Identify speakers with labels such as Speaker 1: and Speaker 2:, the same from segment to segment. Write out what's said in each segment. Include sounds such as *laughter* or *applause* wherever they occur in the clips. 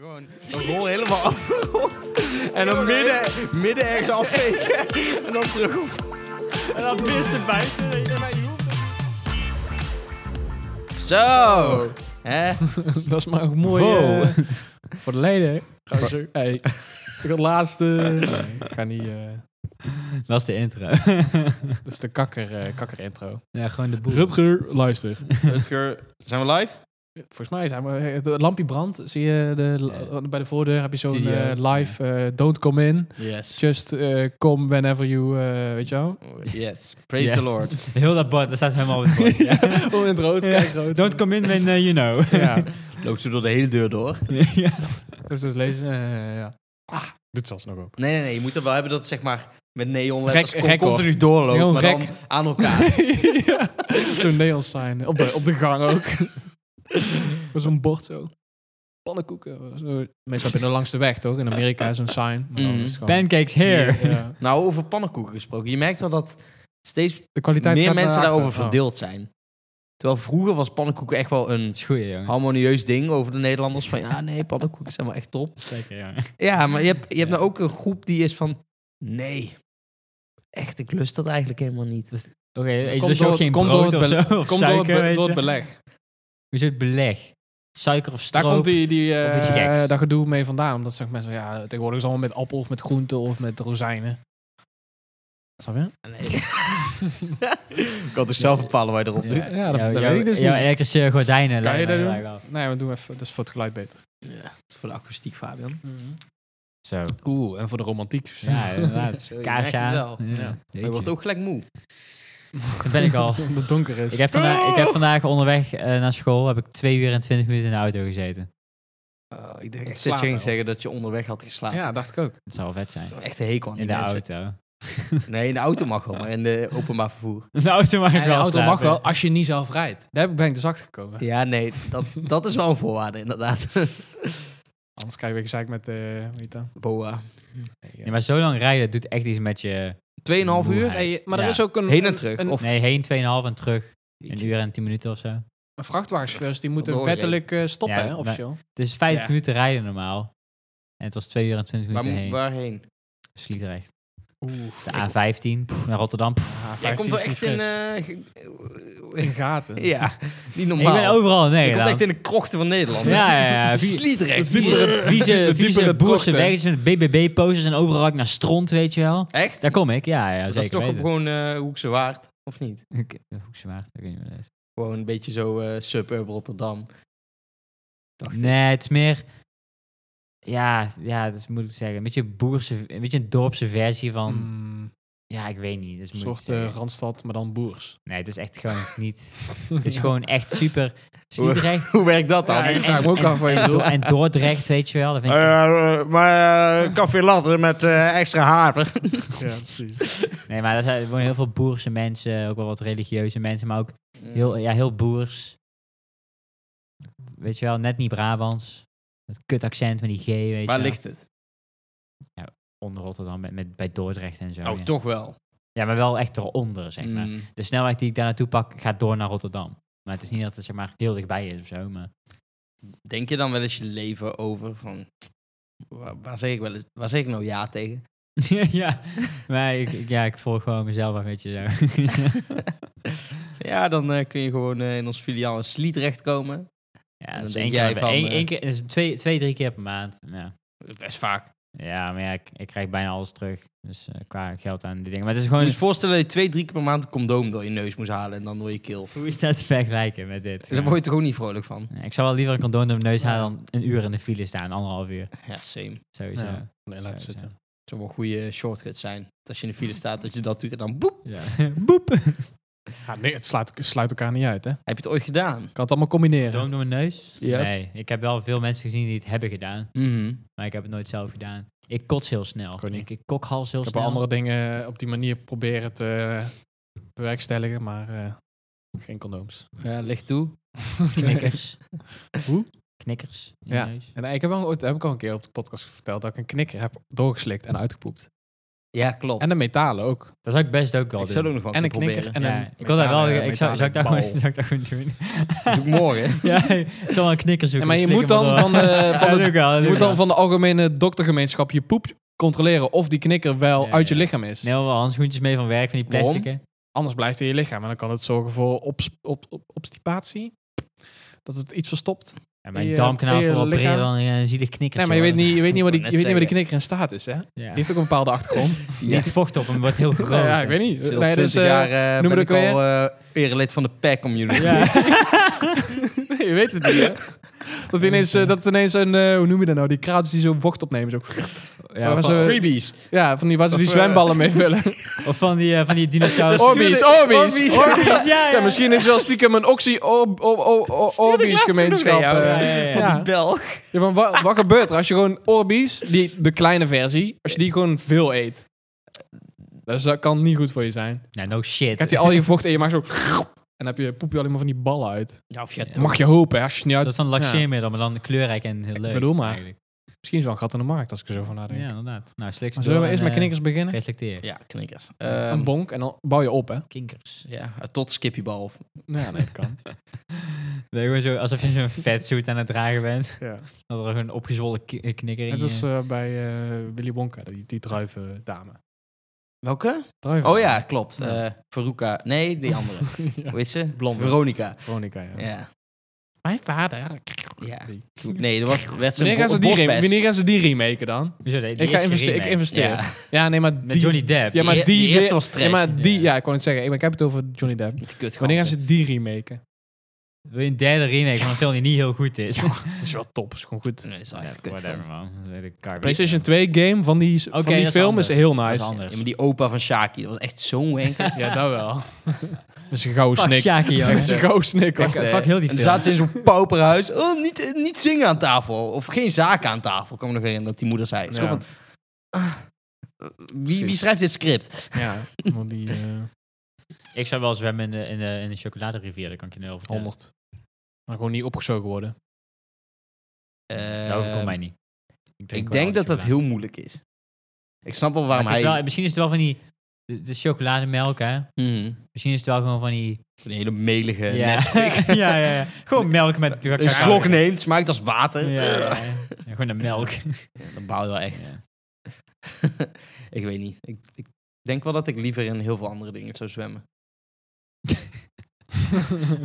Speaker 1: gewoon een rol helemaal afgerond. En dan midden, midden ergens afvegen. En dan terug op.
Speaker 2: En dan mist de buiten.
Speaker 1: Zo. Hè?
Speaker 2: *laughs* Dat is maar een mooie...
Speaker 1: Wow.
Speaker 2: eh, voor de leden. Gozer. Hey. Ik had laatste... Nee, ik ga niet... eh,
Speaker 3: Dat is de intro.
Speaker 2: dat is de kakker, eh, kakker intro.
Speaker 3: ja, gewoon de boel.
Speaker 2: Rutger, *laughs* luister.
Speaker 1: Rutger, zijn we live?
Speaker 2: Volgens mij zijn we... Het lampje brandt. Zie je de, eh,
Speaker 3: Ja.
Speaker 2: bij de voordeur heb je zo'n
Speaker 3: Studio.
Speaker 2: eh, live eh, don't come in.
Speaker 3: Yes.
Speaker 2: Just eh, come whenever you... eh, weet je *laughs* wel?
Speaker 1: Yes. Praise
Speaker 3: Yes.
Speaker 1: the Lord.
Speaker 3: Heel dat bord, daar staat helemaal op het bord. *laughs* Ja.
Speaker 2: Om Oh, in het rood,
Speaker 3: Ja.
Speaker 2: kijk rood.
Speaker 3: Don't come in when eh, you know.
Speaker 2: Ja.
Speaker 1: Loopt ze door de hele deur door?
Speaker 3: ja.
Speaker 2: Dus dat lezen we. ja. Ah, doet zelfs nog op.
Speaker 1: Nee, nee, nee. Je moet er wel hebben dat zeg maar met neonletters
Speaker 2: Gek-
Speaker 1: con-
Speaker 2: gek
Speaker 1: continu
Speaker 2: wordt.
Speaker 1: doorloopt.
Speaker 2: Heel
Speaker 1: maar
Speaker 2: gek.
Speaker 1: dan aan elkaar.
Speaker 2: *laughs* ja. Zo'n neon sign. *laughs* Op de, op de gang ook. Met zo'n bord zo. Pannenkoeken. Zo. Meestal heb je er langs de weg, toch? In Amerika is een sign. Maar dan
Speaker 1: Mhm.
Speaker 2: is het gewoon-
Speaker 3: Pancakes here.
Speaker 2: Ja.
Speaker 1: nou, over pannenkoeken gesproken. Je merkt wel dat steeds
Speaker 2: De kwaliteit
Speaker 1: meer
Speaker 2: gaat
Speaker 1: mensen
Speaker 2: naar
Speaker 1: daarover
Speaker 2: achter. Oh.
Speaker 1: verdeeld zijn. Terwijl vroeger was pannenkoeken echt wel een
Speaker 3: is goed, jongen.
Speaker 1: harmonieus ding over de Nederlanders. Van ja, nee, pannenkoeken zijn wel echt top.
Speaker 3: Dat is lekker, jongen.
Speaker 1: Ja, maar je hebt, je hebt
Speaker 3: Ja.
Speaker 1: nou ook een groep die is van... Nee, echt, ik lust dat eigenlijk helemaal niet.
Speaker 3: Oké, eet
Speaker 2: Komt
Speaker 3: dus ook
Speaker 2: door-
Speaker 3: geen
Speaker 2: komt
Speaker 3: brood
Speaker 2: door
Speaker 3: of
Speaker 2: het
Speaker 3: zo?
Speaker 2: bele-
Speaker 3: Of
Speaker 2: Komt door,
Speaker 3: suiker,
Speaker 2: het be-
Speaker 3: weet
Speaker 2: door
Speaker 3: je?
Speaker 2: het beleg.
Speaker 3: Hoe zit beleg? Suiker of
Speaker 2: Daar
Speaker 3: stroop?
Speaker 2: komt die, die,
Speaker 3: Of iets
Speaker 2: eh
Speaker 3: geks.
Speaker 2: dat gedoe mee vandaan. Omdat ze mensen, ja, tegenwoordig is het allemaal met appel of met groenten of met rozijnen. Snap je?
Speaker 1: Ah, *laughs* ik kan dus zelf bepalen waar je erop
Speaker 3: *laughs* Ja,
Speaker 2: Ja, dat-
Speaker 3: jouw-
Speaker 2: dat
Speaker 3: jouw-
Speaker 2: weet ik dus
Speaker 3: jouw
Speaker 2: niet.
Speaker 3: elektrische gordijnen.
Speaker 2: Kan je
Speaker 3: lijkt mij
Speaker 2: dat
Speaker 3: heel
Speaker 2: doen?
Speaker 3: erg af.
Speaker 2: Nee, we doen even. Dat is voor het geluid beter.
Speaker 1: Ja, dat is voor de akoestiek, Fabian.
Speaker 3: Zo.
Speaker 2: Oeh, en voor de romantiek.
Speaker 3: Ja, inderdaad.
Speaker 1: Zo, je merkt
Speaker 3: Kaasja.
Speaker 1: het wel.
Speaker 2: Ja.
Speaker 1: Je wordt ook gelijk moe.
Speaker 3: Dat ben ik al.
Speaker 2: *laughs* Omdat het donker is.
Speaker 3: Ik heb, vanda- ik heb vandaag onderweg eh, naar school heb ik twee uur en twintig minuten in de auto gezeten.
Speaker 1: Oh, ik dacht
Speaker 2: Ik
Speaker 1: echt dat
Speaker 2: slaap
Speaker 1: je ging
Speaker 2: wel.
Speaker 1: zeggen dat je onderweg had geslapen.
Speaker 2: Ja, dacht ik ook.
Speaker 3: Dat zou wel vet zijn.
Speaker 1: Echt een hekel aan
Speaker 3: In
Speaker 1: die
Speaker 3: de
Speaker 1: mensen.
Speaker 3: auto.
Speaker 1: Nee, in de auto mag wel, maar in de openbaar vervoer.
Speaker 3: *laughs* De auto mag ik
Speaker 2: de
Speaker 3: wel
Speaker 2: auto
Speaker 3: slapen.
Speaker 2: mag wel als je niet zelf rijdt. Daar ben ik dus achter gekomen.
Speaker 1: Ja, nee, dat, dat is wel een voorwaarde, inderdaad.
Speaker 2: Anders krijg je weer gezeik met, eh hoe heet dat?
Speaker 1: *laughs* Boa.
Speaker 3: Nee, maar zo lang rijden doet echt iets met je...
Speaker 1: Tweeënhalf uur?
Speaker 3: Moeheid. Nee, maar
Speaker 2: maar
Speaker 3: er
Speaker 2: er
Speaker 3: Ja. is
Speaker 2: is ook een...
Speaker 1: Heen en terug? of
Speaker 3: Nee, heen 2,5 en terug. Een uur en 10 minuten of zo.
Speaker 2: vrachtwagenchauffeurs, die
Speaker 1: moeten
Speaker 2: moeten
Speaker 1: Doorrijden.
Speaker 2: wettelijk
Speaker 1: wettelijk,
Speaker 2: eh, stoppen,
Speaker 3: Ja, hè,
Speaker 2: hè,
Speaker 3: maar-
Speaker 2: officieel.
Speaker 3: Het is 50
Speaker 2: Ja.
Speaker 3: minuten rijden normaal. En het was 2 uur en 20
Speaker 1: waar,
Speaker 3: minuten
Speaker 1: moet-
Speaker 3: heen.
Speaker 1: waarheen?
Speaker 3: Sliedrecht.
Speaker 2: Oeh.
Speaker 3: De A15 pff, naar Rotterdam. pff.
Speaker 1: Jij komt wel echt in... eh,
Speaker 2: in
Speaker 1: ge-
Speaker 2: gaten.
Speaker 3: *laughs*
Speaker 1: ja, niet
Speaker 3: Ik
Speaker 1: normaal.
Speaker 3: ben overal in
Speaker 1: Je komt
Speaker 3: Nederland.
Speaker 1: echt in de krochten van Nederland.
Speaker 3: Ja, ja,
Speaker 1: *laughs*
Speaker 3: ja. Vie-
Speaker 1: Sliedrecht.
Speaker 3: vieze,
Speaker 1: *laughs*
Speaker 3: vieze, vieze
Speaker 2: diepere
Speaker 3: boerse
Speaker 2: krochten.
Speaker 3: wegjes met BBB-posters en overal ook naar stront, weet je wel.
Speaker 1: Echt?
Speaker 3: Daar kom ik, ja, ja
Speaker 1: dat
Speaker 3: zeker
Speaker 1: is toch
Speaker 3: weten.
Speaker 1: gewoon eh Hoekse Waard, of niet?
Speaker 3: Ik- Hoekse Waard, ik weet niet wat dat is.
Speaker 1: Gewoon een beetje zo eh suburb Rotterdam. Dacht ik.
Speaker 3: Nee, het is meer... Ja, ja, dat moet ik zeggen. Een beetje een boerse, een beetje een dorpse versie van...
Speaker 2: Mm,
Speaker 3: Ja, ik weet niet. Dat is
Speaker 2: een
Speaker 3: moeilijk
Speaker 2: soort
Speaker 3: te
Speaker 2: eh,
Speaker 3: zeggen.
Speaker 2: randstad, maar
Speaker 1: *laughs*
Speaker 2: dan boers.
Speaker 3: Nee, het is echt gewoon niet... Het is gewoon echt super
Speaker 1: *laughs*
Speaker 3: Sliedrecht.
Speaker 1: Hoe werkt dat dan?
Speaker 2: Ja, ik vraag me ook af wat je
Speaker 3: En, Do-
Speaker 2: bedoelt.
Speaker 3: en Dordrecht, weet je wel. Dat vind
Speaker 1: Ah,
Speaker 3: ik,
Speaker 1: Eh, maar koffie latte met eh, extra haver.
Speaker 2: Ja, precies.
Speaker 3: nee, maar er zijn er wonen heel veel boerse mensen. Ook wel wat religieuze mensen, maar ook
Speaker 1: Mm.
Speaker 3: heel, ja, heel boers. Weet je wel, net niet Brabants. Dat kut accent met die G, weet je
Speaker 1: Waar
Speaker 3: wel.
Speaker 1: ligt het?
Speaker 3: Onder Rotterdam, met, met, bij Dordrecht en zo.
Speaker 1: Oh,
Speaker 3: ja.
Speaker 1: toch wel.
Speaker 3: ja, maar wel echt eronder, zeg maar.
Speaker 1: Mm.
Speaker 3: De snelheid die ik daar naartoe pak, gaat door naar Rotterdam. Maar het is niet dat het zeg maar, heel dichtbij is of zo. Maar... *laughs*
Speaker 1: Denk je dan wel eens je leven over van... Waar, waar zeg ik wel eens, waar zeg ik nou ja tegen?
Speaker 3: ja, maar ik, ik- ja, ik volg gewoon mezelf een beetje zo. *laughs*
Speaker 1: *laughs* ja, dan eh, kun je gewoon eh, in ons filiaal in Sliedrecht komen.
Speaker 3: Ja,
Speaker 1: Dan
Speaker 3: dat is
Speaker 1: denk
Speaker 3: één
Speaker 1: jij
Speaker 3: keer,
Speaker 1: van,
Speaker 3: één,
Speaker 1: eh,
Speaker 3: één keer, dat is twee, twee, drie keer per maand. Ja,
Speaker 1: Best vaak.
Speaker 3: ja maar ja, ik, ik krijg bijna alles terug. Dus eh, qua geld aan die dingen. Maar het is gewoon...
Speaker 1: Je moet je voorstellen dat je twee, drie keer per maand een condoom door je neus moest halen en dan door je keel.
Speaker 3: *laughs* Hoe is dat te vergelijken met dit?
Speaker 1: Dus daar
Speaker 3: Ja.
Speaker 1: word je toch ook niet vrolijk van?
Speaker 3: Ja, Ik zou wel liever een condoom door mijn neus halen dan een uur in de file staan. Anderhalf uur.
Speaker 1: Ja, same.
Speaker 3: Sowieso.
Speaker 2: Ja. Nee, laat het
Speaker 3: Sowieso.
Speaker 2: zitten.
Speaker 1: Het zou wel een goede shortcut zijn. Als je in de file staat, dat je dat doet en dan boep.
Speaker 3: Ja. *laughs* Boep.
Speaker 2: Ja, nee, het sluit, sluit elkaar niet uit, hè. Ik
Speaker 1: Heb je het ooit gedaan?
Speaker 2: kan het allemaal combineren.
Speaker 3: Condoom door mijn neus?
Speaker 2: Ja.
Speaker 3: Nee. Ik heb wel veel mensen gezien die het hebben gedaan.
Speaker 1: Mhm.
Speaker 3: Maar ik heb het nooit zelf gedaan. Ik kots heel snel.
Speaker 2: Ik ook niet.
Speaker 3: Ik, ik kokhals heel
Speaker 2: Ik heb wel
Speaker 3: snel. *laughs*
Speaker 2: andere dingen op die manier proberen te eh, bewerkstelligen, maar eh, geen
Speaker 1: *laughs*
Speaker 2: condooms.
Speaker 1: Ja, licht toe.
Speaker 3: Knikkers.
Speaker 2: Hoe?
Speaker 3: Knikkers. In
Speaker 2: Ja.
Speaker 3: de neus.
Speaker 2: En ik heb, wel, ooit- heb ik al een keer op de podcast verteld dat ik een knikker heb doorgeslikt en uitgepoept.
Speaker 1: Ja, klopt.
Speaker 2: En de metalen ook.
Speaker 3: Dat zou ik best ook wel
Speaker 1: ik
Speaker 3: doen.
Speaker 1: zou het ook nog wel
Speaker 2: en een
Speaker 1: een keer
Speaker 2: knikker.
Speaker 1: proberen.
Speaker 2: En
Speaker 3: ja,
Speaker 2: een
Speaker 3: ik wil daar wel.
Speaker 2: metalen-
Speaker 3: Ik zou, zou ik daar
Speaker 2: metalen *laughs* bal.
Speaker 3: gewoon, *laughs* zou ik daar gewoon doen.
Speaker 1: Dat is ook morgen.
Speaker 3: *laughs* ja, ik zal wel een knikker
Speaker 2: Ja,
Speaker 3: zoeken.
Speaker 2: maar je
Speaker 3: slik
Speaker 2: moet
Speaker 3: hem
Speaker 2: dan
Speaker 3: erdoor.
Speaker 2: van
Speaker 3: *laughs*
Speaker 2: de, van
Speaker 3: Ja,
Speaker 2: de
Speaker 3: doe ik wel, doe
Speaker 2: Je
Speaker 3: ik
Speaker 2: moet
Speaker 3: wel.
Speaker 2: dan van de algemene doktergemeenschap je poep controleren of die knikker wel
Speaker 3: Ja,
Speaker 2: uit je
Speaker 3: ja.
Speaker 2: lichaam is.
Speaker 3: Neem wel handschoentjes mee van werk, van die
Speaker 1: Waarom?
Speaker 3: plastic. hè.
Speaker 2: Anders blijft hij in je lichaam en dan kan het zorgen voor obs- op, op, obstipatie. Dat het iets verstopt.
Speaker 3: En mijn
Speaker 2: Je-
Speaker 3: darmkanaal is
Speaker 2: je
Speaker 3: wel breder
Speaker 2: lichaam.
Speaker 3: dan een eh, zielig knikker.
Speaker 2: Nee, maar je weet niet, je weet niet, waar, die,
Speaker 1: Ik
Speaker 2: je
Speaker 1: wou
Speaker 2: weet
Speaker 1: net
Speaker 2: niet waar
Speaker 1: zeggen.
Speaker 2: die knikker in staat is, hè? Die
Speaker 3: Ja.
Speaker 2: heeft ook een bepaalde achtergrond.
Speaker 1: Ja.
Speaker 3: Niet vocht op hem, wordt
Speaker 2: *laughs*
Speaker 3: heel groot.
Speaker 2: ja, ja, ik weet niet.
Speaker 1: Dus al
Speaker 2: Nee,
Speaker 1: 20
Speaker 2: dus, eh,
Speaker 1: jaar eh,
Speaker 2: noem
Speaker 1: ben
Speaker 2: het
Speaker 1: ik
Speaker 2: ook
Speaker 1: al eh, erelid van de pack community.
Speaker 3: Ja.
Speaker 2: nee, *laughs* je weet het niet, hè? Dat ineens, eh, dat ineens een, eh, hoe noem je dat nou? Die kraatjes die zo vocht opnemen. Zo.
Speaker 3: Ja,
Speaker 2: Waar
Speaker 3: of,
Speaker 2: ze-
Speaker 3: van,
Speaker 1: Freebies.
Speaker 2: Ja, van die, waar ze
Speaker 1: Of,
Speaker 2: die
Speaker 1: eh,
Speaker 2: zwemballen mee vullen.
Speaker 3: of van die, eh, van
Speaker 2: *laughs*
Speaker 1: *laughs*
Speaker 3: die dinosaurus.
Speaker 1: Dat
Speaker 2: Orbies,
Speaker 1: stuurde-
Speaker 2: orbies.
Speaker 1: Orbies.
Speaker 3: Orbies, ja,
Speaker 2: Ja, misschien is wel stiekem een oxy-orbies gemeenschap.
Speaker 1: *laughs* Ja,
Speaker 2: eh.
Speaker 3: ja, ja, ja.
Speaker 1: Van
Speaker 2: Ja.
Speaker 1: die Belg.
Speaker 2: Ja, maar wa- wat gebeurt er als je gewoon Orbeez, die, de kleine versie, als je die gewoon veel eet? Dus dat kan niet goed voor je zijn.
Speaker 3: Nou, no
Speaker 2: Ik
Speaker 3: shit.
Speaker 2: heb die al je vocht en je maakt zo... En dan heb je, poep je alleen maar van die ballen uit.
Speaker 1: Ja, of je
Speaker 3: Ja.
Speaker 2: Mag je hopen, hè, als je het niet
Speaker 3: Dat
Speaker 2: uit...
Speaker 3: is dan laxeermiddel, maar dan kleurrijk en heel leuk.
Speaker 2: bedoel maar.
Speaker 3: eigenlijk.
Speaker 2: Misschien is wel een gat in de markt, als ik er zo van nadenk.
Speaker 3: Ja, inderdaad. Nou, slechts
Speaker 2: Maar zullen we eerst met knikkers beginnen?
Speaker 3: Reflecteer.
Speaker 1: Ja, knikkers.
Speaker 2: eh, een
Speaker 1: Ehm,
Speaker 2: bonk en dan bouw je op, hè?
Speaker 3: Kinkers.
Speaker 1: ja, eh, tot skippybal.
Speaker 2: Ja, nee, dat *laughs* kan.
Speaker 3: Nee, gewoon zo, alsof je zo'n vetsuit aan het dragen bent.
Speaker 2: ja.
Speaker 3: Dat er een opgezwollen ki- knikker in
Speaker 2: Net als
Speaker 3: je...
Speaker 2: eh, bij eh, Willy Wonka, die, die druivendame.
Speaker 1: Welke?
Speaker 2: Druiven
Speaker 1: Oh ja, klopt.
Speaker 2: Ja.
Speaker 1: Eh Veruca. Nee, die andere.
Speaker 2: *laughs* ja.
Speaker 1: Hoe heet ze?
Speaker 2: Blonde.
Speaker 1: Veronica.
Speaker 2: Veronica, ja.
Speaker 1: Ja.
Speaker 2: Mijn vader.
Speaker 1: ja.
Speaker 2: Die.
Speaker 1: Toen- Nee, dat was, werd ze
Speaker 2: Wanneer gaan, ze
Speaker 1: een
Speaker 2: die rem-
Speaker 1: borstbest.
Speaker 2: wanneer gaan ze die remaken dan?
Speaker 3: Hoezo, die- die
Speaker 2: Ik ga
Speaker 3: is
Speaker 2: investeren. Ik
Speaker 3: geremake.
Speaker 2: investeer.
Speaker 1: Ja.
Speaker 2: Ja. nee, maar die...
Speaker 3: Met Johnny Depp.
Speaker 2: Ja, maar
Speaker 1: Die-
Speaker 2: die...
Speaker 1: die eerste was
Speaker 2: Ja,
Speaker 1: trash.
Speaker 2: maar die...
Speaker 3: Ja.
Speaker 2: Ja, ik kon het zeggen. Ik, maar ik heb het over Johnny Depp.
Speaker 1: Met *laughs* die kutganzen.
Speaker 2: Wanneer gaan ze die remaken?
Speaker 3: Wil je een derde remake van een film die niet heel goed is?
Speaker 2: Dat is wel top. is gewoon goed.
Speaker 1: Nee, dat is wel echt kut.
Speaker 3: Whatever,
Speaker 1: film.
Speaker 3: man. Dat weet ik gar niet.
Speaker 2: PlayStation 2 game van die, van
Speaker 3: Oké,
Speaker 2: die
Speaker 3: dat is
Speaker 2: film
Speaker 3: anders.
Speaker 2: is heel
Speaker 3: Dat is
Speaker 2: nice.
Speaker 1: Ja,
Speaker 3: anders.
Speaker 1: maar die opa van Shaki, dat was echt zo'n wenker.
Speaker 2: Ja, dat wel. *laughs* dat is een gouden
Speaker 3: Fuck
Speaker 2: snik. Dat *laughs*
Speaker 3: Shaki, joh.
Speaker 2: is een gouden snik. hoor.
Speaker 3: Fuck, fuck heel die
Speaker 1: en dan
Speaker 3: film.
Speaker 1: zaten ze in zo'n pauperhuis. Oh, niet, eh, niet zingen aan tafel. Of geen zaken aan tafel. Ik kan me nog herinneren dat die moeder zei. Het is
Speaker 2: Ja.
Speaker 1: gewoon van, wie, wie
Speaker 2: Precies.
Speaker 1: schrijft dit script?
Speaker 2: Ja, want die *laughs* eh,
Speaker 3: Ik zou wel zwemmen in de, in de, in de chocoladerivier, dat kan ik je nu over vertellen.
Speaker 2: 100. Maar gewoon niet opgezogen *laughs* worden.
Speaker 1: Eh,
Speaker 3: Dat
Speaker 2: ehm,
Speaker 3: overkomt mij niet.
Speaker 1: ik denk dat dat heel moeilijk is. Ik snap wel waarom hij...
Speaker 3: Wel, misschien is het wel van die... De, de chocolademelk, hè?
Speaker 1: Mhm.
Speaker 3: Misschien is het wel gewoon van die... eh,
Speaker 1: Een hele melige
Speaker 3: ja.
Speaker 1: *laughs* Nesquik.
Speaker 3: *laughs* ja, ja, ja. Gewoon melk met...
Speaker 1: Een slok neemt, smaakt als
Speaker 3: Ja,
Speaker 1: water.
Speaker 3: ja, ja. Ja, gewoon de *laughs* melk.
Speaker 1: Dan bouw je wel echt.
Speaker 3: Ja.
Speaker 1: *laughs* ik weet niet. Ik, ik denk wel dat ik liever in heel veel andere dingen zou zwemmen.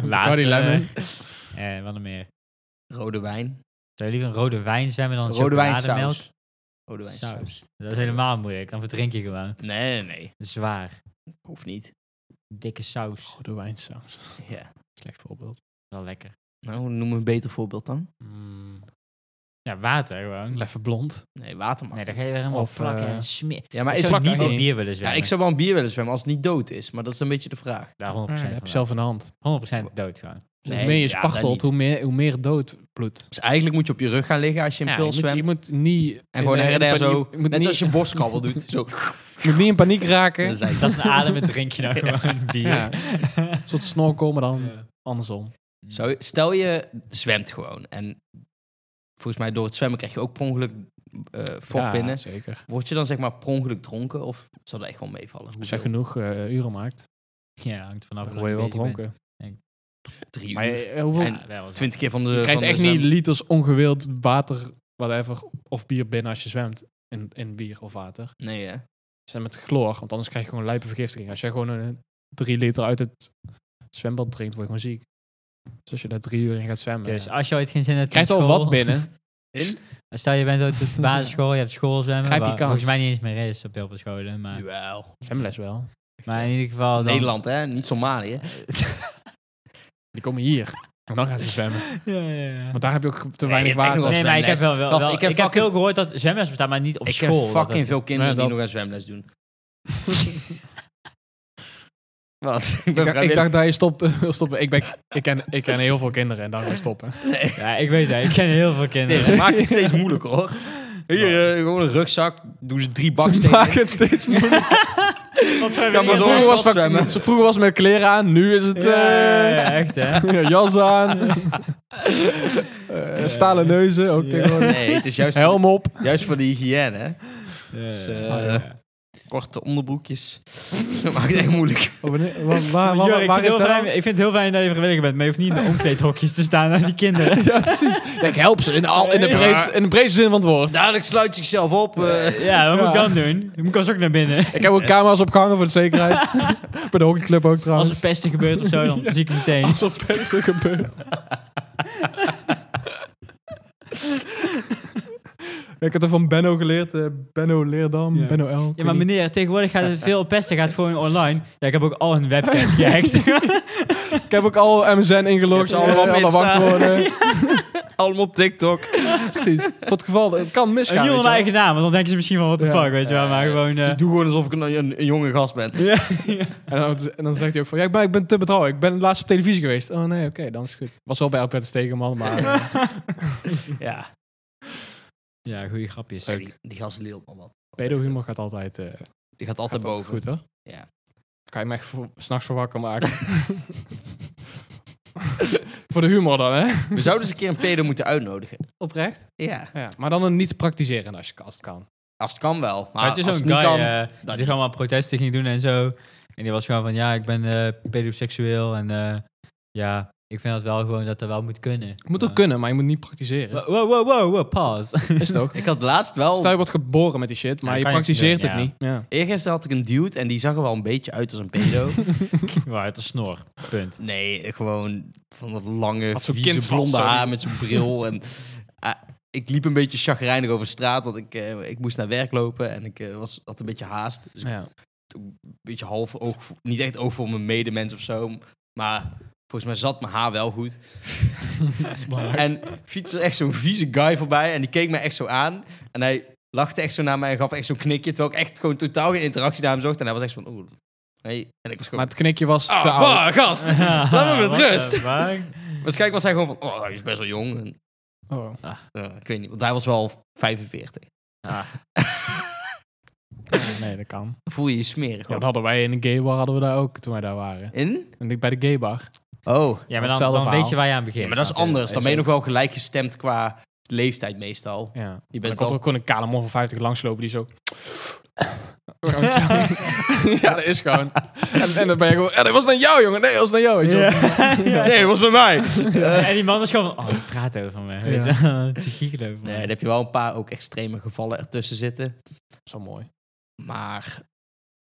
Speaker 2: Cardi Lemon.
Speaker 3: Eh, wat nog meer.
Speaker 1: Rode wijn.
Speaker 3: Zou je liever een rode wijn zwemmen dan een
Speaker 1: Rode
Speaker 3: chocolademelk?
Speaker 1: wijnsaus. Rode
Speaker 3: Saus.
Speaker 1: wijnsaus.
Speaker 3: Dat is helemaal moeilijk. Dan verdrink je gewoon.
Speaker 1: Nee, nee, nee.
Speaker 3: Zwaar.
Speaker 1: Hoeft niet.
Speaker 3: Dikke saus.
Speaker 2: Rode wijnsaus.
Speaker 1: Ja.
Speaker 2: Slecht voorbeeld.
Speaker 3: Wel lekker.
Speaker 1: Nou, noem een beter voorbeeld dan.
Speaker 2: Mm,
Speaker 3: Ja, water gewoon.
Speaker 2: Even blond.
Speaker 1: Nee, water mag
Speaker 3: Nee, dan
Speaker 1: niet.
Speaker 3: ga je weer helemaal
Speaker 2: Of,
Speaker 3: vlakken
Speaker 2: eh,
Speaker 3: en smeer.
Speaker 1: Ja, maar
Speaker 3: ik
Speaker 1: is
Speaker 3: zou
Speaker 1: het
Speaker 3: niet
Speaker 1: niet...
Speaker 3: in
Speaker 2: niet.
Speaker 3: bier willen
Speaker 1: Ja,
Speaker 3: zwemmen.
Speaker 1: ik zou wel een bier willen zwemmen als het niet dood is. Maar dat is een beetje de vraag.
Speaker 3: Daar 100%
Speaker 2: Ja, heb
Speaker 3: van
Speaker 2: je
Speaker 3: wel.
Speaker 2: zelf in de hand.
Speaker 3: 100% dood gewoon.
Speaker 2: Dus
Speaker 1: Nee,
Speaker 2: hoe meer je
Speaker 1: ja, dat
Speaker 2: spartelt,
Speaker 1: niet.
Speaker 2: hoe meer, hoe meer dood bloedt.
Speaker 1: Dus eigenlijk moet je op je rug gaan liggen als je een
Speaker 2: Ja,
Speaker 1: pil
Speaker 2: je, moet, je
Speaker 1: zwemt.
Speaker 2: moet niet...
Speaker 1: En gewoon
Speaker 2: in-
Speaker 1: her en der
Speaker 2: in panie-
Speaker 1: zo.
Speaker 2: je moet
Speaker 1: Net
Speaker 2: niet-
Speaker 1: als je borstkabbel
Speaker 3: *laughs*
Speaker 1: doet. *laughs* Zo.
Speaker 2: Je moet niet in paniek raken.
Speaker 1: dan zei ik-
Speaker 3: Dat is een ademen drink je nou gewoon bier. *laughs*
Speaker 2: Ja. Een soort snorkel, maar dan
Speaker 3: Ja.
Speaker 2: andersom.
Speaker 1: Zou je- stel je zwemt gewoon. En volgens mij door het zwemmen krijg je ook per ongeluk eh vocht
Speaker 2: Ja,
Speaker 1: binnen.
Speaker 2: zeker.
Speaker 1: Word je dan zeg maar per ongeluk dronken? Of zou dat echt wel meevallen?
Speaker 2: Als
Speaker 1: Hoeveel?
Speaker 2: je genoeg eh, uren maakt,
Speaker 3: Ja, hangt vanaf
Speaker 2: dan
Speaker 3: hoe
Speaker 2: word je wel
Speaker 3: bezig bent.
Speaker 2: dronken.
Speaker 1: Drie
Speaker 2: Maar
Speaker 1: uur.
Speaker 2: je, eh, hoeveel,
Speaker 1: En-
Speaker 3: Ja, wel.
Speaker 1: Twintig keer van de
Speaker 2: je krijgt
Speaker 1: van de
Speaker 2: echt niet
Speaker 1: zwem-
Speaker 2: liters ongewild water, whatever, of bier binnen als je zwemt. In, in bier of water.
Speaker 1: Nee, hè?
Speaker 2: Ze zijn met chloor, want anders krijg je gewoon lijpe vergiftiging. Als jij gewoon een drie liter uit het zwembad drinkt, word je gewoon ziek. Dus als je daar drie uur in gaat zwemmen...
Speaker 3: Dus
Speaker 2: ja.
Speaker 3: als je ooit geen zin hebt
Speaker 2: Je krijgt
Speaker 3: in
Speaker 2: al
Speaker 3: school,
Speaker 2: wat binnen.
Speaker 1: In?
Speaker 3: *laughs* Stel je bent ooit op *laughs* de basisschool, je hebt school zwemmen.
Speaker 2: Grijp je
Speaker 3: waar
Speaker 2: kans.
Speaker 3: Volgens mij niet eens meer is op heel veel scholen. Maar,
Speaker 1: Jawel.
Speaker 2: *laughs* Zwemles wel.
Speaker 3: maar in ieder geval dan...
Speaker 1: Nederland, hè? Niet Somalië.
Speaker 2: Die komen hier. En dan gaan ze zwemmen.
Speaker 3: *laughs* Ja, ja, ja.
Speaker 2: Want daar heb je ook te
Speaker 1: Nee,
Speaker 2: weinig
Speaker 1: je hebt echt
Speaker 2: water.
Speaker 1: nog
Speaker 3: Nee, maar ik heb wel, wel,
Speaker 1: Gast,
Speaker 3: wel-
Speaker 1: ik
Speaker 3: ik
Speaker 1: heb
Speaker 3: heb,
Speaker 1: fucking-
Speaker 3: veel gehoord dat zwemles bestaan, maar niet op
Speaker 1: ik
Speaker 3: school.
Speaker 1: heb
Speaker 3: dat
Speaker 1: fucking
Speaker 3: is-
Speaker 1: veel kinderen
Speaker 2: Ja, dat-
Speaker 1: die nog een zwemles
Speaker 2: *laughs*
Speaker 1: doen. Wat?
Speaker 2: Ik, dacht- ik dacht dat je stopte, *laughs* wil stoppen. Ik, ben, ik, ken, ik ken heel veel kinderen en *laughs* daarom stoppen.
Speaker 1: Nee.
Speaker 3: Ja, ik weet dat. Ik ken heel veel
Speaker 1: Nee,
Speaker 3: kinderen.
Speaker 1: ze maken het steeds moeilijker,
Speaker 2: *laughs*
Speaker 1: hoor. Hier, eh, gewoon een rugzak. Doen ze drie
Speaker 2: Ze
Speaker 1: bakstenen.
Speaker 2: maken het *laughs* steeds moeilijker.
Speaker 3: *laughs* Wat
Speaker 1: Ja,
Speaker 3: zijn
Speaker 1: maar
Speaker 3: dingen-
Speaker 1: door een
Speaker 2: vroeger, was
Speaker 1: gat
Speaker 2: van-
Speaker 1: zwemmen.
Speaker 2: vroeger was het met kleren aan, nu is het eh
Speaker 3: Ja, ja, ja, *laughs* echt hè.
Speaker 2: jas aan. *laughs* Eh, stalen neuzen, *laughs* ook tegenwoordig.
Speaker 1: Nee, het is juist,
Speaker 2: Helm op.
Speaker 1: juist voor de hygiëne, hè?
Speaker 3: Oh, Ja, Ah,
Speaker 1: Dus,
Speaker 3: ja,
Speaker 1: eh,
Speaker 3: ja.
Speaker 1: korte onderbroekjes. *laughs* dat maakt het echt moeilijk.
Speaker 2: Oh, wanneer- wa- waar, waar,
Speaker 3: Jor, ik,
Speaker 2: waar
Speaker 3: vind
Speaker 2: is
Speaker 3: heel
Speaker 2: dat
Speaker 3: fijn,
Speaker 2: dan?
Speaker 3: ik vind het heel fijn dat je vrijwilliger bent, maar je hoeft niet in de *laughs* omkleedhokjes te staan aan die kinderen.
Speaker 2: Ja, precies. Ja, *laughs* ik help ze in, al, in, de
Speaker 1: Ja.
Speaker 2: breedste, in de breedste zin van het woord.
Speaker 1: Dadelijk sluit zichzelf op. eh.
Speaker 3: Ja, wat moet ik
Speaker 2: Ja.
Speaker 3: dan doen? Ik moet als ook naar binnen.
Speaker 2: Ik heb ook camera's opgehangen voor de zekerheid. *laughs* Bij de hockeyclub ook
Speaker 3: Als
Speaker 2: trouwens.
Speaker 3: er pesten gebeurt of zo, *laughs* dan zie ik hem meteen.
Speaker 2: Als er pesten gebeurt. *laughs* ik had er van Benno geleerd. eh, Benno Leerdam,
Speaker 3: Ja.
Speaker 2: Benno L. ik
Speaker 3: Ja,
Speaker 2: weet
Speaker 3: maar
Speaker 2: niet.
Speaker 3: meneer, tegenwoordig gaat het veel pesten, gaat gewoon online. Ja, ik heb ook al hun *laughs* webcam gehackt.
Speaker 2: Ik heb ook al MSN ingelogd.
Speaker 1: Je hebt
Speaker 2: alle,
Speaker 1: ze allemaal
Speaker 2: alle
Speaker 1: op Insta.
Speaker 2: wachtwoorden.
Speaker 1: Allemaal op TikTok.
Speaker 2: Precies. Tot het geval, het kan misgaan.
Speaker 3: En niet
Speaker 2: weet
Speaker 3: onder mijn
Speaker 2: je
Speaker 3: eigen naam, want dan denken ze misschien van, what the
Speaker 2: Ja.
Speaker 3: fuck, weet je wel. Maar
Speaker 1: Ja,
Speaker 3: gewoon...
Speaker 1: Dus
Speaker 3: eh,
Speaker 1: ik doe gewoon alsof ik een, een, een jonge gast ben.
Speaker 2: wel. en, dan, en dan zegt hij ook van, ja, ik ben, ik ben te betrouwen. Ik ben laatst op televisie geweest. Oh nee, oké, dan is het goed. Was wel bij Alpert Stegeman, maar...
Speaker 3: *laughs*
Speaker 2: eh,
Speaker 3: ja. Ja, goede grapjes.
Speaker 1: Sorry, die, die gast leelt maar wat.
Speaker 2: Pedohumor gaat altijd, eh,
Speaker 1: Die gaat
Speaker 2: gaat
Speaker 1: altijd
Speaker 2: altijd
Speaker 1: boven.
Speaker 2: goed, hoor.
Speaker 1: Ja.
Speaker 2: Kan je me echt voor- s'nachts voor wakker maken. *laughs* voor de humor dan, hè?
Speaker 1: We zouden eens een keer een pedo moeten uitnodigen.
Speaker 2: Oprecht.
Speaker 1: Ja.
Speaker 2: Ja, maar dan een niet praktiseren als je kast kan.
Speaker 1: Als het kan wel. Maar,
Speaker 3: Maar het is
Speaker 1: als
Speaker 3: zo'n
Speaker 1: het
Speaker 3: guy
Speaker 1: niet kan...
Speaker 3: eh,
Speaker 1: dan
Speaker 3: die
Speaker 1: niet.
Speaker 3: gewoon maar protesten ging doen en zo. En die was gewoon van, ja, ik ben eh, pedoseksueel en eh, ja, ik vind dat wel gewoon dat dat wel moet kunnen.
Speaker 2: Het moet
Speaker 3: Maar-
Speaker 2: ook kunnen, maar je moet niet praktiseren.
Speaker 3: Wow, wow, wow, wow, wow, *laughs* pause.
Speaker 2: Is het ook?
Speaker 1: Ik had laatst wel...
Speaker 2: Stel je wordt geboren met die shit, maar
Speaker 3: Ja,
Speaker 2: je
Speaker 3: kan je niks
Speaker 2: praktiseert
Speaker 3: doen,
Speaker 2: het
Speaker 3: ja.
Speaker 2: niet. Ja.
Speaker 1: Eergisteren had ik een dude en die zag er wel een beetje uit als een pedo.
Speaker 3: Waar het een snor. *laughs* Punt.
Speaker 1: nee, gewoon van dat lange,
Speaker 2: Had zo'n
Speaker 1: vieze,
Speaker 2: kind vast,
Speaker 1: blonde
Speaker 2: sorry.
Speaker 1: haar met zijn bril. En, ah, ik liep een beetje chagrijnig over straat, want ik, eh, ik moest naar werk lopen. En ik eh, was, had een beetje haast. Dus ik
Speaker 2: Ja.
Speaker 1: een beetje half oog, voor- niet echt oog voor mijn medemens of zo, maar volgens mij zat mijn haar wel goed.
Speaker 2: En
Speaker 1: En fietste echt zo'n vieze guy voorbij en die keek mij echt zo aan en hij lachte echt zo naar mij en gaf echt zo'n knikje, terwijl ik echt gewoon totaal geen interactie naar hem zocht en hij was echt van oeh. Hey. En ik was
Speaker 2: maar
Speaker 1: gewoon,
Speaker 2: het knikje was
Speaker 1: ah,
Speaker 2: te oud.
Speaker 1: bah,
Speaker 2: *laughs*
Speaker 1: gast, laat me met
Speaker 3: What the
Speaker 1: rust.
Speaker 3: fuck?
Speaker 1: Waarschijnlijk was hij gewoon van, oh, hij is best wel jong. En,
Speaker 2: Oh.
Speaker 1: eh, ik weet niet, want hij was wel 45.
Speaker 3: Ah,
Speaker 2: Nee, dat kan.
Speaker 1: Voel je je smerig?
Speaker 2: Ja, Oh. dat
Speaker 1: hoor.
Speaker 2: hadden wij in een gay bar hadden we daar ook toen wij daar waren.
Speaker 1: In?
Speaker 2: En ik bij de gay bar.
Speaker 1: Oh.
Speaker 3: ja, maar dan,
Speaker 2: Hetzelfde
Speaker 3: dan weet
Speaker 2: verhaal.
Speaker 3: je waar je aan begint.
Speaker 1: Ja, maar dat is
Speaker 3: snap je?
Speaker 1: anders. Dan ben je nog wel gelijk gestemd qua leeftijd meestal.
Speaker 2: Ja.
Speaker 1: Je
Speaker 2: Je
Speaker 1: bent
Speaker 2: bent kon
Speaker 1: wel-
Speaker 2: ook gewoon een kale man van 50 langslopen die *laughs* zo. Oh, ja, dat is gewoon. En, en dan ben je gewoon. En dat was naar jou, jongen. Nee, dat was naar jou. Weet je wel. *laughs*
Speaker 1: Nee, dat was bij *laughs* mij.
Speaker 3: En die man is gewoon van, oh, ze praat over me. Weet je wel. *laughs* Ze giechelen over me.
Speaker 1: Nee, dan heb je wel een paar ook extreme gevallen ertussen zitten.
Speaker 2: Zo mooi.
Speaker 1: Maar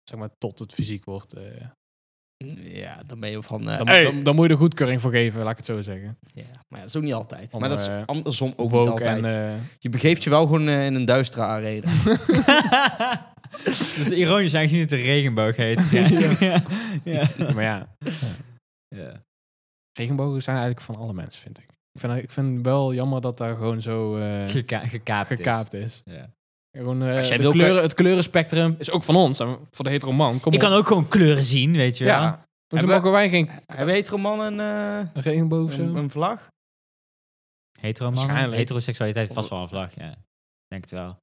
Speaker 2: Zeg maar tot het fysiek wordt. eh,
Speaker 1: ja, dan ben je van... eh,
Speaker 2: dan,
Speaker 1: hey!
Speaker 2: dan, dan moet je er goedkeuring voor geven, laat ik het zo zeggen.
Speaker 1: ja, maar ja, dat is ook niet altijd.
Speaker 2: Om,
Speaker 1: maar dat is
Speaker 2: eh,
Speaker 1: andersom ook niet
Speaker 2: Ook en.
Speaker 1: altijd.
Speaker 2: eh,
Speaker 1: je begeeft je wel gewoon eh, in een duistere arena.
Speaker 3: dat is ironisch aangezien het een regenboog heet.
Speaker 2: *laughs*
Speaker 3: Ja. ja. ja.
Speaker 2: eh, maar ja, *laughs* regenbogen zijn eigenlijk van alle mensen, vind ik. Ik vind, ik vind wel jammer dat daar gewoon zo eh,
Speaker 3: Geka- gekaapt is.
Speaker 2: gekaapt is.
Speaker 3: Ja.
Speaker 2: Gewoon, eh,
Speaker 1: Als jij
Speaker 2: de
Speaker 1: wil, kan-
Speaker 2: kleuren, het kleurenspectrum is ook van ons, en voor de hetero man. Kom
Speaker 3: Ik
Speaker 2: op.
Speaker 3: kan ook gewoon kleuren zien, weet je wel.
Speaker 2: Ja. Hoezo
Speaker 1: Hebben-
Speaker 2: mogen wij geen
Speaker 1: *laughs* Hij weet er man een, eh,
Speaker 2: regenboog of
Speaker 1: een, een vlag?
Speaker 3: Hetero mannen,
Speaker 2: Waarschijnlijk.
Speaker 3: heteroseksualiteit heeft vast wel een vlag, ja. Ik Denk het wel.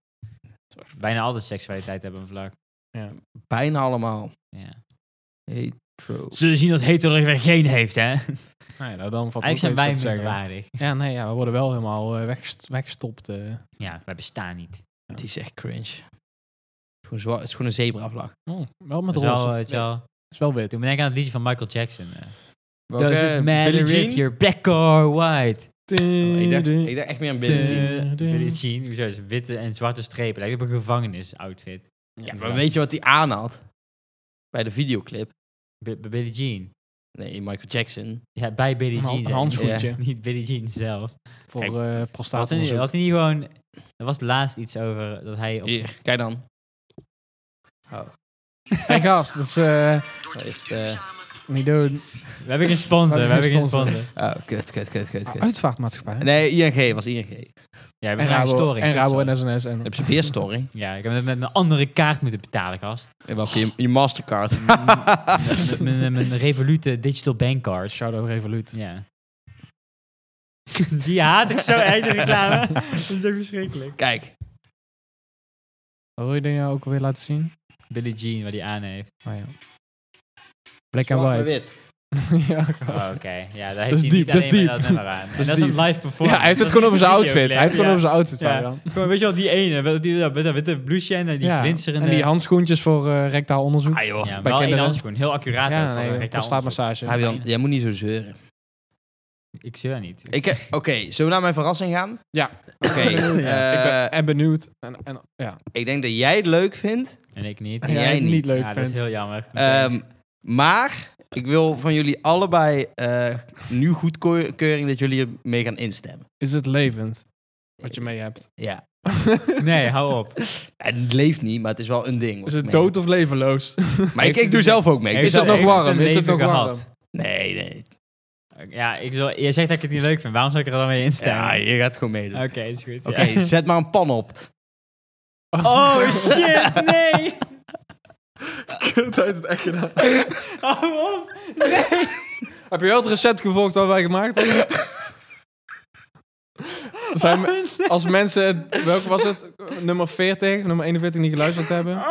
Speaker 3: Bijna altijd seksualiteit hebben een vlag.
Speaker 1: Bijna allemaal.
Speaker 3: Ja.
Speaker 1: Hetero.
Speaker 3: Zullen zien dat hetero weer geen heeft, hè?
Speaker 2: Nee, nou, dan valt er ook
Speaker 3: Eigenlijk
Speaker 2: niks
Speaker 3: zijn wij
Speaker 2: voor te zeggen.
Speaker 3: minderwaardig.
Speaker 2: Ja, nee, ja, we worden wel helemaal eh, weggest- weggestopt. eh.
Speaker 3: Ja, wij bestaan niet.
Speaker 1: Die is echt cringe. Het is gewoon, zwa- het is gewoon een zebravlag.
Speaker 2: Oh, wel
Speaker 3: Dat
Speaker 2: met
Speaker 3: is
Speaker 2: roze.
Speaker 3: wel, eh, weet je wel.
Speaker 2: is wel wit.
Speaker 3: Toen ben ik aan het liedje van Michael Jackson. eh.
Speaker 1: Welke?
Speaker 3: Does it
Speaker 1: Billie
Speaker 3: matter
Speaker 1: Jean?
Speaker 3: if you're black or white?
Speaker 1: Oh, ik, dacht, ik dacht echt meer aan Billie Jean.
Speaker 2: Dun, dun.
Speaker 3: Billie Jean, hoezo? is Witte en zwarte strepen. Lijkt op een gevangenisoutfit.
Speaker 1: Ja, maar weet je wat hij aan had? Bij de videoclip.
Speaker 3: B- b- Billie Jean.
Speaker 1: Nee, Michael Jackson.
Speaker 3: Ja, bij Billie
Speaker 2: Een
Speaker 3: Jean.
Speaker 2: han- een
Speaker 3: zijn.
Speaker 2: handschoentje.
Speaker 3: Ja, *laughs* Niet Billie Jean zelf.
Speaker 2: Voor
Speaker 3: Kijk,
Speaker 2: eh
Speaker 3: Had hij, niet-
Speaker 2: prostaatonderzoek.
Speaker 3: had hij niet gewoon... Er was laatst iets over dat hij op
Speaker 1: Hier, kijk dan.
Speaker 2: Hey gast, dat is eh,
Speaker 1: Dat is het, eh,
Speaker 2: niet doen.
Speaker 3: We hebben geen sponsor, we hebben geen sponsor.
Speaker 1: Oh, kut, kut, kut, kut, kut.
Speaker 2: Uitvaartmaatschappij.
Speaker 1: Nee, ING was ING.
Speaker 3: Ja, we
Speaker 2: en
Speaker 3: hebben een
Speaker 2: Rabo,
Speaker 3: storing.
Speaker 2: en,
Speaker 3: dat is
Speaker 2: Rabo
Speaker 3: zo.
Speaker 2: en SNS. En,
Speaker 1: Heb je weer storing?
Speaker 3: Ja, ik heb het met mijn andere kaart moeten
Speaker 2: *laughs*
Speaker 3: betalen, gast.
Speaker 1: En welke? Je, je Mastercard.
Speaker 3: Met mijn, mijn Revolut eh, Digital Bankcard.
Speaker 2: Shout-out Revolut.
Speaker 3: Ja. *laughs* Die haat ik zo
Speaker 2: *laughs*
Speaker 3: erg, de reclame. Dat is ook verschrikkelijk.
Speaker 1: Kijk,
Speaker 2: Wat wil je dingen ook alweer laten zien? *laughs*
Speaker 3: Billie Jean, wat die aan heeft.
Speaker 2: Oh, ja. Black and
Speaker 1: zwart met
Speaker 2: white.
Speaker 1: wit.
Speaker 2: *laughs* ja,
Speaker 3: Oh,
Speaker 2: gast.
Speaker 3: Oké, ja, daar
Speaker 2: is
Speaker 3: heeft hij
Speaker 2: diep, *laughs*
Speaker 3: niet
Speaker 2: dat is
Speaker 3: alleen maar
Speaker 2: diep.
Speaker 3: dat nummer aan. En Dat is,
Speaker 2: diep.
Speaker 3: een live
Speaker 2: ja,
Speaker 3: performance.
Speaker 2: hij heeft
Speaker 3: Dat *laughs*
Speaker 2: het
Speaker 3: is
Speaker 2: gewoon over
Speaker 3: niet
Speaker 2: zijn
Speaker 3: een
Speaker 2: outfit. Hij heeft het gewoon
Speaker 3: videoclip,
Speaker 2: over zijn outfit.
Speaker 3: Ja.
Speaker 2: Fabian.
Speaker 3: ja. Gewoon, weet je wel, die ene, met die, dat witte- witte blouseje en eh, die
Speaker 2: Ja.
Speaker 3: glinsterende...
Speaker 2: En die handschoentjes voor eh, rectaal onderzoek.
Speaker 1: Ah joh.
Speaker 3: ja,
Speaker 2: bij
Speaker 3: wel in
Speaker 2: kinderen.
Speaker 3: handschoen. Heel accuraat. ook
Speaker 2: ja,
Speaker 3: voor
Speaker 2: nee,
Speaker 3: een rectaal onderzoek.
Speaker 2: prostaatmassage.
Speaker 1: Fabian, jij moet niet zo zeuren.
Speaker 3: Ik zeur niet.
Speaker 1: Ik, eh, Oké, zullen we naar mijn verrassing gaan?
Speaker 2: Ja.
Speaker 1: Oké, *laughs*
Speaker 2: Ja, ik ben
Speaker 1: eh,
Speaker 2: en benieuwd. En, en, ja.
Speaker 1: ik denk dat jij het leuk vindt.
Speaker 3: En ik niet.
Speaker 2: En
Speaker 1: jij niet.
Speaker 2: leuk
Speaker 3: ja, dat is
Speaker 2: vindt.
Speaker 3: heel jammer.
Speaker 1: Ehm, maar ik wil van jullie allebei eh, nu goedkeuring dat jullie mee gaan instemmen.
Speaker 2: Is het levend wat je mee hebt?
Speaker 1: Ja.
Speaker 3: nee, hou op.
Speaker 1: En het leeft niet, maar het is wel een ding. wat
Speaker 2: Is
Speaker 1: ik
Speaker 2: het
Speaker 1: mee heb.
Speaker 2: dood of levenloos?
Speaker 1: Maar ik,
Speaker 3: Heeft
Speaker 1: ik doe
Speaker 3: het-
Speaker 1: zelf ook mee. Ik
Speaker 3: Heeft
Speaker 1: doe
Speaker 2: het
Speaker 1: zelf
Speaker 2: nog
Speaker 1: ook-
Speaker 2: warm?
Speaker 3: een
Speaker 2: Is het
Speaker 3: leven
Speaker 2: nog warm?
Speaker 3: gehad?
Speaker 1: Nee, nee.
Speaker 3: Ja, ik wil, je zegt dat ik het niet leuk vind. Waarom zou ik er dan mee
Speaker 1: Ja,
Speaker 3: instemmen?
Speaker 1: je gaat gewoon meedoen.
Speaker 3: Oké, is goed.
Speaker 1: Oké, zet maar een pan op.
Speaker 3: Oh shit, nee!
Speaker 2: *laughs* Kut, hij heeft het echt gedaan.
Speaker 3: Hou op!
Speaker 2: Heb je wel het recept gevolgd wat wij gemaakt hebben? *laughs* Zijn we- als mensen, het- welke was het? Nummer 40, nummer 41 niet geluisterd *laughs* hebben.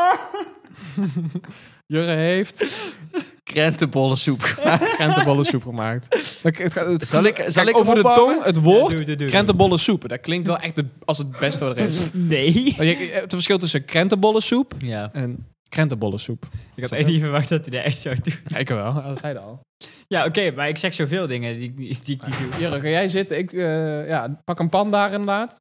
Speaker 2: Jurre heeft *laughs*
Speaker 1: Krentenbollensoep.
Speaker 2: krentenbollensoep gemaakt. Het, het, gaat- het-
Speaker 1: Zal ik-
Speaker 2: kijk,
Speaker 1: zal ik hem
Speaker 2: over de
Speaker 1: opwarmen?
Speaker 2: tong, het woord,
Speaker 3: doe, doe, doe.
Speaker 2: krentenbollensoep. Dat klinkt wel echt de, als het beste wat er is.
Speaker 3: Nee.
Speaker 2: Maar je je hebt het verschil tussen krentenbollensoep
Speaker 3: Ja.
Speaker 2: en krentenbollensoep.
Speaker 3: Ik had echt niet verwacht dat hij dat echt zo doet.
Speaker 2: Ja, ik wel, dat zei je al.
Speaker 3: Ja, oké, maar ik zeg zoveel dingen die, ik niet- die ik niet doe.
Speaker 2: Jurre, ga jij zitten? Ik eh, ja, pak een pan daar inderdaad.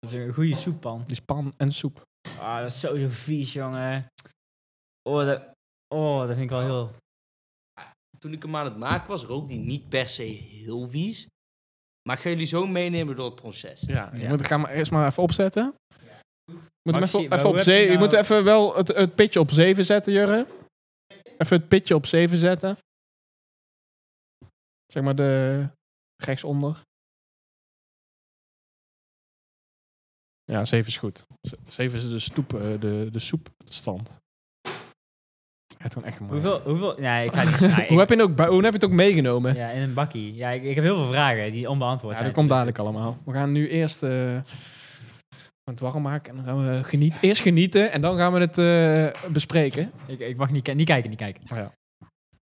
Speaker 3: Dat is een goede soeppan.
Speaker 2: Dus pan en soep.
Speaker 3: Ah, dat is sowieso vies, jongen. Oh, dat, oh, dat vind ik wel heel...
Speaker 1: Toen ik hem aan het maken was, rook die niet per se heel vies. Maar ik ga jullie zo meenemen door het proces.
Speaker 2: Ja, je
Speaker 3: Ja.
Speaker 2: moet, ik ga hem eerst maar even opzetten. Je moet, hem
Speaker 3: Maar
Speaker 2: even,
Speaker 3: zie- maar
Speaker 2: even op
Speaker 3: hoe heb je
Speaker 2: zeven, je
Speaker 3: nou-
Speaker 2: moet even wel het, het pitje op 7 zetten, Jurre. Even het pitje op 7 zetten. Zeg maar de rechtsonder. Ja, 7 is goed. 7 is de, stoep, eh, de, de soepstand. Hij heeft gewoon echt gemaakt.
Speaker 3: Hoeveel, hoeveel... Nee, ik ga *laughs* het niet vragen.
Speaker 2: hoe, heb je het ook, bij- hoe heb je het ook meegenomen?
Speaker 3: Ja, in een bakkie. Ja, ik, ik heb heel veel vragen die onbeantwoord
Speaker 2: Ja,
Speaker 3: zijn.
Speaker 2: dat komt dadelijk allemaal. We gaan nu eerst eh, het warm maken en dan gaan we genieten. Eerst genieten en dan gaan we het eh, bespreken.
Speaker 3: Ik, ik mag niet, ki- niet kijken, niet kijken.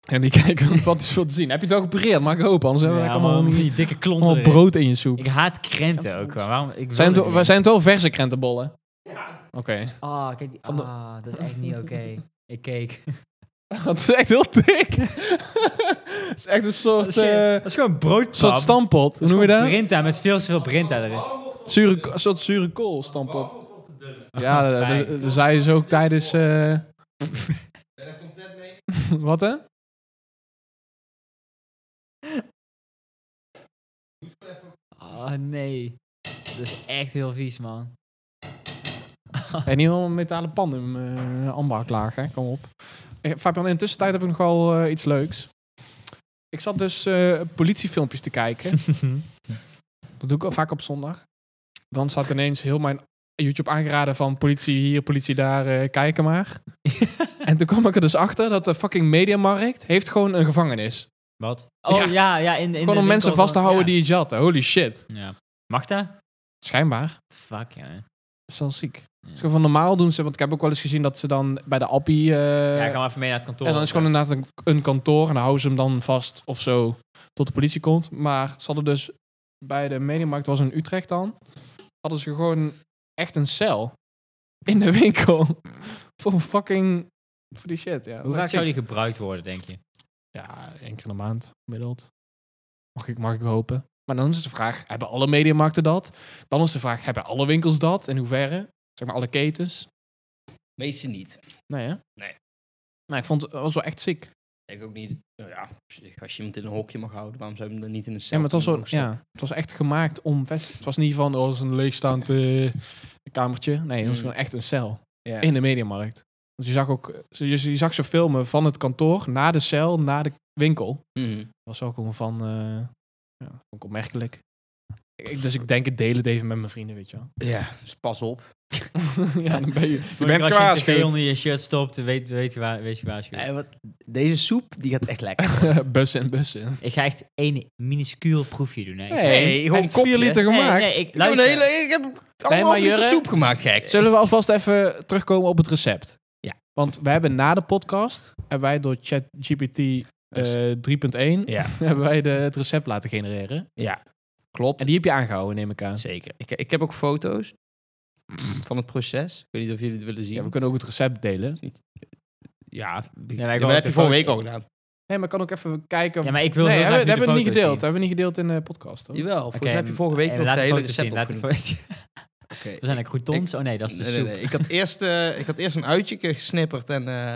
Speaker 2: En die *laughs* kijken want wat is veel te zien. Heb je het al gepareerd? Mag ik hopen, anders hebben we
Speaker 3: Ja,
Speaker 2: lekker allemaal,
Speaker 3: man,
Speaker 2: allemaal,
Speaker 3: *laughs* die dikke klonten erin.
Speaker 2: brood in je soep.
Speaker 3: Ik haat krenten
Speaker 2: Krentenbollen.
Speaker 3: ook wel. Waarom? Ik
Speaker 2: Zijn
Speaker 3: wil
Speaker 2: het,
Speaker 3: dat
Speaker 2: we-
Speaker 3: niet.
Speaker 2: zijn het wel verse krentenbollen? Oké. *laughs*
Speaker 3: Ah, kijk die.
Speaker 2: Van de-
Speaker 3: Ah, dat is echt niet oké.
Speaker 2: *laughs*
Speaker 3: Ik keek.
Speaker 2: Dat is echt heel dik. *laughs* Het is echt een
Speaker 3: Dat
Speaker 2: soort,
Speaker 3: is,
Speaker 2: eh
Speaker 3: gewoon brood.
Speaker 2: soort stampot. Hoe noem je dat?
Speaker 3: Brinta met veel te veel brinta erin.
Speaker 2: Zure, ko- een soort zure kool stampot. Ja, dat- dat- dat dat zei ze ook tijdens... eh, *laughs* wat hè?
Speaker 3: Oh nee. Dat is echt heel vies,
Speaker 2: *laughs*
Speaker 3: man.
Speaker 2: En niet helemaal een metalen pan in mijn uh, ambachtlaag, hè? Kom op. Eh, Fabian, in de tussentijd heb ik nog wel eh, iets leuks. Ik zat dus eh, politiefilmpjes te
Speaker 3: *laughs*
Speaker 2: kijken. Dat doe ik ook vaak op zondag. Dan staat ineens heel mijn YouTube aangeraden van politie hier, politie daar, eh, kijken maar. en toen kwam ik er dus achter dat de fucking Mediamarkt heeft gewoon een gevangenis.
Speaker 3: Wat? Oh
Speaker 2: Ja.
Speaker 3: ja, ja, in, in de
Speaker 2: Gewoon om
Speaker 3: winkel
Speaker 2: mensen vast te
Speaker 3: dan-
Speaker 2: houden
Speaker 3: ja.
Speaker 2: die het jatten. Holy shit.
Speaker 3: Ja. Mag dat?
Speaker 2: Schijnbaar.
Speaker 3: Fuck, ja.
Speaker 2: Dat is wel ziek. Dus gewoon normaal doen ze, want ik heb ook wel eens gezien dat ze dan bij de appie... eh,
Speaker 3: ja, ik ga maar even mee naar het kantoor.
Speaker 2: En dan is gewoon inderdaad een, een kantoor en dan houden ze hem dan vast of zo tot de politie komt. Maar ze hadden dus bij de Mediamarkt, was in Utrecht dan, hadden ze gewoon echt een cel in de winkel. *laughs* voor fucking, voor die shit, ja.
Speaker 3: Hoe
Speaker 2: Dat
Speaker 3: vaak
Speaker 2: is
Speaker 3: zou die
Speaker 2: ziek.
Speaker 3: gebruikt worden, denk je?
Speaker 2: Ja, één keer in de maand, gemiddeld. Mag ik, mag ik hopen. Maar dan is de vraag, hebben alle Mediamarkten dat? Dan is de vraag, hebben alle winkels dat? In hoeverre? Zeg maar alle ketens?
Speaker 1: Meeste niet.
Speaker 2: Nee, hè?
Speaker 1: Nee.
Speaker 2: Nou, ik vond het was wel echt ziek.
Speaker 1: Ik ook niet. Nou Ja, als je iemand in een hokje mag houden, waarom zou je hem dan niet in een
Speaker 2: Ja,
Speaker 1: cel
Speaker 2: maar het was,
Speaker 1: kunnen
Speaker 2: wel,
Speaker 1: doen?
Speaker 2: ja, het was echt gemaakt om... vest- Het was niet van, oh, het is een leegstaand eh, kamertje. Nee, het was
Speaker 1: Mm.
Speaker 2: gewoon echt een cel
Speaker 1: Ja.
Speaker 2: in de mediamarkt. Dus je zag ook... eh, ze- Je, je zag ze filmen van het kantoor naar de cel, naar de winkel. Dat
Speaker 1: Mhm.
Speaker 2: was ook gewoon van... eh ja, vond ik opmerkelijk. Ik, dus ik denk, ik deel het even met mijn vrienden, weet je
Speaker 3: *laughs*
Speaker 2: wel.
Speaker 1: Ja, dus pas op.
Speaker 2: ja, dan ben *laughs* je... Je
Speaker 3: Voor
Speaker 2: bent
Speaker 3: als je een tv
Speaker 2: gewaarschuwd.
Speaker 3: onder je shirt stopt, weet, weet je waar, weet je waarschuwd.
Speaker 1: Nee, want deze soep, die gaat echt lekker.
Speaker 2: bussen en bussen.
Speaker 3: Ik ga echt één minuscuul proefje doen. Hè. Ik-
Speaker 1: Nee, gewoon
Speaker 2: hij heeft vier
Speaker 1: kopje.
Speaker 2: liter gemaakt.
Speaker 3: Nee, nee, ik,
Speaker 1: Ik heb, een
Speaker 3: luister.
Speaker 1: hele, ik heb anderhalf
Speaker 2: Jurre-
Speaker 1: liter soep gemaakt, gek.
Speaker 2: Zullen we alvast even terugkomen op het recept?
Speaker 1: Ja.
Speaker 2: Want we hebben na de podcast, hebben wij door ChatGPT eh, 3.1,
Speaker 4: Ja,
Speaker 2: *laughs* hebben wij de, het recept laten genereren.
Speaker 4: ja,
Speaker 2: En
Speaker 1: Klopt.
Speaker 2: die heb je aangehouden, neem ik aan.
Speaker 1: Zeker. Ik, ik heb ook foto's van het proces. Ik weet niet of jullie het willen zien.
Speaker 2: Ja, we kunnen ook het recept delen.
Speaker 1: Ja,
Speaker 3: wil
Speaker 1: maar
Speaker 3: ook
Speaker 1: dat heb
Speaker 3: de
Speaker 1: je vorige
Speaker 3: foto-
Speaker 1: week ook gedaan.
Speaker 2: Nee, maar ik kan ook even kijken.
Speaker 3: Ja, maar ik wil
Speaker 2: nee,
Speaker 3: heel
Speaker 2: hebben,
Speaker 3: graag
Speaker 2: dat hebben we
Speaker 3: nu
Speaker 2: niet
Speaker 3: de
Speaker 2: gedeeld.
Speaker 3: foto's
Speaker 2: Dat hebben we niet gedeeld in de podcast. Hoor.
Speaker 1: Jawel, volgens mij
Speaker 3: Oké,
Speaker 1: heb je vorige week
Speaker 3: eh,
Speaker 1: nog
Speaker 3: laat
Speaker 1: het
Speaker 3: de
Speaker 1: hele
Speaker 3: foto's zien,
Speaker 1: recept
Speaker 3: laat de
Speaker 1: opgenoemd. *laughs*
Speaker 3: foto's-
Speaker 1: Oké.
Speaker 3: We zijn een croutons. Oh nee, dat is de
Speaker 1: Nee, nee,
Speaker 3: soep.
Speaker 1: nee. Ik, had eerst, eh, ik had eerst een uitje ge- gesnipperd en, eh,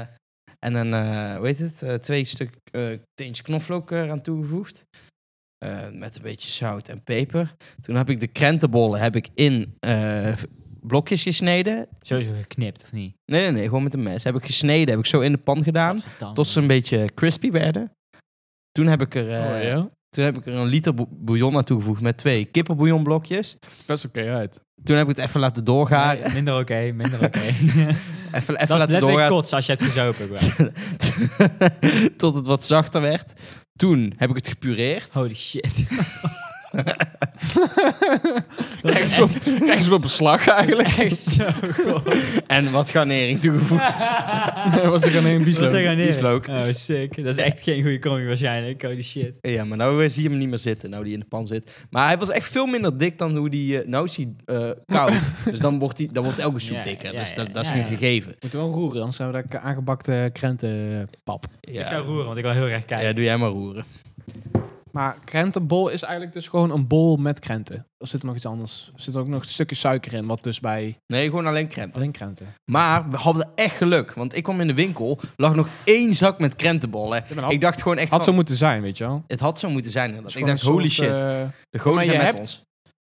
Speaker 1: en een, eh, hoe heet het, Eh, twee stuk eh teentje knoflook eh, eraan toegevoegd. Eh, met een beetje zout en peper. Toen heb ik de krentenbollen heb ik in eh, blokjes gesneden.
Speaker 3: Sowieso geknipt, of niet?
Speaker 1: Nee, nee, nee, gewoon met een mes. Heb ik gesneden, heb ik zo in de pan gedaan.
Speaker 3: Godverdamme.
Speaker 1: Tot ze een beetje crispy werden. Toen heb ik er, eh,
Speaker 2: Oh, ja?
Speaker 1: toen heb ik er een liter bou- bouillon aan toegevoegd met twee kippenbouillonblokjes.
Speaker 2: Het ziet er best oké uit.
Speaker 1: Toen heb ik het even laten doorgaren.
Speaker 3: Nee, minder oké,
Speaker 1: *laughs*
Speaker 3: minder oké.
Speaker 1: Even, even
Speaker 3: dat is
Speaker 1: laten
Speaker 3: letterlijk
Speaker 1: doorgaan.
Speaker 3: kots als je hebt
Speaker 1: *laughs*
Speaker 3: gezopen. bro.
Speaker 1: Tot het wat zachter werd. Toen heb ik het *laughs* gepureerd.
Speaker 3: Holy shit.
Speaker 1: Krijg ze op, krijg ze op beslag
Speaker 3: *laughs*
Speaker 1: eigenlijk.
Speaker 3: Echt zo
Speaker 1: *laughs*
Speaker 3: goed.
Speaker 1: En wat garnering *laughs*
Speaker 3: *laughs*
Speaker 1: toegevoegd.
Speaker 2: Dat was *laughs* er geen één bieslook.
Speaker 3: Dat is er aan neer.
Speaker 1: bieslook.
Speaker 3: Oh, sick. Dat is echt geen goede combi waarschijnlijk. Holy shit.
Speaker 1: Ja, maar nou eh, zie je hem niet meer zitten. Nou, die in de pan zit. Maar hij was echt veel minder dik dan hoe die... eh, nou is hij eh, koud. dus dan wordt, die, dan wordt elke soep
Speaker 3: Ja,
Speaker 1: dikker.
Speaker 3: ja,
Speaker 1: dus dat,
Speaker 3: ja,
Speaker 1: dat is
Speaker 3: ja,
Speaker 1: geen
Speaker 3: ja.
Speaker 1: gegeven.
Speaker 2: *laughs* Moeten we wel roeren, anders hebben we dat aangebakte krentenpap.
Speaker 3: Ik ga roeren, want ik wil heel erg kijken.
Speaker 1: Ja, doe jij maar roeren.
Speaker 2: Maar krentenbol is eigenlijk dus gewoon een bol met krenten. Of zit er nog iets anders? Er zit ook nog stukken suiker in, wat dus bij
Speaker 1: Nee, gewoon alleen krenten.
Speaker 2: alleen krenten.
Speaker 1: Maar we hadden echt geluk. Want ik kwam in de winkel, lag nog één zak met krentenbollen. Ik dacht gewoon echt
Speaker 2: had zo
Speaker 1: van,
Speaker 2: moeten zijn, weet je wel.
Speaker 1: Het had zo moeten zijn. inderdaad.
Speaker 2: Het is
Speaker 1: Ik
Speaker 2: gewoon
Speaker 1: dacht,
Speaker 2: een
Speaker 1: holy
Speaker 2: soort,
Speaker 1: shit.
Speaker 2: eh,
Speaker 1: De goden
Speaker 2: maar
Speaker 1: zijn
Speaker 2: je
Speaker 1: met
Speaker 2: hebt-
Speaker 1: ons.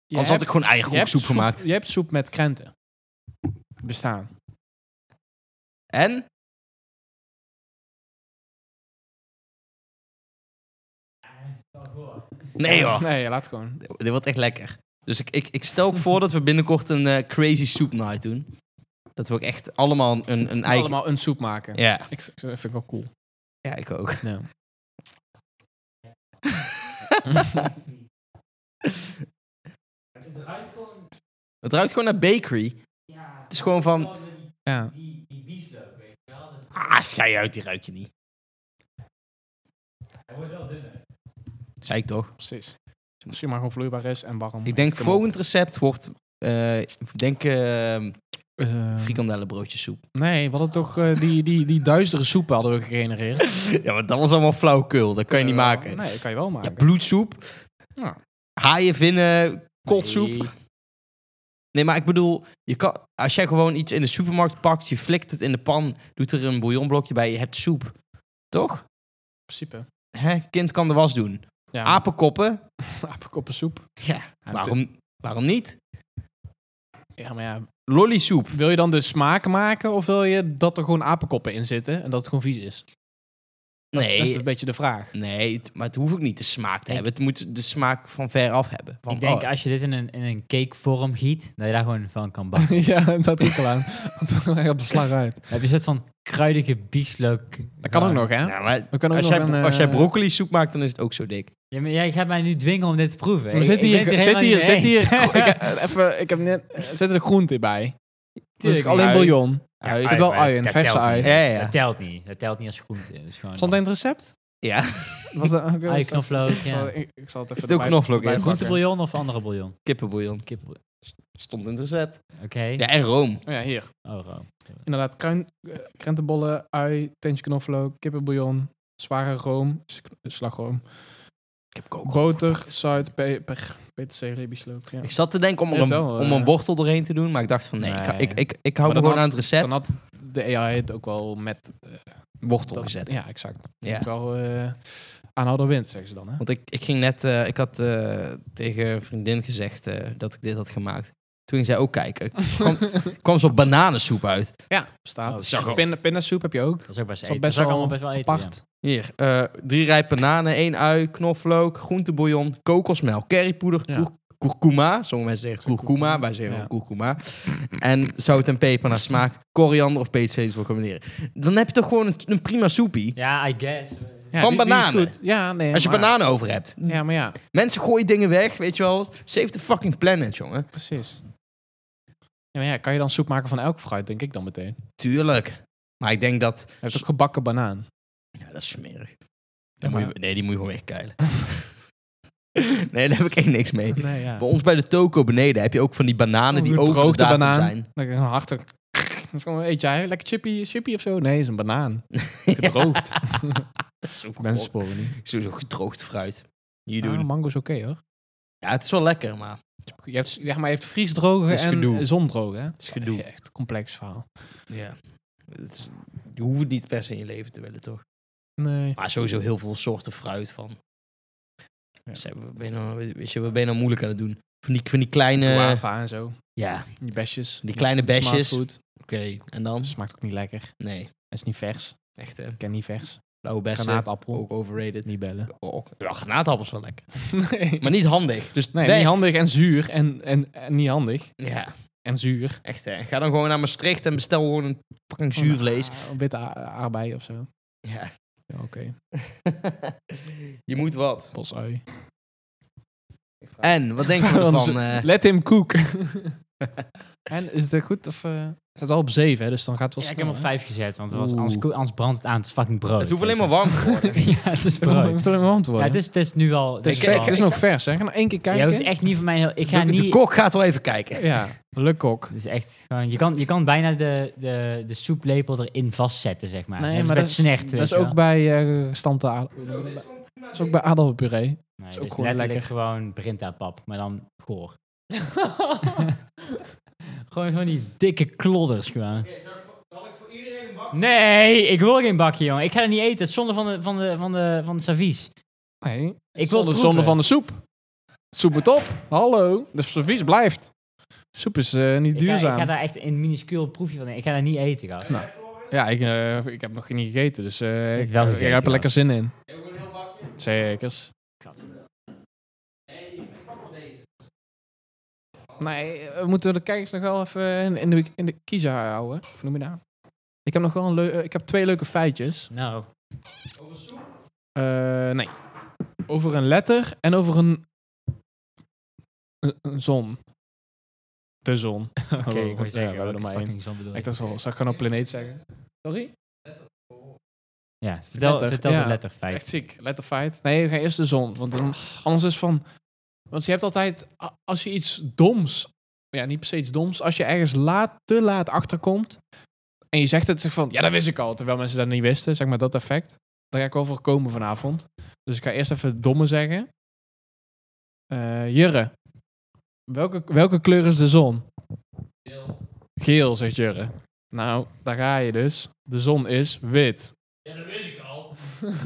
Speaker 2: je
Speaker 1: Anders had
Speaker 2: hebt-
Speaker 1: ik gewoon
Speaker 2: je hebt
Speaker 1: eierkoeksoep
Speaker 2: soep-
Speaker 1: gemaakt.
Speaker 2: Je hebt soep met krenten. Bestaan.
Speaker 1: En? Nee hoor,
Speaker 2: Nee, laat gewoon.
Speaker 1: dit wordt echt lekker. Dus ik, ik, ik stel ook voor dat we binnenkort een eh, crazy soup night doen. Dat we ook echt allemaal een, een eigen...
Speaker 2: Allemaal een soep maken.
Speaker 1: Ja.
Speaker 2: Ik vind, vind ik wel cool.
Speaker 1: ja, ik ook. *laughs*
Speaker 2: Ja.
Speaker 1: Het ruikt gewoon naar bakery. Het is gewoon van...
Speaker 2: ja.
Speaker 1: Ah, schei uit, die ruik je niet. Zei ik toch?
Speaker 2: Precies. Misschien maar gewoon vloeibaar is en warm.
Speaker 1: Ik denk
Speaker 2: Eet hem op.
Speaker 1: volgend recept wordt... eh, ik denk eh
Speaker 2: Eh,
Speaker 1: frikandellenbroodjessoep.
Speaker 2: nee, we hadden toch eh, die, die, die duistere soep hadden we gegenereerd.
Speaker 1: *laughs* ja, maar dat was allemaal flauwkul. Dat *laughs* kan je niet
Speaker 2: Eh,
Speaker 1: maken.
Speaker 2: Nee, dat kan je wel
Speaker 1: Ja,
Speaker 2: maken.
Speaker 1: bloedsoep.
Speaker 2: Ja.
Speaker 1: Haaien, vinnen, kotsoep.
Speaker 2: Nee.
Speaker 1: Nee. maar ik bedoel, je kan, als jij gewoon iets in de supermarkt pakt, je flikt het in de pan, doet er een bouillonblokje bij, je hebt soep. Toch?
Speaker 2: In principe.
Speaker 1: Hè? Kind kan de was doen.
Speaker 2: Ja,
Speaker 1: Apenkoppen?
Speaker 2: apenkoppensoep.
Speaker 1: Ja,
Speaker 2: Ja,
Speaker 1: waarom, waarom niet?
Speaker 2: Ja, maar ja.
Speaker 1: Lollysoep.
Speaker 2: Wil je dan de smaak maken of wil je dat er gewoon apenkoppen in zitten en dat het gewoon vies is? Dat is
Speaker 1: Nee,
Speaker 2: een beetje de
Speaker 1: *laughs*
Speaker 2: vraag.
Speaker 1: nee, het- maar het hoeft ook niet de smaak te
Speaker 3: Ik-
Speaker 1: hebben. Het moet de smaak van ver af hebben. Van,
Speaker 3: Ik denk
Speaker 1: oh,
Speaker 3: als je dit in een, in een cakevorm giet, dat je daar gewoon van kan bakken.
Speaker 2: ja, dat doe ik al *laughs* aan. Want dan gaat de slag uit.
Speaker 3: Dan heb je een soort van kruidige bieslook.
Speaker 2: Dat kan ook nog, hè?
Speaker 1: ja, maar
Speaker 2: We kunnen ook
Speaker 1: als,
Speaker 2: nog
Speaker 1: jij,
Speaker 2: een, eh,
Speaker 1: als jij broccoli soep maakt, dan is het ook zo dik.
Speaker 3: Ja, maar jij gaat mij nu dwingen om dit te proeven.
Speaker 2: Maar
Speaker 3: Ik-
Speaker 2: zit
Speaker 3: ik
Speaker 2: hier,
Speaker 3: ben het
Speaker 2: zit
Speaker 3: helemaal
Speaker 2: hier,
Speaker 3: niet
Speaker 2: zit
Speaker 3: mee
Speaker 2: hier,
Speaker 3: eens.
Speaker 2: eh, even, ik heb net, eh, zit er groente bij. Dus
Speaker 1: Tuurlijk,
Speaker 2: ik alleen
Speaker 1: ui.
Speaker 2: bouillon.
Speaker 1: Ja,
Speaker 2: Er
Speaker 1: ui,
Speaker 2: zit wel
Speaker 3: maar
Speaker 2: ui in,
Speaker 3: dat
Speaker 2: verse
Speaker 3: telt
Speaker 2: ui.
Speaker 3: niet.
Speaker 1: Ja, ja, ja.
Speaker 3: Dat telt niet. Dat telt niet als groente. Dat is gewoon
Speaker 2: Stond dat in het recept?
Speaker 1: Ja. *laughs*
Speaker 2: Was dat, oké, *laughs*
Speaker 3: Ui,
Speaker 2: ik zal-
Speaker 3: knoflook,
Speaker 2: ik zal-
Speaker 3: ja.
Speaker 2: ik- ik zal het even
Speaker 1: Is het ook
Speaker 2: erbij-
Speaker 1: knoflook in?
Speaker 2: erbij pakken.
Speaker 3: groentebouillon of andere bouillon?
Speaker 1: Kippenbouillon.
Speaker 3: Kippenbouillon.
Speaker 1: Stond in het recept.
Speaker 3: Oké.
Speaker 1: Ja, en room.
Speaker 2: Oh ja, hier.
Speaker 3: Oh, Ro.
Speaker 2: Inderdaad, kruin, eh, krentenbollen, ui, teentje knoflook, kippenbouillon, zware room, s- slagroom,
Speaker 1: Ik heb ook
Speaker 2: boter, zout, peper, peterselie, bieslook. Ja.
Speaker 1: Ik zat te denken om, er
Speaker 2: Ja,
Speaker 1: een,
Speaker 2: het wel,
Speaker 1: om
Speaker 2: eh.
Speaker 1: een wortel erheen te doen, maar ik dacht van nee, ik,
Speaker 2: Nee.
Speaker 1: ik, ik, ik hou me
Speaker 2: Maar dan
Speaker 1: gewoon aan
Speaker 2: had-
Speaker 1: het recept.
Speaker 2: Dan had de AI het ook wel met... eh,
Speaker 1: wortel
Speaker 2: dat-
Speaker 1: gezet.
Speaker 2: Ja, exact.
Speaker 1: Ja.
Speaker 2: Moet wel eh aanhouden wind, zeggen ze dan. Hè?
Speaker 1: Want ik, ik ging net, eh, ik had eh, tegen een vriendin gezegd eh, dat ik dit had gemaakt. Toen ging zij ook
Speaker 2: *laughs*
Speaker 1: kijken. Kwam, kwam zo'n bananensoep uit.
Speaker 2: Ja, staat.
Speaker 1: Oh, dat zag ik.
Speaker 2: Pin, pindasoep heb je ook.
Speaker 3: Dat is ook best,
Speaker 2: Dat is
Speaker 3: eten.
Speaker 2: best
Speaker 3: dat is
Speaker 2: wel
Speaker 3: ook allemaal best wel eten.
Speaker 2: Apart.
Speaker 1: Hier, eh, drie rijpe bananen, één ui, knoflook, groentebouillon, kokosmelk, currypoeder,
Speaker 2: Ja.
Speaker 1: koer- kurkuma. Sommige mensen zeggen kurkuma, wij zeggen
Speaker 2: Ja.
Speaker 1: kurkuma. En zout en peper naar smaak, koriander of peterselie voor combineren. Dan heb je toch gewoon een, een prima soepie.
Speaker 3: Ja, Ja, I guess.
Speaker 2: Ja,
Speaker 1: Van
Speaker 2: die- die is
Speaker 1: bananen.
Speaker 2: goed. Ja, nee.
Speaker 1: Als je
Speaker 2: maar-
Speaker 1: bananen over hebt.
Speaker 2: Ja, maar ja,
Speaker 1: Mensen gooien dingen weg, weet je wel. Save the fucking planet, jongen.
Speaker 2: precies. Ja, maar ja, kan je dan soep maken van elk fruit, denk ik dan meteen.
Speaker 1: Tuurlijk. Maar ik denk dat...
Speaker 2: Hij heeft ook gebakken banaan.
Speaker 1: Ja, dat is smerig.
Speaker 2: Ja,
Speaker 1: Dan moet
Speaker 2: maar-
Speaker 1: je- nee, die moet je gewoon wegkeilen. *laughs* nee, daar heb ik echt niks mee.
Speaker 2: Nee, ja.
Speaker 1: Bij ons bij de toko beneden heb je ook van die bananen
Speaker 2: Oh,
Speaker 1: die
Speaker 2: een
Speaker 1: over de
Speaker 2: gedroogde
Speaker 1: datum
Speaker 2: banaan.
Speaker 1: zijn.
Speaker 2: Dan krijg je een *laughs* harde... Dat is gewoon, eet jij lekker chippy, chippy of zo? Nee, is een
Speaker 1: *laughs*
Speaker 2: banaan. Gedroogd.
Speaker 1: Dat is Nou, ook
Speaker 2: Mensen
Speaker 1: Mensen.
Speaker 2: sporen niet.
Speaker 1: Sowieso gedroogd fruit. Hier
Speaker 2: Ah,
Speaker 1: Oh. doen.
Speaker 2: mango is oké hoor.
Speaker 1: Ja, het is wel lekker, maar...
Speaker 2: Je hebt, ja, maar je hebt vriesdrogen
Speaker 1: Het is
Speaker 2: en
Speaker 1: gedoe.
Speaker 2: eh, zondrogen. hè? Het
Speaker 1: is gedoe.
Speaker 2: Echt een complex verhaal.
Speaker 1: Ja. Het is, je hoeft het niet per se in je leven te willen, toch?
Speaker 2: Nee.
Speaker 1: Maar sowieso heel veel soorten fruit van.
Speaker 2: Ja.
Speaker 1: Zij, wat ben je nou, weet je, wat ben je nou moeilijk aan het doen? Van die, van die kleine...
Speaker 2: Guava en zo.
Speaker 1: Ja,
Speaker 2: Die besjes.
Speaker 1: eh, Die kleine
Speaker 2: Smaakt
Speaker 1: besjes.
Speaker 2: goed.
Speaker 1: oké. En dan?
Speaker 2: Dat smaakt ook niet lekker. Het
Speaker 1: Nee.
Speaker 2: is niet vers.
Speaker 1: Echt, hè?
Speaker 2: Ik ken niet vers.
Speaker 1: Blauwe bessen.
Speaker 2: Granaatappel.
Speaker 1: Ook overrated.
Speaker 2: Niet bellen.
Speaker 1: Oh, ook- ja, granaatappel is wel lekker.
Speaker 2: *laughs* nee,
Speaker 1: Maar niet handig. Dus
Speaker 2: nee
Speaker 1: weg.
Speaker 2: niet handig en zuur. En, en, en niet handig.
Speaker 1: Ja,
Speaker 2: En zuur.
Speaker 1: echt hè. Ga dan gewoon naar Maastricht en bestel gewoon een fucking zuurvlees.
Speaker 2: Ah, witte a- aardbei of zo.
Speaker 1: Ja.
Speaker 2: Ja, Oké.
Speaker 1: je moet wat.
Speaker 2: Bosui.
Speaker 1: En, wat denk je
Speaker 2: Anders-
Speaker 1: ervan? eh
Speaker 2: Let him cook. *laughs* en is het er goed? Of, eh, het staat al op 7, hè, dus dan gaat het wel
Speaker 3: Ja, ik heb
Speaker 2: snel,
Speaker 3: hem op
Speaker 2: hè?
Speaker 3: vijf gezet, want het was,
Speaker 2: Oeh.
Speaker 3: anders, ko- anders brandt het aan. Het is fucking brood.
Speaker 1: het hoeft alleen
Speaker 3: weet
Speaker 1: maar
Speaker 3: je.
Speaker 1: warm te
Speaker 3: *laughs*
Speaker 1: worden.
Speaker 3: ja, het is
Speaker 2: Ik
Speaker 3: brood.
Speaker 2: moet alleen maar hand
Speaker 3: Ja,
Speaker 2: worden.
Speaker 3: het, is, het is nu al...
Speaker 2: het is,
Speaker 1: Ik-
Speaker 2: vers,
Speaker 1: ik-
Speaker 2: het is
Speaker 1: ik-
Speaker 2: nog vers, hè. Ga nou één keer
Speaker 3: Ja, het is
Speaker 2: kijken.
Speaker 3: echt niet voor mij heel... Ik ga
Speaker 1: de, de
Speaker 3: niet...
Speaker 1: kok gaat wel even kijken.
Speaker 2: Ja, le kok.
Speaker 3: Het is Dus echt gewoon... Je kan, je kan bijna de, de, de soeplepel erin vastzetten, zeg maar.
Speaker 2: Nee,
Speaker 3: Net als
Speaker 2: maar
Speaker 3: bij
Speaker 2: dat is-
Speaker 3: snert,
Speaker 2: Dat
Speaker 3: weet
Speaker 2: is
Speaker 3: je wel.
Speaker 2: ook bij eh gestampte aardappelen. Dat is ook bij aardappelpuree.
Speaker 3: Nee,
Speaker 2: is
Speaker 3: dit
Speaker 2: ook
Speaker 3: is
Speaker 2: gewoon
Speaker 3: letterlijk
Speaker 2: lekker.
Speaker 3: gewoon Brinta-pap, maar dan
Speaker 2: *laughs*
Speaker 3: goor. gewoon, gewoon die dikke klodders gewoon. Nee, ik wil geen bakje, jongen. Ik ga het niet eten. Het is zonde van de, van de, van de, van de servies.
Speaker 2: Nee,
Speaker 3: Ik wil
Speaker 2: zonder,
Speaker 3: het
Speaker 2: zonder
Speaker 3: proeven.
Speaker 2: van de soep. Soep het op. Hallo. De servies blijft. Soep is eh, niet
Speaker 3: Ik ga, ik
Speaker 2: duurzaam.
Speaker 3: ga daar echt een minuscuul proefje van nemen. Ik ga daar niet eten, gast.
Speaker 2: Nou, Ja, ik, eh, ik heb nog niet gegeten, dus eh,
Speaker 3: hebt
Speaker 2: ik,
Speaker 3: wel
Speaker 2: ik
Speaker 3: gegeten,
Speaker 2: heb er lekker
Speaker 3: Bas.
Speaker 2: zin in. Zekers.
Speaker 3: Kat.
Speaker 2: Nee, we moeten de kijkers nog wel even in, in de, in de kiezer houden. Of noem je dat? Ik heb nog wel een leu- eh, ik heb twee leuke feitjes.
Speaker 3: Nou,
Speaker 2: Eh, nee. Over een letter en over een, een, een zon. De zon.
Speaker 3: *laughs* oké, ik
Speaker 2: goed,
Speaker 3: moet zeggen,
Speaker 2: ja, we hebben er maar één.
Speaker 3: fucking zon bedoel
Speaker 2: Ik
Speaker 3: ik.
Speaker 2: dacht zo, zou ik gewoon op planeet zeggen? Sorry?
Speaker 3: Ja, vertel,
Speaker 2: Letter,
Speaker 3: vertel
Speaker 2: ja.
Speaker 3: de letterfeit.
Speaker 2: Echt ziek. Letterfeit. Nee, we gaan eerst de zon. Want dan,
Speaker 3: Ah.
Speaker 2: anders is van... Want je hebt altijd... a- Als je iets doms... Ja, niet per se iets doms. Als je ergens laat, te laat achterkomt... En je zegt het zeg van... Ja, dat wist ik al. Terwijl mensen dat niet wisten. Zeg maar dat effect. Daar ga ik wel voor komen vanavond. Dus ik ga eerst even het domme zeggen. Eh, Jurre. Welke, welke kleur is de zon? Geel. Geel, zegt Jurre. Nou, daar ga je dus. De zon is wit. Ja, dat wist ik *laughs* al.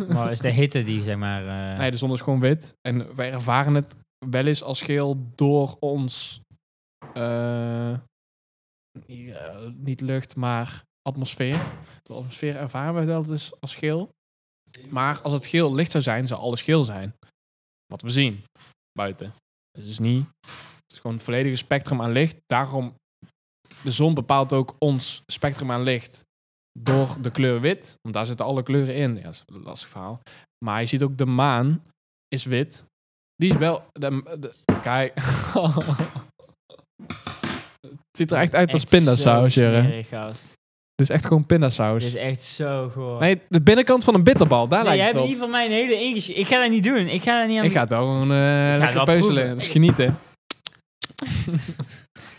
Speaker 3: Maar is de hitte die, zeg maar... eh,
Speaker 2: Nee, de zon is gewoon wit. En wij ervaren het wel eens als geel door ons. eh, ja, niet lucht, maar atmosfeer. De atmosfeer ervaren we dat dus als geel. Maar als het geel licht zou zijn, zou alles geel zijn. Wat we zien buiten. Dus het is niet. Het is gewoon het volledige spectrum aan licht. Daarom. De zon bepaalt ook ons spectrum aan licht. Door de kleur wit. Want daar zitten alle kleuren in. Ja, dat is een lastig verhaal. Maar je ziet ook de maan is wit. Die is wel. De, de- kijk. *laughs* Het ziet er echt uit als
Speaker 3: echt zo
Speaker 2: pindasaus, Jurre.
Speaker 3: smerig, gast.
Speaker 2: Het is echt gewoon pindasaus.
Speaker 3: Dit is echt zo goor.
Speaker 2: Nee, de binnenkant van een bitterbal, daar
Speaker 3: Nee, jij
Speaker 2: lijkt
Speaker 3: hebt
Speaker 2: het
Speaker 3: in
Speaker 2: op.
Speaker 3: ieder geval mijn hele ingesch... Ik ga dat niet doen. Ik ga dat niet aan...
Speaker 2: Ik ga het wel gewoon eh, lekker
Speaker 3: wel
Speaker 2: peuzelen.
Speaker 3: proeven.
Speaker 2: Dat is *laughs* genieten.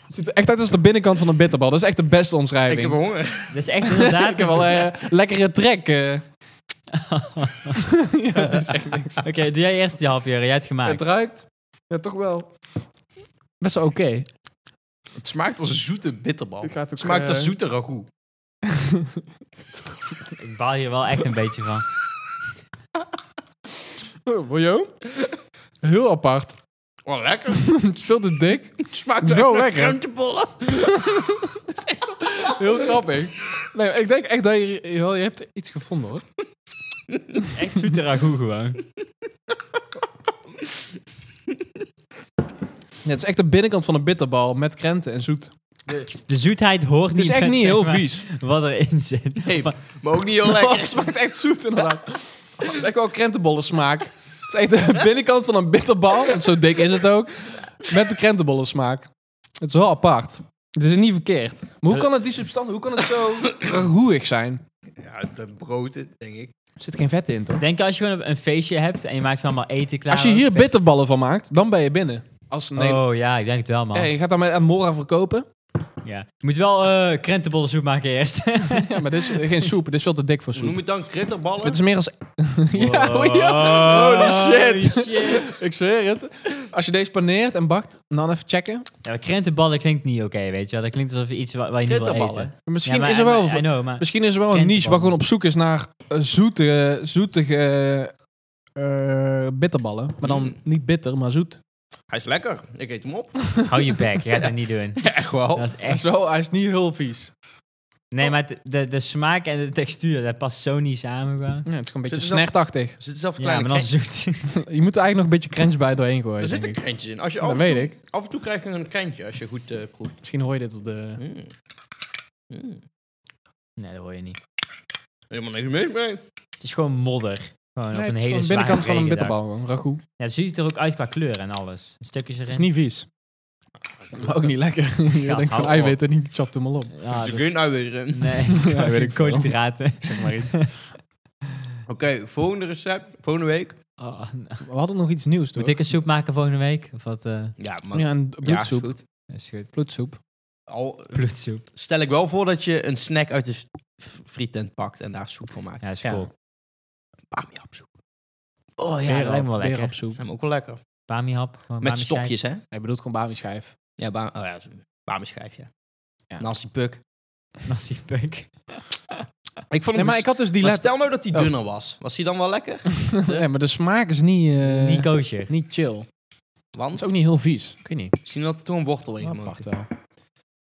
Speaker 2: het ziet er echt uit als de binnenkant van een bitterbal. Dat is echt de beste
Speaker 1: Ik
Speaker 2: omschrijving.
Speaker 1: heb honger.
Speaker 3: Dat is echt inderdaad...
Speaker 2: *laughs* Ik heb wel eh,
Speaker 3: *laughs*
Speaker 2: een lekkere trek. eh. ja, *laughs* dat is echt niks.
Speaker 3: Oké, doe jij eerst die hap, Jurre. Jij hebt het
Speaker 2: Het
Speaker 3: gemaakt.
Speaker 2: ruikt. Ja, toch wel. Best wel oké.
Speaker 1: Het smaakt als een zoete bitterbal.
Speaker 2: Ik ga het ook,
Speaker 1: Het smaakt als
Speaker 2: eh,
Speaker 1: zoete ragout.
Speaker 3: Ik baal hier wel echt een beetje van.
Speaker 2: Oh, wil je ook? Heel apart. *laughs*
Speaker 1: Wel Oh, lekker.
Speaker 2: Het is veel te dik.
Speaker 1: Het smaakt
Speaker 2: Zo
Speaker 1: wel
Speaker 2: lekker.
Speaker 1: lekker. Krentenbollen.
Speaker 2: *laughs* Heel grappig. Nee, ik denk echt dat je, je hebt iets gevonden hoor.
Speaker 3: Echt zoete ragout gewoon.
Speaker 2: Ja, het is echt de binnenkant van een bitterbal met krenten en zoet.
Speaker 3: De zoetheid hoort
Speaker 2: Het is
Speaker 3: niet
Speaker 2: echt
Speaker 3: met,
Speaker 2: niet
Speaker 3: zeg
Speaker 2: heel
Speaker 3: maar,
Speaker 2: vies.
Speaker 3: Wat erin zit.
Speaker 1: Hey,
Speaker 3: Maar-
Speaker 1: maar ook niet heel
Speaker 2: Oh, het
Speaker 1: lekker.
Speaker 2: smaakt echt zoet inderdaad. Het is echt wel krentenbollen smaak. Het is echt de *laughs* binnenkant van een bitterbal. En zo dik is het ook. Met de krentenbollen smaak. Het is wel apart. Het is niet verkeerd. Maar hoe
Speaker 3: Eh,
Speaker 2: kan het die substantie, hoe kan het zo roerig zijn?
Speaker 1: Ja, dat brood, denk ik.
Speaker 2: Er zit geen vet in, toch?
Speaker 3: Denk als je gewoon een feestje hebt en je maakt gewoon allemaal eten klaar.
Speaker 2: Als je hier
Speaker 3: Fe-
Speaker 2: bitterballen van maakt, dan ben je binnen. Als nee,
Speaker 3: Oh ja, ik denk het wel, man.
Speaker 2: Ja, je gaat dat met Mora *laughs* verkopen.
Speaker 3: Ja. Je moet wel eh krentenbollensoep maken eerst.
Speaker 2: ja, maar dit is geen soep. Dit is veel te dik voor
Speaker 1: Noem
Speaker 2: soep.
Speaker 1: het dan kritterballen?
Speaker 2: Dit is meer als... *laughs* ja, oh ja. Holy shit. Ik zweer het. Als je deze paneert en bakt, dan even checken.
Speaker 3: Ja, maar krentenballen klinkt niet oké, weet je wel. Dat klinkt alsof je iets wa- waar je niet wil
Speaker 1: Krentenballen?
Speaker 3: eten.
Speaker 2: Misschien
Speaker 3: Ja, maar-
Speaker 2: is er wel...
Speaker 3: I know, maar...
Speaker 2: Misschien is er wel een
Speaker 3: Kent
Speaker 2: niche
Speaker 3: van.
Speaker 2: waar gewoon op zoek is naar eh, zoete, zoetige eh, bitterballen. Maar dan
Speaker 1: Mm.
Speaker 2: niet bitter, maar zoet.
Speaker 1: Hij is lekker. Ik eet hem op.
Speaker 3: Hou je bek,
Speaker 2: *laughs*
Speaker 3: je gaat dat niet doen.
Speaker 1: Echt wel.
Speaker 3: Dat is
Speaker 2: Hij is,
Speaker 3: echt...
Speaker 2: wel, hij is niet heel vies.
Speaker 3: Nee, maar de- de, de smaak en de textuur, dat past zo niet samen gewoon.
Speaker 2: Ja, het is gewoon een beetje
Speaker 1: Zit er dan-
Speaker 2: snertachtig.
Speaker 1: Er zitten zelf
Speaker 3: Ja,
Speaker 1: kleine
Speaker 3: maar
Speaker 1: ja,
Speaker 3: dan zoet. *laughs*
Speaker 2: je moet er eigenlijk nog een beetje crunch bij doorheen gooien,
Speaker 1: Er
Speaker 2: denk
Speaker 1: zitten
Speaker 2: ik.
Speaker 1: krentjes in. Als je af,
Speaker 2: Dat
Speaker 1: en
Speaker 2: weet
Speaker 1: toe-
Speaker 2: ik.
Speaker 1: af en toe krijg je een krentje als je goed eh, proeft.
Speaker 2: Misschien hoor je dit op de...
Speaker 1: Mm. Mm.
Speaker 3: Nee, dat hoor je niet.
Speaker 1: Helemaal niks mis mee.
Speaker 3: Het is gewoon modder. Gewoon
Speaker 2: Nee,
Speaker 3: op
Speaker 2: het
Speaker 3: een
Speaker 2: is
Speaker 3: hele
Speaker 2: gewoon de
Speaker 3: zware
Speaker 2: binnenkant van een
Speaker 3: regendag.
Speaker 2: bitterbal, gewoon ragout.
Speaker 3: Ja, het ziet er ook uit qua kleur en alles. Stukjes erin.
Speaker 2: Het is niet vies, maar ook niet lekker. *laughs* je
Speaker 3: Ja,
Speaker 2: denkt van
Speaker 3: hou op.
Speaker 2: eiwitten en die chopt hem al op.
Speaker 3: Ja,
Speaker 1: je
Speaker 3: dat-
Speaker 1: kunt nou weer in.
Speaker 2: *laughs*
Speaker 3: Nee, *laughs* ja,
Speaker 2: weet ik
Speaker 3: weet ik
Speaker 2: veel. *laughs*
Speaker 3: koolhydraten.
Speaker 2: Zeg maar iets.
Speaker 1: Oké, volgende recept. Volgende week.
Speaker 3: Oh, nou.
Speaker 2: We hadden nog iets nieuws, toch?
Speaker 3: Moet ik een soep maken volgende week? Of wat? eh
Speaker 1: Ja, man.
Speaker 2: Ja, een bloedsoep.
Speaker 1: goed.
Speaker 3: is goed.
Speaker 2: bloedsoep.
Speaker 1: Al
Speaker 3: Bloedsoep.
Speaker 1: stel ik wel voor dat je een snack uit de f- f- frietent pakt en daar soep van maakt.
Speaker 3: Ja, is
Speaker 2: Ja.
Speaker 3: cool.
Speaker 1: Bamiapsoep.
Speaker 3: Oh ja, dat lijkt me wel lekker.
Speaker 2: Berenhapsoep.
Speaker 1: Ja, maar ook wel lekker.
Speaker 3: Bamihap. gewoon
Speaker 1: Met
Speaker 3: bamischijf. *laughs*
Speaker 1: stokjes, hè?
Speaker 2: Hij bedoelt gewoon bami-schijf.
Speaker 1: Ja, ba oh, ja bamischijf, ja.
Speaker 2: Ja.
Speaker 1: Nasty puk.
Speaker 3: Nasi puk.
Speaker 1: Ik vond
Speaker 2: Nee,
Speaker 1: hem
Speaker 2: maar
Speaker 1: dus-
Speaker 2: ik had dus die
Speaker 1: maar
Speaker 2: let...
Speaker 1: stel nou dat die
Speaker 2: Oh.
Speaker 1: dunner was. Was die dan wel
Speaker 2: *laughs*
Speaker 1: lekker?
Speaker 2: Nee, maar de smaak is niet, eh,
Speaker 3: Niet koosje.
Speaker 2: niet chill. Het
Speaker 1: Want
Speaker 2: is ook niet Ah, heel vies. Ik weet niet.
Speaker 1: misschien had er toen een wortel in
Speaker 2: Maar
Speaker 1: gemoten.
Speaker 2: pakt wel.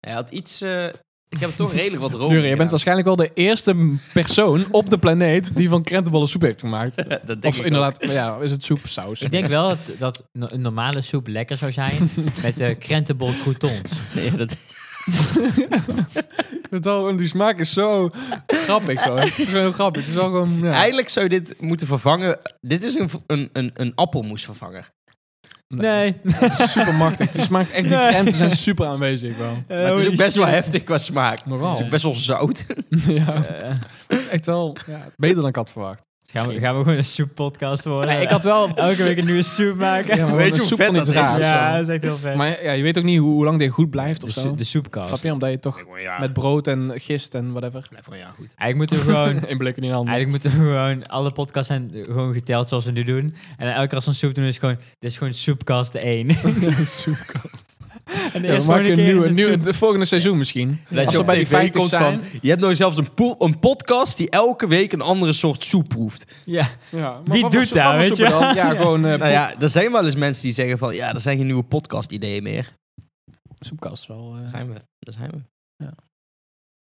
Speaker 1: Hij had iets... eh, ik heb het toch redelijk
Speaker 2: *laughs*
Speaker 1: wat rood.
Speaker 2: Fleury, je bent waarschijnlijk wel de eerste persoon op de planeet die van krentenbollen soep heeft *laughs*
Speaker 1: *laughs*
Speaker 2: gemaakt.
Speaker 1: dat denk
Speaker 2: of
Speaker 1: ik
Speaker 2: inderdaad, *laughs* ja, is het soep, saus?
Speaker 3: Ik denk wel dat, dat no- een normale soep lekker zou zijn
Speaker 2: *laughs*
Speaker 3: met eh krentenbol croutons.
Speaker 1: ook. Nee, dat,
Speaker 2: Het wel, en die smaak is zo *laughs* grappig gewoon. Het is wel heel grappig. Het is wel gewoon... Ja.
Speaker 1: Eigenlijk zou je dit moeten vervangen. Dit is een, v- een, een, een appelmoesvervanger.
Speaker 2: *laughs*
Speaker 3: Nee.
Speaker 2: Super machtig. Die smaakt echt... Die
Speaker 3: Nee.
Speaker 2: krenten zijn super aanwezig wel.
Speaker 1: Maar het is ook best wel heftig qua smaak.
Speaker 2: Maar
Speaker 1: Het is ook
Speaker 2: wel.
Speaker 1: best wel *laughs* zout.
Speaker 2: Ja,
Speaker 3: Eh,
Speaker 2: het is Dus echt wel ja, beter dan ik had verwacht.
Speaker 3: gaan, we, gaan we gewoon een soeppodcast worden?
Speaker 2: Nee, ik had *laughs* wel...
Speaker 3: Elke week een nieuwe soep maken.
Speaker 2: Ja, maar
Speaker 1: Weet je
Speaker 2: de
Speaker 1: hoe
Speaker 2: soep
Speaker 1: vet
Speaker 2: van iets
Speaker 1: dat is?
Speaker 2: raars.
Speaker 3: Ja,
Speaker 2: zo.
Speaker 3: dat is echt heel vet.
Speaker 2: Maar ja, je weet ook niet hoe, hoe lang dit goed blijft of
Speaker 3: de,
Speaker 2: zo.
Speaker 3: so- de soepkast.
Speaker 2: Snap je? Omdat je toch
Speaker 1: Ja,
Speaker 2: met brood en gist en whatever. *laughs*
Speaker 1: ja, goed.
Speaker 3: Eigenlijk moeten we gewoon...
Speaker 2: In blikken in handen.
Speaker 3: Eigenlijk moeten we gewoon... Alle podcasts zijn eh, gewoon geteld zoals we nu doen. En dan elke keer als we een soep doen is gewoon... Dit is gewoon soepkast *laughs* 1. en de
Speaker 2: *laughs* Ja,
Speaker 3: eerste
Speaker 2: we maken
Speaker 3: volgende
Speaker 2: een
Speaker 3: keer
Speaker 2: nieuwe,
Speaker 3: is het
Speaker 2: nieuwe
Speaker 3: soep.
Speaker 2: het volgende seizoen misschien.
Speaker 1: Dat
Speaker 2: Als
Speaker 1: je
Speaker 2: we
Speaker 1: op
Speaker 2: bij die
Speaker 1: tv
Speaker 2: 50
Speaker 1: komt
Speaker 2: zijn.
Speaker 1: van... Je hebt nou zelfs een, po- een podcast die elke week een andere soort soep proeft.
Speaker 3: Ja,
Speaker 2: Ja, maar
Speaker 3: Wie
Speaker 2: wat
Speaker 3: doet
Speaker 2: voor soep-
Speaker 3: dat,
Speaker 2: wat voor
Speaker 3: weet
Speaker 2: soepen
Speaker 3: je?
Speaker 2: dan? Ja, gewoon
Speaker 1: *laughs*
Speaker 2: eh
Speaker 1: Nou ja, er zijn wel eens mensen die zeggen van... Ja, er zijn geen nieuwe podcast-ideeën meer.
Speaker 2: soepkast wel. eh.
Speaker 1: zijn we. Daar zijn we.
Speaker 2: Ja.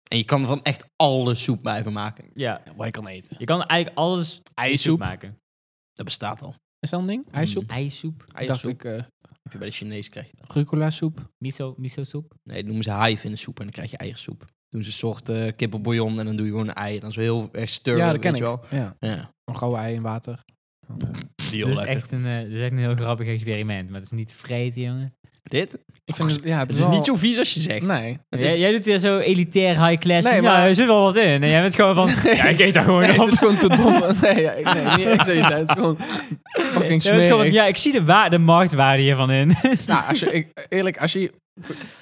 Speaker 1: En je kan er van echt alle soep blijven maken.
Speaker 3: ja.
Speaker 2: Ja, wat je kan eten.
Speaker 3: Je kan eigenlijk alles met soep
Speaker 2: IJssoep.
Speaker 3: maken.
Speaker 1: Dat bestaat al.
Speaker 2: Is dat een ding? IJssoep?
Speaker 3: IJssoep.
Speaker 2: Dacht
Speaker 1: Eiersoep
Speaker 2: ik. eh
Speaker 1: heb je bij de Chinees krijg je dat.
Speaker 2: rucola soep.
Speaker 3: Miso, miso soep.
Speaker 1: Nee, dat noemen ze haif in de soep en dan krijg je eiersoep. Doen ze een soort eh, kippenbouillon en dan doe je gewoon een ei. En dan zo heel erg stirren,
Speaker 2: Ja, dat ken
Speaker 1: weet
Speaker 2: ik.
Speaker 1: je wel.
Speaker 2: Ja,
Speaker 1: Ja,
Speaker 2: een gouden ei in water.
Speaker 1: heel Dus
Speaker 3: Dat is, echt een, eh, dat is echt een heel grappig experiment. Maar het is niet te vreten, jongen.
Speaker 1: Dit?
Speaker 2: Ik vind het, ja, het,
Speaker 1: Het
Speaker 2: is
Speaker 1: is
Speaker 2: wel-
Speaker 1: niet zo vies als je zegt.
Speaker 2: Nee.
Speaker 1: Het
Speaker 3: Jij,
Speaker 1: is-
Speaker 3: jij doet weer zo elitair, high class.
Speaker 2: Nee,
Speaker 3: Nee,
Speaker 2: maar-
Speaker 3: maar er zit wel wat in. En jij bent gewoon van... ja, ik eet daar gewoon
Speaker 2: *laughs* Nee,
Speaker 3: op.
Speaker 2: het is gewoon te dom. *laughs* Nee, ja, ik- nee, niet echt zoiets. hè. Het is gewoon fucking
Speaker 3: Ja, dat is gewoon van,
Speaker 2: smerig.
Speaker 3: ja, ik zie de, waar, de marktwaarde hiervan in. *laughs*
Speaker 2: Nou, als je, ik, eerlijk, als je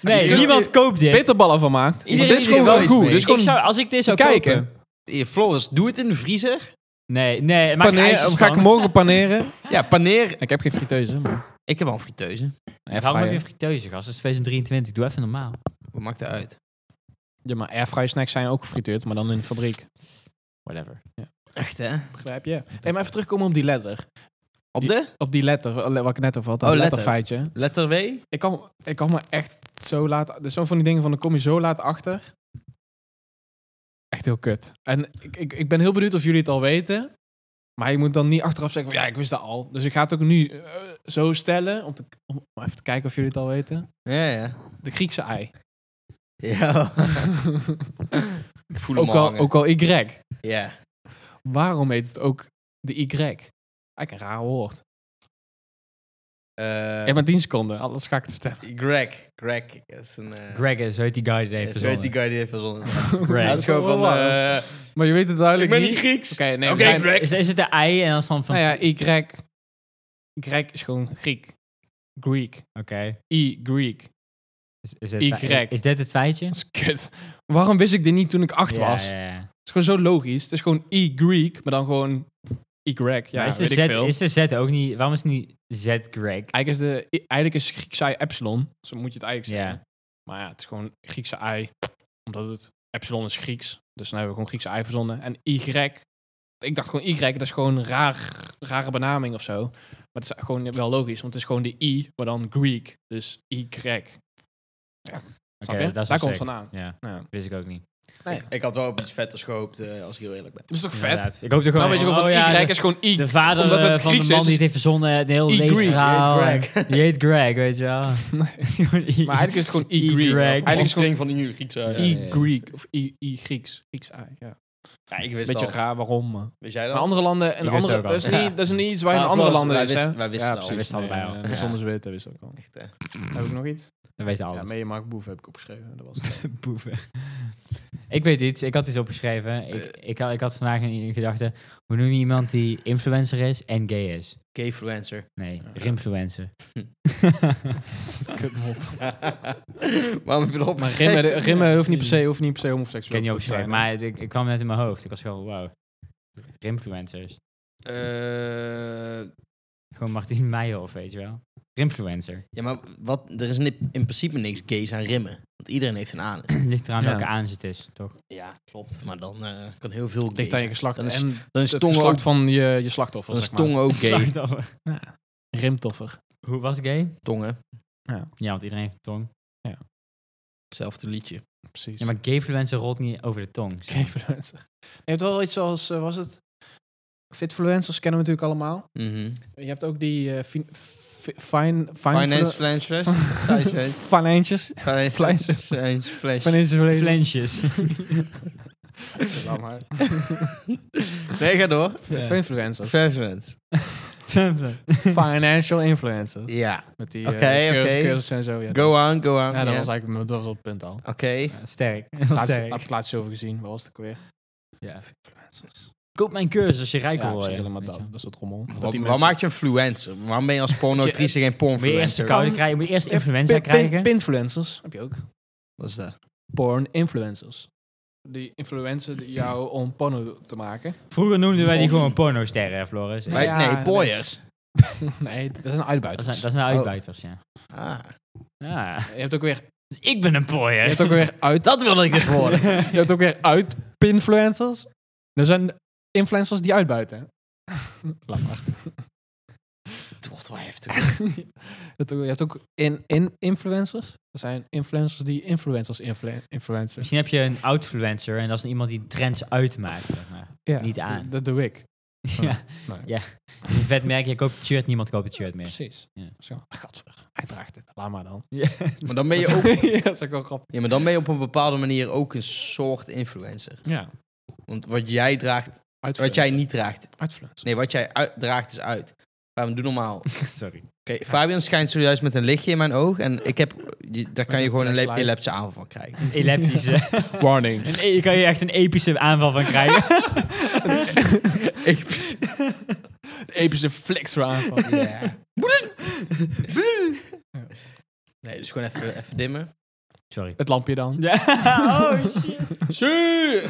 Speaker 3: Nee,
Speaker 2: kunt-
Speaker 3: niemand koopt dit.
Speaker 2: bitterballen van maakt.
Speaker 3: Iedereen
Speaker 2: dit is
Speaker 3: die er
Speaker 2: gewoon
Speaker 1: wel
Speaker 2: wel
Speaker 1: iets
Speaker 2: goed.
Speaker 1: mee-
Speaker 2: Dit is
Speaker 3: Ik
Speaker 2: gewoon
Speaker 3: zou, als ik dit zou
Speaker 2: kijken.
Speaker 3: kopen...
Speaker 1: Hier, Floris, doe het in de vriezer.
Speaker 3: Nee, nee, maak
Speaker 2: Paneer,
Speaker 3: ijsjes
Speaker 2: eh, ga ik
Speaker 3: van.
Speaker 2: morgen paneren?
Speaker 1: Ja, paneer.
Speaker 2: *laughs* Ik heb geen friteuze, maar...
Speaker 1: Ik heb al een friteuse.
Speaker 3: Waarom heb je friteuze, gast? Het is 2023, doe even normaal.
Speaker 1: Wat maakt dat uit?
Speaker 2: Ja, maar airfry snacks zijn ook gefrituurd, maar dan in de fabriek.
Speaker 3: Whatever.
Speaker 1: Echt, hè?
Speaker 2: Begrijp je? Hey, maar even terugkomen op die letter.
Speaker 1: Op de?
Speaker 2: Op die letter, eh, wat ik net over had. Dat
Speaker 1: Oh, letter.
Speaker 2: letterfeitje.
Speaker 1: Letter W?
Speaker 2: Ik kan, ik kan me echt zo laat... Dus zo van die dingen van, dan kom je zo laat achter. Echt heel kut. En ik, ik, ik ben heel benieuwd of jullie het al weten. Maar je moet dan niet achteraf zeggen van, ja, ik wist dat al. Dus ik ga het ook nu eh, zo stellen, om, te, om even te kijken of jullie het al weten.
Speaker 1: Ja, ja.
Speaker 2: De Griekse ei.
Speaker 1: *laughs* Ja. Ik voel hem
Speaker 2: Ook al,
Speaker 1: hangen.
Speaker 2: ook al Y.
Speaker 1: Ja.
Speaker 2: Waarom heet het ook de Y? Eigenlijk een raar woord.
Speaker 1: Eh,
Speaker 2: hebt maar 10 seconden, alles ga ik het vertellen.
Speaker 1: Greg. Greg is een... eh,
Speaker 3: Greg is, zo heet die guy die
Speaker 1: is-
Speaker 3: heeft
Speaker 1: Zo heet die
Speaker 3: verzonnen.
Speaker 1: guy die heeft verzonnen. Hij
Speaker 3: Greg.
Speaker 1: is gewoon van... eh,
Speaker 2: Maar je weet het
Speaker 1: ik
Speaker 2: duidelijk
Speaker 1: ben
Speaker 2: niet.
Speaker 1: niet Grieks.
Speaker 2: Oké, nee, we
Speaker 1: Oké,
Speaker 2: zijn-
Speaker 1: Greg.
Speaker 3: Is, is het de ei en dan is dan van...
Speaker 2: Nou ja, Y. Y is gewoon Griek. Greek.
Speaker 3: Oké.
Speaker 2: I, Greek.
Speaker 3: Is, is, dit
Speaker 2: Y.
Speaker 3: fe- is dit het feitje?
Speaker 2: Dat is kut. Waarom wist ik dit niet toen ik acht
Speaker 3: Ja,
Speaker 2: was?
Speaker 3: ja, ja.
Speaker 2: Het is gewoon zo logisch. Het is gewoon I, Greek, maar dan gewoon Y. Ja,
Speaker 3: Maar is, de
Speaker 2: weet
Speaker 3: Z,
Speaker 2: ik veel. Ah,
Speaker 3: is de Z ook niet... Waarom is het niet Z Greg?
Speaker 2: Eigenlijk, is de, eigenlijk is Griekse ei epsilon. Zo moet je het eigenlijk zeggen.
Speaker 3: Ja.
Speaker 2: Maar ja, het is gewoon Griekse ei. Omdat het epsilon is Grieks. Dus dan hebben we gewoon Griekse ei verzonnen. En Y. Ik dacht gewoon Y, dat is gewoon een raar, rare benaming of zo. Maar het is gewoon wel logisch, want het is gewoon de I, maar dan Greek. Dus Y.
Speaker 3: Oké,
Speaker 2: Snap je?
Speaker 3: dat is
Speaker 2: Daar
Speaker 3: wel
Speaker 2: komt
Speaker 3: sick.
Speaker 2: vandaan.
Speaker 3: Ja,
Speaker 2: Ja.
Speaker 3: wist ik ook niet.
Speaker 1: Ik had wel op iets vetters gehoopt, eh, als ik heel eerlijk ben.
Speaker 2: Dat is toch vet?
Speaker 3: Inderdaad. Ik hoop er gewoon...
Speaker 2: Dan weet je gewoon
Speaker 3: oh,
Speaker 2: van
Speaker 3: ja,
Speaker 2: Y
Speaker 3: de,
Speaker 2: is gewoon
Speaker 3: *laughs*
Speaker 2: I.
Speaker 3: de vader
Speaker 2: omdat het
Speaker 3: eh, van de
Speaker 2: Grieks
Speaker 3: man
Speaker 2: is,
Speaker 3: die
Speaker 2: is-
Speaker 3: het heeft verzonnen, het hele
Speaker 2: Y.
Speaker 3: levensverhaal.
Speaker 1: Je
Speaker 3: *laughs*
Speaker 1: heet Greg.
Speaker 3: Je
Speaker 2: *laughs*
Speaker 3: heet Greg, weet je wel. *laughs*
Speaker 2: Maar eigenlijk is het gewoon
Speaker 3: Y.
Speaker 2: Y. Eigenlijk is het gewoon
Speaker 1: Hamstring van de nieuwe Griekse. eh,
Speaker 3: Ja,
Speaker 2: I
Speaker 3: ja, ja.
Speaker 2: Greek of I, I Grieks. Grieks ei, ja.
Speaker 1: Ja, ik wist
Speaker 2: Beetje
Speaker 1: het al.
Speaker 2: raar waarom. Maar
Speaker 1: Wist jij dat?
Speaker 2: Maar andere landen en
Speaker 3: Ik wist
Speaker 2: andere,
Speaker 3: het
Speaker 2: dat,
Speaker 3: ook
Speaker 2: is
Speaker 1: al.
Speaker 2: niet,
Speaker 1: Ja.
Speaker 2: dat is niet iets waar je in
Speaker 1: Ah,
Speaker 2: andere
Speaker 1: Floris,
Speaker 2: landen
Speaker 1: wij
Speaker 2: is.
Speaker 1: wisten-
Speaker 2: hè?
Speaker 1: wij wisten
Speaker 2: ja,
Speaker 1: het al.
Speaker 2: precies.
Speaker 3: Wij wisten het allebei
Speaker 2: Nee,
Speaker 3: al.
Speaker 2: eh,
Speaker 1: Ja.
Speaker 2: Zonder weten
Speaker 1: *laughs*
Speaker 2: wisten we ook al.
Speaker 1: Echt, eh,
Speaker 2: Heb ik nog iets?
Speaker 3: Dat weet
Speaker 2: Ja,
Speaker 3: alles.
Speaker 2: mee Mark Boef heb ik opgeschreven. Dat was het.
Speaker 3: Ik weet iets. Ik had iets opgeschreven. Ik,
Speaker 2: Eh.
Speaker 3: ik, had, ik had vandaag in, in gedachten... Hoe noem je iemand die influencer is en gay is?
Speaker 1: *laughs* Gayfluencer.
Speaker 3: Nee,
Speaker 2: *laughs*
Speaker 3: rimfluencer.
Speaker 2: Kutmop.
Speaker 1: *laughs* Waarom heb je erop
Speaker 2: Maar
Speaker 1: geschreven?
Speaker 2: rimmen, de- rimmen hoeft niet per se, hoeft niet per se
Speaker 3: ik
Speaker 2: homoseksueel
Speaker 3: heb niet
Speaker 2: te zijn,
Speaker 3: opgeschreven,
Speaker 2: hè?
Speaker 3: maar het- ik, ik kwam net in mijn hoofd. Ik was gewoon, wauw. Rimfluencers.
Speaker 1: Eh,
Speaker 3: Gewoon Martien Meijerhof, weet je wel. Rimfluencer.
Speaker 1: ja, maar wat, er is ni- in principe niks gays aan rimmen. Want iedereen heeft een anus.
Speaker 3: *clears throat* Ligt eraan
Speaker 2: Ja.
Speaker 3: welke aanzet is, toch?
Speaker 1: Ja, klopt. Maar dan eh, kan heel veel gays
Speaker 2: Ligt aan je
Speaker 1: zijn.
Speaker 2: geslacht
Speaker 1: Dan is-
Speaker 2: en
Speaker 1: Dan is
Speaker 2: het
Speaker 1: tong ook,
Speaker 2: geslacht van je, je slachtoffer,
Speaker 1: dan is
Speaker 2: zeg maar.
Speaker 1: tong ook gay.
Speaker 3: Slachtoffer.
Speaker 2: Rimtoffer.
Speaker 3: Hoe was gay?
Speaker 1: Tongen.
Speaker 3: Ja, want iedereen heeft een tong.
Speaker 1: Hetzelfde liedje.
Speaker 2: Precies.
Speaker 3: Ja, maar gayfluencer rolt niet over de tong.
Speaker 2: *laughs* Geen influencer. Je hebt wel iets zoals, eh, was het? Fitfluencers kennen we natuurlijk allemaal.
Speaker 1: Mhm.
Speaker 2: Je hebt ook die eh fin, fi- fine, fine
Speaker 1: Finance flancers. Flancers.
Speaker 2: Financiers.
Speaker 1: Finance flancers.
Speaker 2: Financiers. *laughs*
Speaker 3: Flensjes.
Speaker 1: Nee, ga door.
Speaker 2: Influencers.
Speaker 1: Flancers.
Speaker 2: Financial influencers.
Speaker 1: Ja.
Speaker 2: Met die
Speaker 1: Oké,
Speaker 2: eh, curs-
Speaker 1: oké.
Speaker 2: cursussen en zo. Ja, dat-
Speaker 1: Go on, go on.
Speaker 2: Ja, dat
Speaker 1: ja.
Speaker 2: was eigenlijk mijn- dat was op het punt
Speaker 3: *laughs*
Speaker 2: al.
Speaker 1: Oké.
Speaker 3: Ja, sterk.
Speaker 2: Laatst,
Speaker 3: sterk.
Speaker 2: heb ik laatst over gezien. Wat was het ook weer?
Speaker 3: Ja.
Speaker 2: Influencers.
Speaker 3: Koop mijn cursus als je rijker
Speaker 2: Ja,
Speaker 3: wil
Speaker 2: precies,
Speaker 3: worden.
Speaker 2: helemaal dat.
Speaker 3: weet je
Speaker 2: Dat is het rommel. Dat
Speaker 1: Wat,
Speaker 2: die
Speaker 1: wat
Speaker 2: mensen-
Speaker 1: maakt je een fluencer? Waarom ben je
Speaker 2: *laughs*
Speaker 1: als pornoactrice geen
Speaker 3: wel. Moet je eerst de
Speaker 1: pornfluencer?
Speaker 3: koude krijgen, moet je eerst
Speaker 2: Ja,
Speaker 3: influenza
Speaker 2: pin- pin-
Speaker 3: krijgen.
Speaker 2: Pinfluencers heb je ook.
Speaker 1: Wat is dat?
Speaker 2: Porn influencers. Die influencen die jou om porno te maken. *laughs*
Speaker 3: Vroeger noemden wij die
Speaker 1: Of-
Speaker 3: gewoon pornosterren, hè, Floris.
Speaker 2: Ja,
Speaker 1: Wij- nee,
Speaker 2: dat
Speaker 1: pooiers.
Speaker 2: nee, dat zijn
Speaker 3: Dat
Speaker 2: uitbuiters.
Speaker 3: zijn, dat zijn uitbuiters, ja.
Speaker 1: Ah.
Speaker 3: Ja.
Speaker 2: Je hebt ook weer,
Speaker 3: Dus ik ben een pooier.
Speaker 2: je hebt ook weer uit.
Speaker 1: Dat wilde ik dus horen.
Speaker 2: *laughs* je hebt ook weer uit pinfluencers. Er zijn influencers die uitbuiten. Laat maar.
Speaker 1: Het wordt wel heftig.
Speaker 2: *laughs* Je hebt ook- je hebt ook in, in influencers. Er zijn influencers die influencers influ influencers.
Speaker 3: *laughs* Misschien heb je een outfluencer en dat is iemand die trends uitmaakt. Zeg maar.
Speaker 2: Ja,
Speaker 3: niet aan.
Speaker 2: Dat, dat doe ik.
Speaker 3: Ja.
Speaker 2: Nee.
Speaker 3: Ja. Dus een vet merk, je koopt het shirt, niemand koopt het shirt meer.
Speaker 2: Precies.
Speaker 3: Ja.
Speaker 2: Zo, gadver, hij draagt het. Laat maar dan.
Speaker 3: *laughs* Ja.
Speaker 1: Maar dan ben
Speaker 2: *laughs*
Speaker 1: je ook...
Speaker 2: ja, dat is ook wel grappig.
Speaker 1: Ja, maar dan ben je op een bepaalde manier ook een soort influencer.
Speaker 2: Ja.
Speaker 1: Want wat jij draagt... Wat jij niet draagt...
Speaker 2: Uitfluencer.
Speaker 1: Nee, wat jij uit, draagt is uit. Fabian, doe normaal. Oké,
Speaker 3: Sorry.
Speaker 1: Fabian schijnt zojuist met een lichtje in mijn oog. En ik heb... je- daar kan je
Speaker 2: een
Speaker 1: gewoon een le-
Speaker 2: flashlight.
Speaker 1: epileptische aanval van krijgen.
Speaker 3: Een elliptische.
Speaker 2: Warning.
Speaker 3: *laughs* Een e- je kan je echt een epische aanval van krijgen.
Speaker 2: Epische, de epische flexer *laughs* aanval.
Speaker 1: *laughs* Ja. Nee, dus gewoon even, even dimmen.
Speaker 3: *laughs* Sorry.
Speaker 2: Het lampje dan.
Speaker 3: Ja. Oh shit.
Speaker 2: Zie!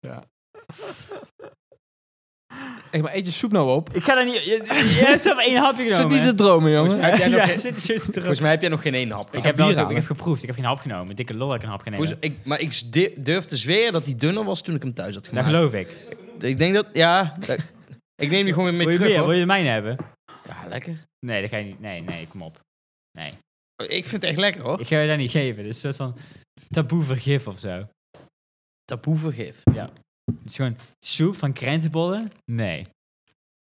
Speaker 2: *laughs* Ja. Echt, maar eet je soep nou op.
Speaker 3: Ik ga daar niet. Je, je hebt zelf één hapje genomen.
Speaker 2: Zit niet te
Speaker 3: hè?
Speaker 2: dromen, jongen.
Speaker 1: Heb jij nog
Speaker 3: Ja,
Speaker 1: geen-
Speaker 3: zit, zit te
Speaker 1: Volgens mij heb jij nog geen één hap.
Speaker 3: ik
Speaker 1: gehad.
Speaker 3: heb
Speaker 2: bier
Speaker 3: wel ik
Speaker 2: halen.
Speaker 3: heb geproefd. Ik heb geen hap genomen. Dikke lol dat ik een hap genomen.
Speaker 1: Volgens- ik, maar ik s- di- durf te zweren dat hij dunner was toen ik hem thuis had
Speaker 3: Dat
Speaker 1: gemaakt.
Speaker 3: geloof ik.
Speaker 1: Ik denk dat, ja. dat- ik neem die gewoon weer mee
Speaker 3: Wil je
Speaker 1: terug.
Speaker 3: meer?
Speaker 1: hoor.
Speaker 3: Wil je de mijne hebben?
Speaker 1: Ja, lekker.
Speaker 3: Nee, dat ga je niet. Nee, nee, kom op. Nee.
Speaker 1: Ik vind het echt lekker hoor.
Speaker 3: Ik ga je dat niet geven. Het is een soort van taboe vergif of zo.
Speaker 1: Taboe vergif.
Speaker 3: Het is gewoon soep van krentenbollen? Nee.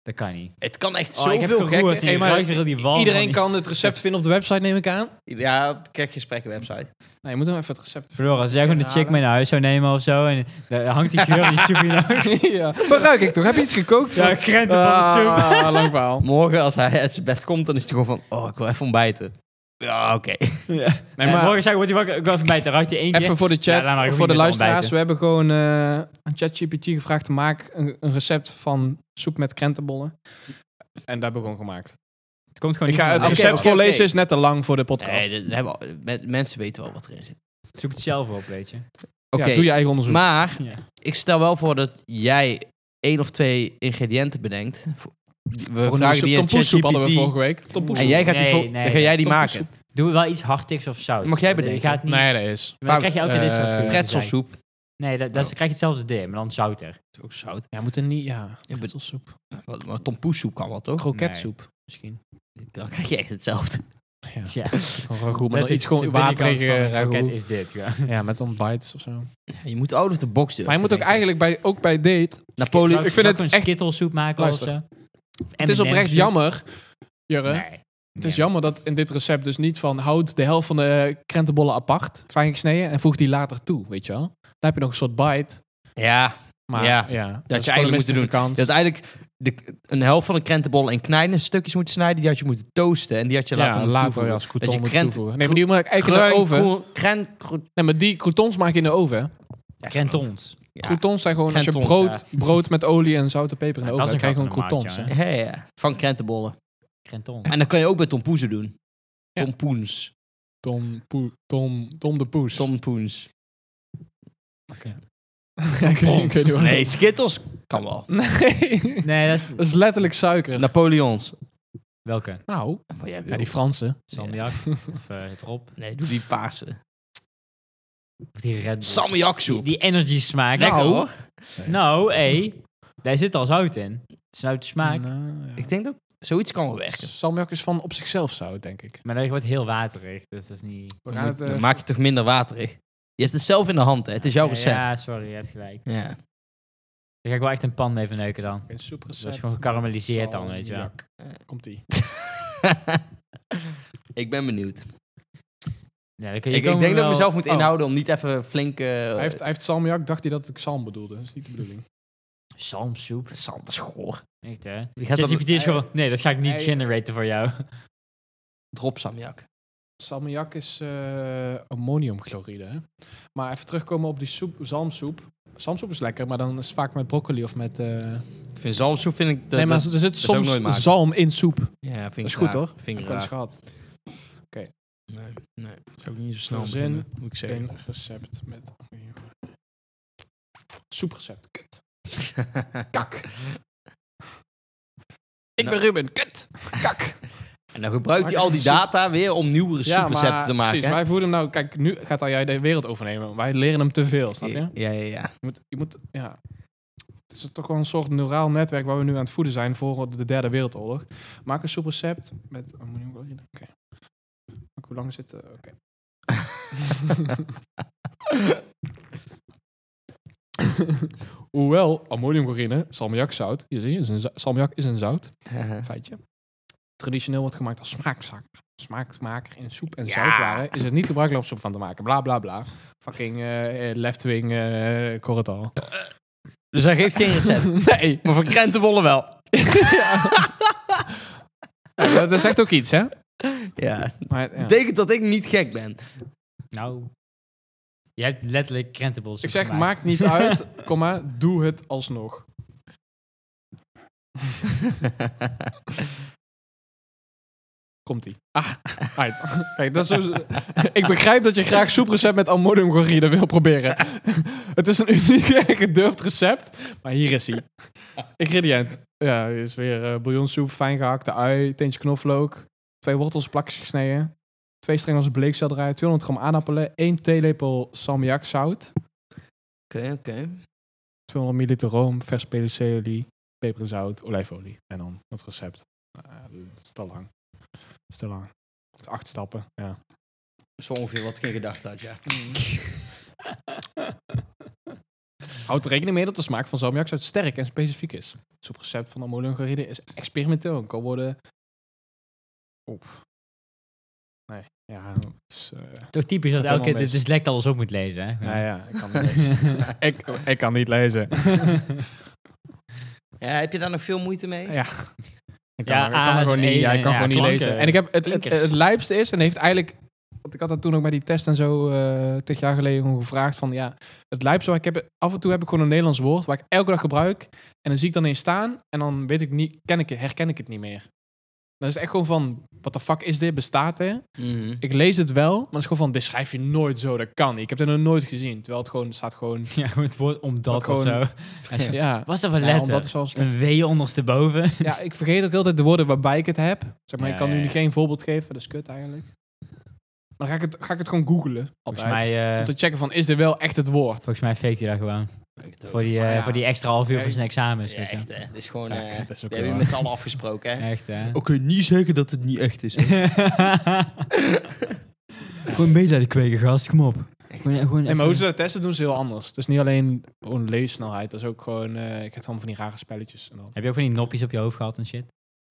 Speaker 3: Dat kan niet.
Speaker 1: Het kan echt
Speaker 3: Oh, ik heb
Speaker 1: zoveel
Speaker 3: geroerd
Speaker 1: gekker.
Speaker 3: hier.
Speaker 2: maar
Speaker 3: Ruikt er in die wand
Speaker 2: Iedereen
Speaker 3: van
Speaker 2: kan het recept vinden op de website, neem ik aan.
Speaker 1: Ja, op de kerkgesprekken website.
Speaker 2: Nee, je moet hem even het *laughs* recept
Speaker 3: Verloren, als jij gewoon de chick
Speaker 2: Halen.
Speaker 3: mee naar huis zou nemen of zo, en daar hangt die geur die soep in.
Speaker 2: ja. Waar ruik ik toch? Heb je iets gekookt?
Speaker 3: Ja,
Speaker 2: Van-
Speaker 3: krenten van de soep.
Speaker 2: Ah, *laughs* lang verhaal.
Speaker 1: Morgen als hij uit zijn bed komt, dan is hij gewoon van, oh, ik wil even ontbijten. Ja, oké. *laughs*
Speaker 2: Nee,
Speaker 3: En
Speaker 2: maar
Speaker 3: morgen zou ik, word hij wakker, ik wil even bij het ruitje één keer.
Speaker 2: even voor de
Speaker 3: Ja,
Speaker 2: chat,
Speaker 3: daarna mag ik
Speaker 2: voor de
Speaker 3: niet meer
Speaker 2: luisteraars.
Speaker 3: ontbijten.
Speaker 2: We hebben gewoon eh aan ChatGPT gevraagd, maak een, een recept van soep met krentenbollen. En dat hebben we gewoon gemaakt.
Speaker 3: Het komt gewoon
Speaker 2: Ik
Speaker 3: niet
Speaker 2: ga het
Speaker 3: van mij.
Speaker 1: Oké,
Speaker 2: recept
Speaker 1: oké,
Speaker 2: voorlezen,
Speaker 1: oké.
Speaker 2: is net te lang voor de podcast.
Speaker 1: Nee, dat hebben we- men- mensen weten wel wat erin zit.
Speaker 3: Zoek het zelf op, weet je.
Speaker 1: Oké,
Speaker 2: ja, doe je eigen onderzoek.
Speaker 1: maar
Speaker 3: Ja.
Speaker 1: ik stel wel voor dat jij één of twee ingrediënten bedenkt. We
Speaker 2: voor een
Speaker 1: vragen die aan
Speaker 2: tompoessoep hadden we
Speaker 1: ChatGPT.
Speaker 2: vorige week. Tompoes.
Speaker 1: En jij gaat die,
Speaker 3: Nee,
Speaker 1: vo-
Speaker 3: nee,
Speaker 1: dan ga jij die
Speaker 2: nee.
Speaker 1: maken.
Speaker 3: Doe wel iets hartigs of zout.
Speaker 1: Mag jij
Speaker 3: Want Je
Speaker 1: bedenken?
Speaker 3: gaat niet,
Speaker 2: Nee, dat is.
Speaker 3: maar dan krijg je elke keer dit soort
Speaker 2: Eh,
Speaker 3: geuren.
Speaker 1: Pretzelsoep.
Speaker 3: Nee, dat, dat
Speaker 2: Oh.
Speaker 3: is- dan krijg je hetzelfde idee, maar dan zouter.
Speaker 1: Is Ook zout.
Speaker 2: Ja, moet er niet... Ja,
Speaker 1: Ja, maar-
Speaker 2: soep.
Speaker 1: Wat- Maar tompoessoep kan wel, toch?
Speaker 2: Kroketsoep misschien.
Speaker 1: Dan krijg je echt hetzelfde.
Speaker 2: Ja.
Speaker 3: Ja.
Speaker 2: Gewoon goed, maar
Speaker 3: Dat
Speaker 2: dan
Speaker 3: is
Speaker 2: iets gewoon
Speaker 3: de binnenkant van
Speaker 2: waterige
Speaker 3: het pakket
Speaker 2: ragout.
Speaker 3: is dit, ja.
Speaker 2: Ja, met ontbijts of zo. Maar
Speaker 1: Je moet out of the box durven.
Speaker 2: je moet ook
Speaker 1: te denken.
Speaker 2: eigenlijk bij, ook bij date...
Speaker 1: Napoleon...
Speaker 2: Ik vind het
Speaker 3: een
Speaker 2: echt-
Speaker 3: skittelsoep maken
Speaker 2: Luister.
Speaker 3: of zo.
Speaker 2: Het is oprecht jammer, Jurre.
Speaker 3: Nee.
Speaker 2: Het is jammer dat in dit recept dus niet van... houd de helft van de eh, krentenbollen apart, fijn gesneden... en voeg die later toe, weet je wel. Dan heb je nog een soort bite.
Speaker 1: Ja,
Speaker 2: Maar
Speaker 1: Ja,
Speaker 2: ja, dat, is
Speaker 1: je
Speaker 2: gewoon een
Speaker 1: eigenlijk moet
Speaker 2: mistige
Speaker 1: doen.
Speaker 2: Kans.
Speaker 1: dat eigenlijk de, een helft van een krentenbol in kleine stukjes moet snijden. Die had je moeten toasten en die had je later
Speaker 2: ja,
Speaker 1: moeten
Speaker 2: later
Speaker 1: toevoegen.
Speaker 2: ja, als
Speaker 1: Dat
Speaker 2: croutons
Speaker 1: je
Speaker 2: moet
Speaker 1: krent-
Speaker 2: toevoegen. Nee, maar die moet ik eigenlijk in
Speaker 1: Kruin,
Speaker 2: de oven.
Speaker 1: kroen- krent- kroen-
Speaker 2: Nee, maar die croutons maak je in de oven. hè.
Speaker 1: ja,
Speaker 3: Crentons.
Speaker 1: Ja.
Speaker 2: Croutons zijn gewoon als je
Speaker 1: Croutons,
Speaker 2: brood, brood met olie en zout en peper in de
Speaker 3: Ja,
Speaker 2: oven...
Speaker 3: dat
Speaker 2: dan
Speaker 3: is
Speaker 2: krijg je
Speaker 3: een
Speaker 2: gewoon
Speaker 3: gat in een
Speaker 2: croutons.
Speaker 3: maatje,
Speaker 2: hè.
Speaker 1: Ja, ja, ja. van krentenbollen.
Speaker 3: Crentons.
Speaker 1: En dan kan je ook bij tompoezen doen.
Speaker 2: Ja.
Speaker 1: Tompoens.
Speaker 2: Tom, Poe- Tom, Tom de Poes. *laughs*
Speaker 1: Tompoens.
Speaker 2: Ja, ik weet niet- ik weet niet wat-
Speaker 1: Nee, skittles kan wel.
Speaker 2: *laughs* Nee.
Speaker 3: Nee, dat is...
Speaker 2: Dat is letterlijk suiker.
Speaker 1: Napoleons.
Speaker 3: Welke?
Speaker 2: Nou,
Speaker 1: Nou, Ja,
Speaker 2: ja, die Fransen.
Speaker 3: Salmiak? *laughs* Of eh het Rob?
Speaker 1: Nee, doe die paarse.
Speaker 3: Of die Red Bull? Die,
Speaker 1: Samjaksoep.
Speaker 3: die energy smaak.
Speaker 1: Lekker
Speaker 3: nou,
Speaker 1: hoor.
Speaker 3: nou, hé. Daar zit al zout in. Zout smaak.
Speaker 2: Nou, ja.
Speaker 1: Ik denk dat zoiets kan wel werken.
Speaker 2: Salmiak is van op zichzelf zout, denk ik.
Speaker 3: Maar dat wordt heel waterig, dus dat is niet...
Speaker 2: We
Speaker 1: Dan,
Speaker 2: gaan het,
Speaker 1: moet-
Speaker 2: eh,
Speaker 1: dan maak je het toch minder waterig. Je hebt het zelf in de hand, hè? Het is jouw
Speaker 3: Ja,
Speaker 1: recept.
Speaker 3: Ja,
Speaker 1: Ja.
Speaker 3: sorry, je hebt gelijk. Dan ga ik wel echt een pan mee verneuken dan.
Speaker 2: een soeprecept.
Speaker 3: Dat is gewoon gekarameliseerd dan, weet je wel.
Speaker 2: Salmiak. Komt-ie.
Speaker 1: *laughs* ik ben benieuwd.
Speaker 3: Ja, dan kun je
Speaker 1: Ik, ik
Speaker 3: komen
Speaker 1: denk dat ik
Speaker 3: wel-
Speaker 1: mezelf moet
Speaker 2: Oh.
Speaker 1: inhouden om niet even flink... eh
Speaker 2: Hij heeft, hij heeft salmiak, dacht hij dat ik salm bedoelde. Dat is niet de bedoeling.
Speaker 3: Zalmsoep.
Speaker 1: Zand, dat is goor.
Speaker 3: Echt, hè?
Speaker 1: Je gaat dat
Speaker 3: ChatGPT is gewoon... Nee, dat ga ik niet
Speaker 2: Hij-
Speaker 3: generaten voor jou. *laughs*
Speaker 1: drop samjak.
Speaker 2: Salmiak is eh, ammoniumchloride, hè? Maar even terugkomen op die soep, zalmsoep. Zalmsoep is lekker, maar dan is het vaak met broccoli of met... eh,
Speaker 1: Ik vind zalmsoep vind ik... dat-
Speaker 2: nee, maar
Speaker 1: dat-
Speaker 2: er zit
Speaker 1: is ook nooit
Speaker 2: soms
Speaker 1: maken.
Speaker 2: zalm in soep. Dat
Speaker 1: ja, vind ik
Speaker 2: is goed,
Speaker 1: raar.
Speaker 2: hoor.
Speaker 1: Vind
Speaker 2: heb
Speaker 1: ik
Speaker 2: ik wel eens
Speaker 1: raar.
Speaker 2: gehad.
Speaker 1: Nee, nee. Zou ik niet zo
Speaker 2: snel
Speaker 1: snel
Speaker 2: Zin. beginnen,
Speaker 1: moet ik zeggen.
Speaker 2: Geen recept met... Soeprecept, kut.
Speaker 1: *laughs*
Speaker 2: Kak. Ik
Speaker 1: Nou.
Speaker 2: ben Ruben, kut. Kak.
Speaker 1: En dan gebruikt hij al die data weer om nieuwere soeprecepten te maken.
Speaker 2: Precies,
Speaker 1: hè?
Speaker 2: wij voeren hem nou... Kijk, nu gaat hij jij de wereld overnemen. Wij leren hem te veel, snap je? Je
Speaker 1: Ja, ja, *laughs* ja.
Speaker 2: moet... Je moet ja. Het is toch wel een soort neuraal netwerk waar we nu aan het voeden zijn voor de derde wereldoorlog. Maak een soeprecept met... Oh, moet ik wel in? Oké. Ook Hoe lang zit... eh, Oké. *laughs* Hoewel ammoniumchlorine, salmiakzout, je ziet, is een za- salmiak is een zout, feitje. Traditioneel wordt gemaakt als smaakzaker. Smaakmaker in soep en
Speaker 1: Ja.
Speaker 2: zoutwaren is het niet gebruikelijk om soep van te maken. Bla bla bla. Fucking eh, eh, left-wing eh korretal.
Speaker 1: dus hij geeft
Speaker 2: *laughs*
Speaker 1: geen recept.
Speaker 2: nee.
Speaker 1: maar voor krentenbollen wel.
Speaker 2: dat is echt ook iets, hè?
Speaker 1: Ja.
Speaker 2: Maar, ja.
Speaker 1: Betekent dat ik niet gek *laughs* ben.
Speaker 3: Nou... Je hebt letterlijk krentenbolsoep
Speaker 2: Ik zeg,
Speaker 3: gemaakt.
Speaker 2: maakt niet
Speaker 3: *laughs*
Speaker 2: uit, komma, doe het alsnog. Komt-ie. Ah, *laughs* uit. Kijk, dat is zo- ik begrijp dat je graag soeprecept met ammoniumchloride wil proberen. *laughs* het is een uniek en gedurfd recept, maar hier is hij. Ingrediënt. Ja, is weer eh, bouillonsoep, fijn gehakte ui, teentje knoflook, twee wortels plakjes gesneden, twee strengels bleekselderij, 200 gram aardappelen, één theelepel salmiakzout,
Speaker 1: Oké, oké.
Speaker 2: 200 milliliter room, vers peterselie, peper en zout, olijfolie. En dan het recept. Ah, dat is te lang. Dat is te lang. Dat is acht stappen, ja.
Speaker 1: Zo ongeveer wat ik in gedachten had, ja.
Speaker 2: Houd er rekening mee dat de smaak van salmiakzout sterk en specifiek is. Het soeprecept van de amolongeride is experimenteel en kan worden... Oef. Nee, ja, het is... eh,
Speaker 3: Toch typisch dat
Speaker 2: Dat
Speaker 3: elke keer
Speaker 2: helemaal
Speaker 3: dit
Speaker 2: mis.
Speaker 3: dyslect alles op moet lezen, hè?
Speaker 2: *laughs* nou ja, ik kan niet lezen. ik, ik kan niet lezen.
Speaker 1: *laughs* Ja, heb je daar nog veel moeite mee?
Speaker 2: Ja. Ik kan,
Speaker 3: Ja,
Speaker 2: er- ik kan er
Speaker 3: A's
Speaker 2: gewoon
Speaker 3: en
Speaker 2: niet,
Speaker 3: E's
Speaker 2: ja, ik
Speaker 3: en-
Speaker 2: kan
Speaker 3: ja,
Speaker 2: gewoon niet
Speaker 3: klanken.
Speaker 2: lezen. En ik heb het, het,
Speaker 3: Klinkers.
Speaker 2: het lijpste is, en heeft eigenlijk... Want ik had dat toen ook bij die test en zo, eh tig jaar geleden, gewoon gevraagd van... Ja, het lijpste wat ik heb... Af en toe heb ik gewoon een Nederlands woord waar ik elke dag gebruik. En dan zie ik dan in staan en dan weet ik niet, ken ik, het- herken ik het niet meer. Dan is het echt gewoon van, wat de fuck is dit? Bestaat er?
Speaker 1: Mhm.
Speaker 2: Ik lees het wel, maar het is gewoon van, dit schrijf je nooit zo, dat kan niet. Ik heb het nog nooit gezien. Terwijl het gewoon, het staat gewoon...
Speaker 3: Ja, het woord omdat
Speaker 2: Dat gewoon-
Speaker 3: of zo. Als je-
Speaker 2: Ja,
Speaker 3: Was dat wel
Speaker 2: ja
Speaker 3: letter?
Speaker 2: omdat is wel een slecht
Speaker 3: Een W ondersteboven.
Speaker 2: Ja, ik vergeet ook altijd de woorden waarbij ik het heb. Zeg maar,
Speaker 3: Ja,
Speaker 2: ik kan
Speaker 3: ja,
Speaker 2: nu
Speaker 3: ja.
Speaker 2: geen voorbeeld geven. Dat is kut eigenlijk. Maar dan ga ik het, ga ik het gewoon googlen.
Speaker 3: Volgens
Speaker 2: Altijd.
Speaker 3: mij, eh,
Speaker 2: Om te checken van, is dit wel echt het woord?
Speaker 3: volgens mij fake hij dat gewoon.
Speaker 1: Echt ook.
Speaker 3: Voor die, eh,
Speaker 2: Maar ja.
Speaker 3: voor die extra half uur
Speaker 2: Ja,
Speaker 3: voor zijn examens.
Speaker 1: Ja,
Speaker 3: weet je wel.
Speaker 1: echt, hè. Dat is gewoon...
Speaker 2: Ja,
Speaker 1: eh,
Speaker 2: kut, dat is ook
Speaker 1: we hebben
Speaker 2: wel
Speaker 1: met z'n allen afgesproken, hè?
Speaker 3: Echt, hè? *laughs*
Speaker 1: Oké, niet zeggen dat het niet echt is.
Speaker 3: Gewoon medelijden kweken, gast. Kom op. Gewoon, gewoon
Speaker 2: Nee, maar hoe ze dat testen doen, is heel anders. Dus niet alleen gewoon leessnelheid. Dat is ook gewoon... eh, ik heb dan van die rare spelletjes. En dan.
Speaker 3: Heb je ook van die nopjes op je hoofd gehad en shit?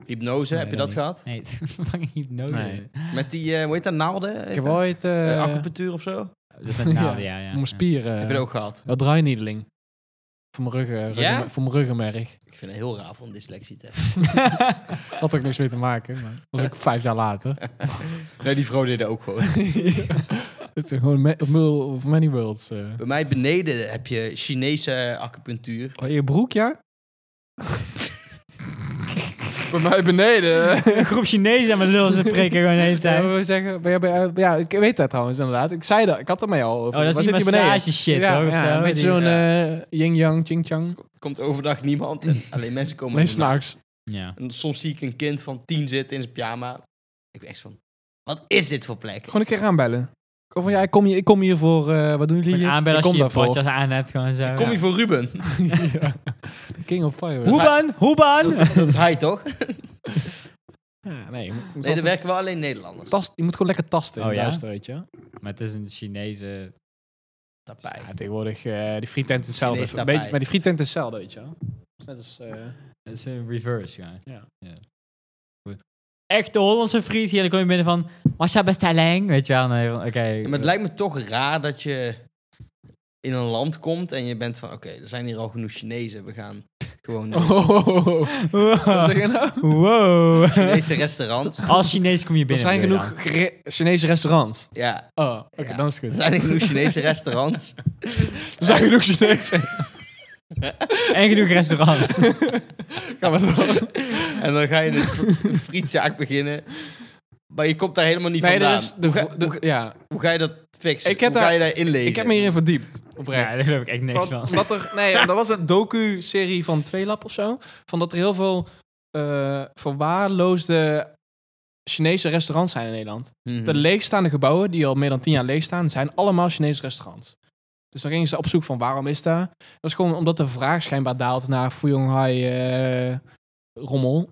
Speaker 1: Hypnose,
Speaker 2: Nee,
Speaker 1: heb je
Speaker 2: dat
Speaker 1: dat gehad?
Speaker 3: Nee, *laughs* fucking hypnose.
Speaker 2: Nee.
Speaker 1: Met die, eh, hoe heet dat, naalden?
Speaker 2: Ik
Speaker 1: Heet
Speaker 2: heb
Speaker 1: dat?
Speaker 2: ooit... eh,
Speaker 1: Eh, acupunctuur of zo?
Speaker 3: Dat is
Speaker 2: *laughs*
Speaker 3: met naalden, ja. ja,
Speaker 2: voor mijn spieren.
Speaker 1: Heb je dat ook gehad?
Speaker 2: Wel draainiedeling. Voor mijn ruggen, ruggen,
Speaker 1: Ja?
Speaker 2: voor mijn ruggenmerg.
Speaker 1: Ik vind het heel raar om dyslexie te *laughs*
Speaker 2: Had er ook niks mee te maken. Maar dat was ook vijf jaar later.
Speaker 1: Nee, die vrouw deed dat ook gewoon.
Speaker 2: Het is gewoon ma- mul of many worlds. eh.
Speaker 1: Bij mij beneden heb je Chinese acupunctuur.
Speaker 2: Oh, je broek, ja? *laughs* Bij mij *laughs* beneden.
Speaker 3: *laughs* Een groep Chinezen aan mijn lul ze prikken gewoon de hele
Speaker 2: *laughs* Ja,
Speaker 3: tijd.
Speaker 2: wil zeggen, ben jij bij- ja, ik weet dat trouwens inderdaad. Ik zei dat, ik had het mij al over.
Speaker 3: Oh, dat is
Speaker 2: Waar
Speaker 3: die
Speaker 2: zit die beneden?
Speaker 3: massage shit,
Speaker 2: ja,
Speaker 3: hoor. of
Speaker 2: ja,
Speaker 3: zo.
Speaker 2: een beetje
Speaker 3: Die-
Speaker 2: zo'n eh, yin-yang, ching-chang.
Speaker 1: Komt overdag niemand en alleen mensen komen
Speaker 2: Nee,
Speaker 1: in de nacht.
Speaker 2: s'nachts.
Speaker 3: Ja.
Speaker 1: En soms zie ik een kind van tien zitten in zijn pyjama. Ik ben echt van, wat is dit voor plek?
Speaker 2: Gewoon een keer aanbellen. Kom van, ja, ik kom hier, ik kom hier voor, eh, wat doen jullie
Speaker 3: Gewoon
Speaker 2: hier?
Speaker 3: aanbellen
Speaker 2: ik kom
Speaker 3: als je je
Speaker 2: daarvoor.
Speaker 3: potjes aan hebt, gewoon zo.
Speaker 1: Ik kom hier voor
Speaker 2: *laughs*
Speaker 1: Ruben.
Speaker 2: Ja. King of Fire.
Speaker 3: Hoeban, hoeban!
Speaker 1: dat is hij toch?
Speaker 2: Ja, nee, je moet,
Speaker 1: Nee,
Speaker 2: altijd
Speaker 1: daar werken wel alleen Nederlanders.
Speaker 2: tast, je moet gewoon lekker tasten in
Speaker 3: Oh,
Speaker 2: het
Speaker 3: ja?
Speaker 2: duister, weet je.
Speaker 3: Maar het is een Chinese...
Speaker 1: Daarbij.
Speaker 2: Ja, tegenwoordig, eh, die frietent is hetzelfde.
Speaker 1: Chinees
Speaker 2: Een
Speaker 1: daarbij.
Speaker 2: beetje- Maar die frietent is hetzelfde, weet je wel. Dat is net als... eh,
Speaker 3: Het is een reverse, ja.
Speaker 2: Ja.
Speaker 3: Goed. Echt de Hollandse friet hier, dan kom je binnen van... Was best bestelling? Weet je wel, nee, van, oké. Eh,
Speaker 1: Ja, maar het lijkt me toch raar dat je in een land komt en je bent van... Oké, er zijn hier al genoeg Chinezen. We gaan
Speaker 2: *laughs*
Speaker 1: gewoon naar
Speaker 2: Oh. Wat zeg
Speaker 3: Wow.
Speaker 2: je nou?
Speaker 3: Wow.
Speaker 1: Chinese restaurants.
Speaker 3: Als Chinees kom je
Speaker 2: Er
Speaker 3: binnen.
Speaker 2: zijn
Speaker 3: bedoel je
Speaker 2: genoeg Gere- Chinese restaurants.
Speaker 1: Ja,
Speaker 2: Oh, oké,
Speaker 1: Ja.
Speaker 2: dan is het
Speaker 1: er
Speaker 2: goed.
Speaker 1: zijn genoeg Chinese
Speaker 2: *laughs*
Speaker 1: restaurants.
Speaker 2: Er zijn genoeg Chinezen.
Speaker 3: dan. En genoeg
Speaker 2: *laughs*
Speaker 3: restaurants.
Speaker 2: Ga maar door.
Speaker 1: En dan ga je dus een frietzaak beginnen. Maar je komt daar helemaal niet
Speaker 2: Nee,
Speaker 1: vandaan.
Speaker 2: dat is de,
Speaker 1: hoe,
Speaker 2: vo-
Speaker 1: ga,
Speaker 2: de,
Speaker 1: hoe,
Speaker 2: ja.
Speaker 1: hoe ga je dat fixen?
Speaker 2: Ik heb
Speaker 1: hoe ga
Speaker 2: daar-
Speaker 1: je daar inlezen?
Speaker 2: Ik heb
Speaker 1: *laughs*
Speaker 2: me hierin verdiept,
Speaker 3: Ja,
Speaker 2: oprecht.
Speaker 3: daar geloof ik echt niks van.
Speaker 2: Wat er, nee, dat was een docu-serie van Tweelab of zo. Van dat er heel veel eh, verwaarloosde Chinese restaurants zijn in Nederland.
Speaker 1: Mhm.
Speaker 2: De leegstaande gebouwen, die al meer dan tien jaar leegstaan, zijn allemaal Chinese restaurants. Dus dan gingen ze op zoek van waarom is dat? Dat is gewoon omdat de vraag schijnbaar daalt naar Fuyonghai eh rommel.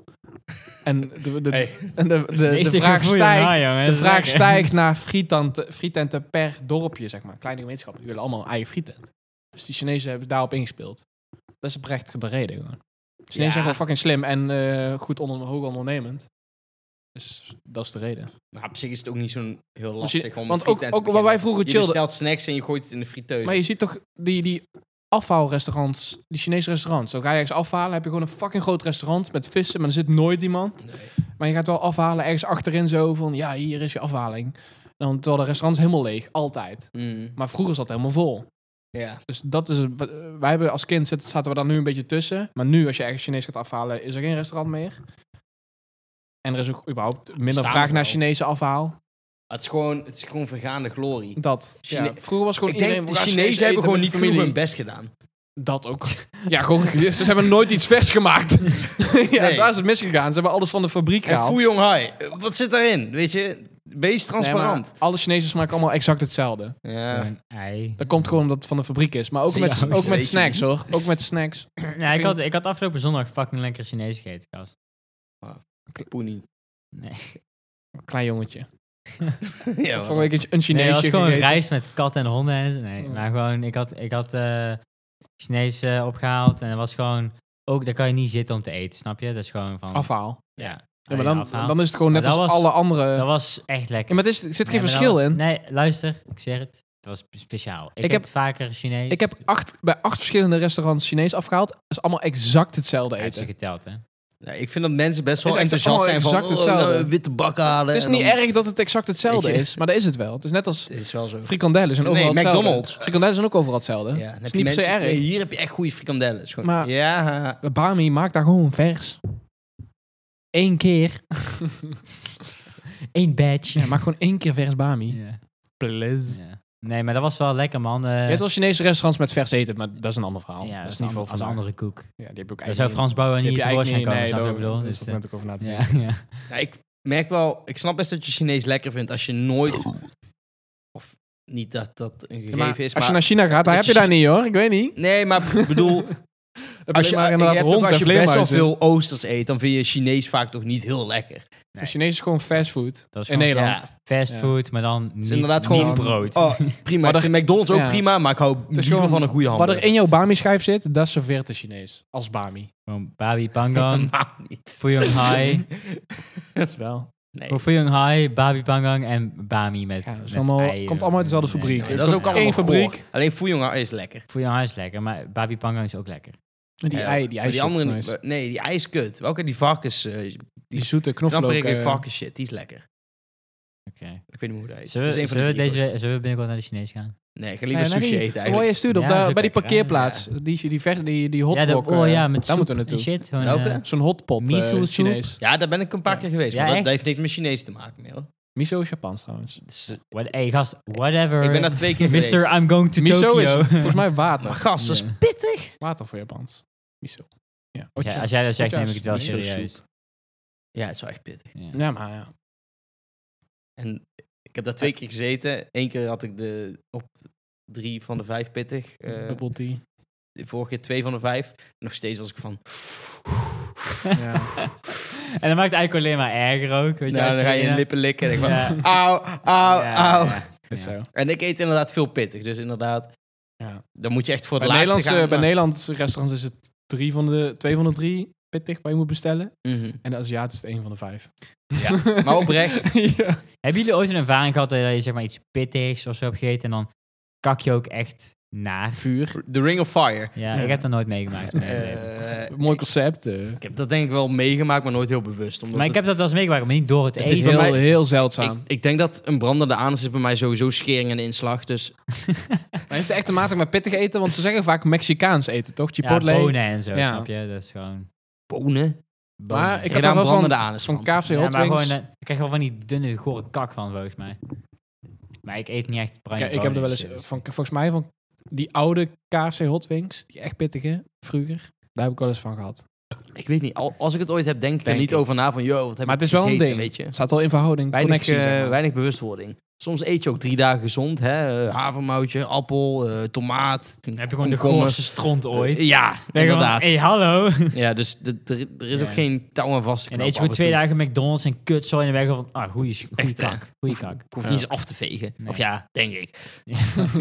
Speaker 2: En de, de, de,
Speaker 1: Hey.
Speaker 2: en de, de- de, vraag stijgt, de vraag stijgt naar frietante- frietenten per dorpje, zeg maar. Kleine gemeenschappen, die willen allemaal een eigen frietent. Dus die Chinezen hebben daarop ingespeeld. Dat is oprecht de reden gewoon. Chinezen zijn
Speaker 1: Ja.
Speaker 2: gewoon fucking slim en eh, goed onder, hoog ondernemend. Dus dat is de reden.
Speaker 1: Nou, op zich is het ook niet zo'n heel
Speaker 2: Misschien-
Speaker 1: lastig om
Speaker 2: want
Speaker 1: een
Speaker 2: ook-
Speaker 1: frietent te
Speaker 2: ook waar wij
Speaker 1: beginnen.
Speaker 2: vroeger
Speaker 1: Je
Speaker 2: chillden-
Speaker 1: bestelt snacks en je gooit het in de friteus.
Speaker 2: Maar je ziet toch die, die afvalrestaurants, die Chinese restaurants. Dan ga je ergens afhalen, heb je gewoon een fucking groot restaurant met vissen, maar er zit nooit iemand.
Speaker 1: Nee.
Speaker 2: Maar je gaat wel afhalen ergens achterin zo van, ja, hier is je afhaling. En dan, terwijl de restaurant is helemaal leeg, altijd.
Speaker 1: Mm.
Speaker 2: Maar vroeger zat het helemaal vol.
Speaker 1: Ja.
Speaker 2: Dus dat is, het- wat- eh, wij hebben als kind zitten- zaten we daar nu een beetje tussen. Maar nu, als je ergens Chinees gaat afhalen, is er geen restaurant meer. En er is ook überhaupt minder
Speaker 1: Staan
Speaker 2: vraag
Speaker 1: er
Speaker 2: naar
Speaker 1: wel.
Speaker 2: Chinese afhaal.
Speaker 1: Het is gewoon, het is gewoon vergaande glorie.
Speaker 2: Dat.
Speaker 1: Chine-
Speaker 2: ja. Vroeger was gewoon
Speaker 1: Ik
Speaker 2: iedereen...
Speaker 1: denk, de
Speaker 2: "We gaan
Speaker 1: Chinezen
Speaker 2: eten
Speaker 1: hebben gewoon
Speaker 2: met de
Speaker 1: niet genoeg
Speaker 2: familie."
Speaker 1: hun best gedaan.
Speaker 2: Dat ook. Ja, gewoon, ze hebben nooit iets vers gemaakt. *laughs*
Speaker 1: *laughs*
Speaker 2: ja,
Speaker 1: Nee.
Speaker 2: daar is het misgegaan. Ze hebben alles van de fabriek
Speaker 1: En
Speaker 2: gehaald.
Speaker 1: Fuyong Hai, eh, wat zit daarin? Weet je, wees
Speaker 2: Nee, maar
Speaker 1: transparant.
Speaker 2: alle Chinezen smaken allemaal exact hetzelfde.
Speaker 1: ja.
Speaker 3: Een ei.
Speaker 2: Dat komt gewoon omdat het van de fabriek is. Maar ook met,
Speaker 3: Ja,
Speaker 2: ook
Speaker 1: zeker.
Speaker 2: met snacks, hoor. Ook met snacks.
Speaker 3: Ja, ik had, ik had afgelopen zondag fucking lekker Chinees gegeten, gast.
Speaker 1: Poenie.
Speaker 2: *laughs*
Speaker 3: Nee,
Speaker 2: Klein jongetje.
Speaker 1: ja,
Speaker 2: Vorige week is een
Speaker 3: nee dat
Speaker 2: Chineesje
Speaker 3: was gewoon
Speaker 2: gegeten.
Speaker 3: rijst met katten en honden en zo. Nee,
Speaker 2: Oh.
Speaker 3: maar gewoon, ik had, ik had eh, Chinees eh, opgehaald. En dat was gewoon... Ook, daar kan je niet zitten om te eten, snap je? Dat is gewoon van...
Speaker 2: Afhaal.
Speaker 3: Ja.
Speaker 2: Ja, maar
Speaker 3: Ah, Ja,
Speaker 2: dan,
Speaker 3: afhaal.
Speaker 2: dan is het gewoon
Speaker 3: Maar
Speaker 2: net als
Speaker 3: dat was-
Speaker 2: alle andere.
Speaker 3: Dat was echt
Speaker 2: Ja,
Speaker 3: lekker.
Speaker 2: maar het is, er zit geen
Speaker 3: Nee, maar
Speaker 2: verschil
Speaker 3: dat was-
Speaker 2: in.
Speaker 3: Nee, luister. Ik zeg het. Het was speciaal. Ik,
Speaker 2: Ik
Speaker 3: heb
Speaker 2: heb-
Speaker 3: vaker Chinees.
Speaker 2: Ik heb acht, bij acht verschillende restaurants Chinees afgehaald. Dat is allemaal exact hetzelfde
Speaker 3: heb ze
Speaker 2: eten.
Speaker 3: geteld, hè?
Speaker 1: Nou, ik vind dat mensen best
Speaker 2: Is
Speaker 1: wel
Speaker 2: echt
Speaker 1: enthousiast zijn
Speaker 2: allemaal
Speaker 1: van
Speaker 2: exact
Speaker 1: oh, nou,
Speaker 2: hetzelfde.
Speaker 1: witte bak halen.
Speaker 2: Het is
Speaker 1: en
Speaker 2: niet
Speaker 1: dan-
Speaker 2: erg dat het exact hetzelfde
Speaker 1: Weet je-
Speaker 2: is, maar dat is het wel. Het is net als
Speaker 1: Het is wel zo.
Speaker 2: frikandellen zijn
Speaker 1: Nee,
Speaker 2: overal hetzelfde.
Speaker 1: McDonald's.
Speaker 2: Frikandellen zijn ook overal hetzelfde.
Speaker 1: Ja, dan
Speaker 2: is
Speaker 1: heb je
Speaker 2: niet per se
Speaker 1: mensen,
Speaker 2: erg.
Speaker 1: nee, hier heb je echt goede frikandellen. Is gewoon-
Speaker 2: Maar-
Speaker 1: ja,
Speaker 2: Bami, maak daar gewoon vers. Eén keer.
Speaker 3: Eén
Speaker 2: *laughs*
Speaker 3: badge.
Speaker 2: Ja, maak gewoon één keer vers Bami.
Speaker 3: *laughs* Ja. Ja. Nee, maar dat was wel lekker, man. Eh,
Speaker 2: Je hebt wel Chinese restaurants met vers eten, maar dat is een ander verhaal.
Speaker 3: ja,
Speaker 2: dat is
Speaker 3: een
Speaker 2: niet veel
Speaker 3: ander-
Speaker 2: van
Speaker 3: als een andere koek.
Speaker 2: Ja, die heb ik ook
Speaker 3: Daar
Speaker 2: eigenlijk
Speaker 3: zou
Speaker 2: niet-
Speaker 3: Frans Bouwer
Speaker 2: die
Speaker 3: niet
Speaker 2: heb je
Speaker 3: tevoorschijn
Speaker 2: eigenlijk
Speaker 3: komen,
Speaker 2: niet-
Speaker 3: snap je wat ik
Speaker 2: nee, daar-
Speaker 3: bedoel? Dus,
Speaker 2: daar zat ik net ook over na te
Speaker 3: eh,
Speaker 2: denken.
Speaker 3: ja, ja.
Speaker 1: Ja, ik merk wel, ik snap best dat je Chinees lekker vindt als je nooit. Of niet dat dat een gegeven
Speaker 2: Ja, maar
Speaker 1: is.
Speaker 2: Als
Speaker 1: Maar,
Speaker 2: je naar China gaat, dan heb
Speaker 1: Dat
Speaker 2: je
Speaker 1: je-
Speaker 2: daar niet hoor. Ik weet niet.
Speaker 1: Nee,
Speaker 2: *laughs*
Speaker 1: maar ik bedoel,
Speaker 2: Dan
Speaker 1: als je,
Speaker 2: maar
Speaker 1: je
Speaker 2: inderdaad
Speaker 1: hebt ook-
Speaker 2: rond
Speaker 1: als
Speaker 2: en
Speaker 1: je best wel
Speaker 2: vleermuizen.
Speaker 1: veel Oosters eet, dan vind je Chinees vaak toch niet heel lekker.
Speaker 2: Maar Chinees is gewoon fastfood.
Speaker 3: Dat is
Speaker 2: In
Speaker 3: gewoon
Speaker 2: Nederland.
Speaker 1: Ja.
Speaker 3: Fast
Speaker 2: Ja.
Speaker 3: food, maar dan niet,
Speaker 1: inderdaad
Speaker 3: niet
Speaker 1: gewoon-
Speaker 3: brood.
Speaker 1: Oh, prima.
Speaker 2: Maar
Speaker 1: ik vind McDonald's ook
Speaker 2: ja.
Speaker 1: prima, maar ik hou
Speaker 2: is
Speaker 1: liever
Speaker 2: gewoon-
Speaker 1: van een goede
Speaker 2: Wat
Speaker 1: hamburger.
Speaker 2: er in
Speaker 1: *laughs*
Speaker 2: jouw Bami-schijf zit, dat serveert de Chinees. Als Bami.
Speaker 3: Gewoon babi
Speaker 2: *laughs*
Speaker 3: pangang,
Speaker 1: Helemaal niet.
Speaker 3: fuyong hai.
Speaker 2: Dat is wel.
Speaker 1: Nee.
Speaker 3: Voor fuyong hai, babi pangang en bami met,
Speaker 2: Ja, dat is
Speaker 3: met
Speaker 2: allemaal-
Speaker 3: eieren.
Speaker 2: komt allemaal uit dezelfde fabriek.
Speaker 1: Nee,
Speaker 2: Het
Speaker 1: dat is ook allemaal
Speaker 2: één
Speaker 1: goor.
Speaker 2: fabriek.
Speaker 1: Alleen Fuyong is lekker.
Speaker 3: Fuyong hai is lekker, maar babi pangang is ook lekker.
Speaker 2: Die
Speaker 1: Ja,
Speaker 2: ei, die
Speaker 1: maar
Speaker 2: ei
Speaker 1: die andere, Nee, die ei is kut. Welke die varkens... eh,
Speaker 2: Die zoete knoflook.
Speaker 1: knapperig
Speaker 2: eh,
Speaker 1: varkens shit, die is lekker.
Speaker 3: Oké.
Speaker 1: Ik weet niet hoe dat heet.
Speaker 3: Zullen,
Speaker 1: Dat
Speaker 3: we,
Speaker 1: is een van
Speaker 3: zullen, we
Speaker 1: de drie,
Speaker 3: deze, zullen we binnenkort naar de Chinees gaan?
Speaker 1: Nee, ik ga liever
Speaker 2: eh, naar
Speaker 1: sushi
Speaker 2: die-
Speaker 1: eten
Speaker 2: Waar
Speaker 1: eigenlijk.
Speaker 2: je stuurde op
Speaker 3: Ja,
Speaker 2: daar-
Speaker 3: dat is
Speaker 2: bij die
Speaker 3: ook lekker, hè?
Speaker 2: parkeerplaats. Die, die, vers, die, die hotdog.
Speaker 3: ja, dat- oh
Speaker 2: eh,
Speaker 3: ja, met
Speaker 2: daar
Speaker 3: soep
Speaker 2: moeten we
Speaker 3: en
Speaker 2: naartoe.
Speaker 3: shit. Gewoon,
Speaker 1: Welke?
Speaker 3: eh,
Speaker 2: Zo'n hotpot eh,
Speaker 3: Miso-soep.
Speaker 2: Chinees.
Speaker 1: Ja, daar ben ik een paar
Speaker 2: Ja.
Speaker 1: keer geweest,
Speaker 3: Ja,
Speaker 1: maar dat,
Speaker 3: echt?
Speaker 1: dat heeft niks met Chinees te maken meer. hoor.
Speaker 2: Miso Japans trouwens.
Speaker 1: Dus, eh,
Speaker 3: what, hey gast, whatever.
Speaker 1: ik ben daar twee keer geweest.
Speaker 3: *laughs* Mister, I'm going to
Speaker 2: Miso
Speaker 3: Tokyo.
Speaker 2: is volgens
Speaker 3: *laughs*
Speaker 2: mij
Speaker 1: Maar
Speaker 2: water.
Speaker 1: gast, dat is
Speaker 3: Ja.
Speaker 1: pittig.
Speaker 2: Water voor Japans. Miso. Ja,
Speaker 3: *laughs* Ja,
Speaker 2: otja.
Speaker 3: als jij dat zegt,
Speaker 2: Otja
Speaker 3: neem ik
Speaker 2: is
Speaker 3: het wel
Speaker 2: miso
Speaker 3: serieus.
Speaker 2: soep.
Speaker 1: Ja, het is wel echt pittig.
Speaker 3: Ja.
Speaker 2: ja maar ja.
Speaker 1: En ik heb daar twee keer gezeten. Eén keer had ik de op drie van de vijf pittig. eh,
Speaker 2: Bubble tea.
Speaker 1: de vorige keer twee van de vijf. Nog steeds was ik van...
Speaker 2: Ja.
Speaker 3: *laughs* en dat maakt het eigenlijk alleen maar erger ook. Weet je,
Speaker 1: nou,
Speaker 3: als
Speaker 1: dan ga je je
Speaker 3: ja.
Speaker 1: lippen likken. En ik van,
Speaker 3: Ja.
Speaker 1: auw, auw,
Speaker 3: Ja,
Speaker 1: auw.
Speaker 3: ja.
Speaker 2: Is
Speaker 3: Ja.
Speaker 2: zo.
Speaker 1: En ik eet inderdaad veel pittig. Dus inderdaad,
Speaker 2: Ja.
Speaker 1: dan moet je echt voor de
Speaker 2: Bij
Speaker 1: laatste
Speaker 2: Nederlandse,
Speaker 1: gaan.
Speaker 2: bij
Speaker 1: maar-
Speaker 2: Nederlandse restaurants is het drie van de, twee van de drie pittig waar je moet bestellen.
Speaker 1: Mhm.
Speaker 2: En de Aziat is het één van de
Speaker 1: *laughs*
Speaker 2: vijf.
Speaker 1: Ja, Mhm. maar oprecht.
Speaker 2: ja.
Speaker 3: Hebben jullie ooit een ervaring gehad dat je zeg maar iets pittigs of zo hebt gegeten en dan kak je ook echt naar?
Speaker 2: Vuur.
Speaker 1: The Ring of Fire.
Speaker 3: Ja,
Speaker 2: Ja.
Speaker 3: ik heb dat nooit meegemaakt. in mijn leven.
Speaker 1: Eh,
Speaker 2: Mooi concept. eh.
Speaker 1: Ik heb dat denk ik wel meegemaakt, maar nooit heel bewust. Omdat
Speaker 3: maar ik
Speaker 1: het-
Speaker 3: heb dat wel eens meegemaakt, maar niet door het,
Speaker 1: Het is
Speaker 3: eten.
Speaker 1: bij
Speaker 2: heel,
Speaker 1: mij-
Speaker 2: heel zeldzaam.
Speaker 1: ik, ik denk dat een brandende anus is bij mij sowieso schering en inslag. Dus
Speaker 2: Maar heeft het echt te maken met pittig eten? Want ze zeggen vaak Mexicaans eten, toch?
Speaker 3: ja,
Speaker 2: Chipotle.
Speaker 3: bonen en zo,
Speaker 2: Ja.
Speaker 3: snap je? Dat is gewoon...
Speaker 1: bonen.
Speaker 3: bonen.
Speaker 2: maar ik
Speaker 1: heb
Speaker 2: had
Speaker 1: daar
Speaker 2: daar
Speaker 1: een
Speaker 2: wel van,
Speaker 1: brandende anus
Speaker 2: van
Speaker 1: van.
Speaker 2: KFC
Speaker 3: ja,
Speaker 2: Hot
Speaker 3: maar
Speaker 2: Wings.
Speaker 3: gewoon, eh, ik krijg wel van die dunne, gore kak van, volgens mij. Maar ik eet niet echt bruine dus-
Speaker 2: Kijk, ik heb er wel eens eh, van, volgens mij van die oude KFC Hot Wings, die echt pittige, vroeger. Daar heb ik wel eens van gehad.
Speaker 1: Ik weet niet, al- als ik het ooit heb, denk ik er
Speaker 2: Denk
Speaker 1: niet
Speaker 2: ik.
Speaker 1: over na van... Yo, wat heb
Speaker 2: Maar
Speaker 1: ik
Speaker 2: het is wel een
Speaker 1: gegeten,
Speaker 2: ding.
Speaker 1: Weet je?
Speaker 2: staat wel in verhouding,
Speaker 1: Weinig,
Speaker 2: connectie.
Speaker 1: eh,
Speaker 2: zeg maar.
Speaker 1: weinig bewustwording. Soms eet je ook drie dagen gezond. Hè? eh, havermoutje, appel, eh, tomaat.
Speaker 3: Dan heb je gewoon de
Speaker 1: komkommer.
Speaker 3: goorste stront ooit.
Speaker 1: Eh, ja,
Speaker 3: Denk je
Speaker 2: *laughs*
Speaker 3: van,
Speaker 1: inderdaad.
Speaker 3: hey, hallo.
Speaker 1: Ja, dus de- er er is
Speaker 3: Ja.
Speaker 1: ook geen touw aan vast te
Speaker 3: En
Speaker 1: knopen
Speaker 3: eet je
Speaker 1: af
Speaker 3: gewoon twee dagen McDonald's en kutzooi en weg van, ah, goeie, goeie
Speaker 1: Echt, hè?
Speaker 3: kak. Goeie
Speaker 1: toe. *laughs*
Speaker 3: kak. *laughs*
Speaker 1: Ik hoef
Speaker 2: Ja.
Speaker 1: niet eens af te vegen.
Speaker 3: Nee.
Speaker 1: Of ja, denk ik.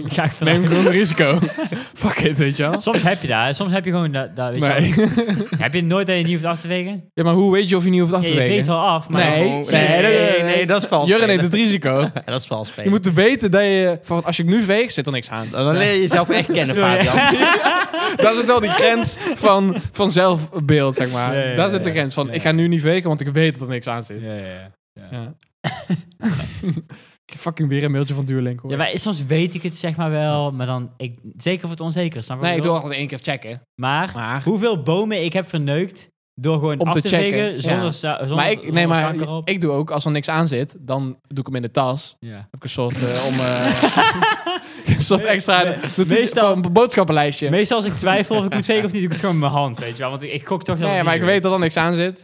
Speaker 3: Ga ik vanuit.
Speaker 2: Neem gewoon een risico.
Speaker 1: *laughs*
Speaker 2: Fuck it, weet je wel.
Speaker 3: Soms heb je daar, soms heb je gewoon dat. dat weet je
Speaker 2: Nee. *laughs*
Speaker 3: wel. heb je nooit dat je niet hoeft af te vegen?
Speaker 2: ja, maar hoe weet je of je niet hoeft af
Speaker 3: Ja,
Speaker 2: te
Speaker 3: je veegt
Speaker 2: wegen?
Speaker 3: wel af, maar.
Speaker 2: Nee,
Speaker 1: Oh,
Speaker 2: nee, nee, nee, nee.
Speaker 1: dat is vals.
Speaker 2: Jurre neemt
Speaker 1: spelen.
Speaker 2: het risico.
Speaker 1: *laughs* Dat is vals.
Speaker 2: Je
Speaker 1: spelen.
Speaker 2: moet weten dat je, van, als je nu veeg, zit er niks aan.
Speaker 1: Dan
Speaker 2: *laughs*
Speaker 1: dan leer je jezelf echt kennen,
Speaker 3: Sorry.
Speaker 1: Fabian.
Speaker 2: Daar zit wel die grens van, van zelfbeeld, zeg maar.
Speaker 3: Ja, ja, ja,
Speaker 2: Daar zit de
Speaker 3: ja.
Speaker 2: grens van,
Speaker 3: Ja.
Speaker 2: ik ga nu niet vegen, want ik weet dat er niks aan zit.
Speaker 3: Ja, ja, ja.
Speaker 2: Ja. *laughs* ik heb fucking weer een mailtje van Duurlink, hoor.
Speaker 3: Ja, maar soms weet ik het zeg maar wel, maar dan. Ik, zeker voor het onzeker, snap je? wat
Speaker 2: nee, ik doe
Speaker 3: bedoel?
Speaker 2: altijd één keer checken.
Speaker 3: Maar
Speaker 2: Maar,
Speaker 3: hoeveel bomen ik heb verneukt door gewoon
Speaker 2: Om
Speaker 3: af
Speaker 2: te
Speaker 3: te,
Speaker 2: checken, ja.
Speaker 3: vegen zonder, za- zonder,
Speaker 2: maar, ik, nee,
Speaker 3: zonder
Speaker 2: maar
Speaker 3: kanker op.
Speaker 2: ik doe ook, als er niks aan zit, dan doe ik hem in de tas.
Speaker 3: ja.
Speaker 2: Heb ik een soort eh, om... eh,
Speaker 3: *laughs*
Speaker 2: een soort extra...
Speaker 3: Nee,
Speaker 2: dat is
Speaker 3: meestal-
Speaker 2: van een boodschappenlijstje.
Speaker 3: Meestal als ik twijfel of ik moet vegen of niet, doe ik het gewoon met mijn hand, weet je wel? Want ik, ik gok toch dat
Speaker 2: nee,
Speaker 3: het
Speaker 2: maar ik
Speaker 3: niet
Speaker 2: weet dat er niks aan zit.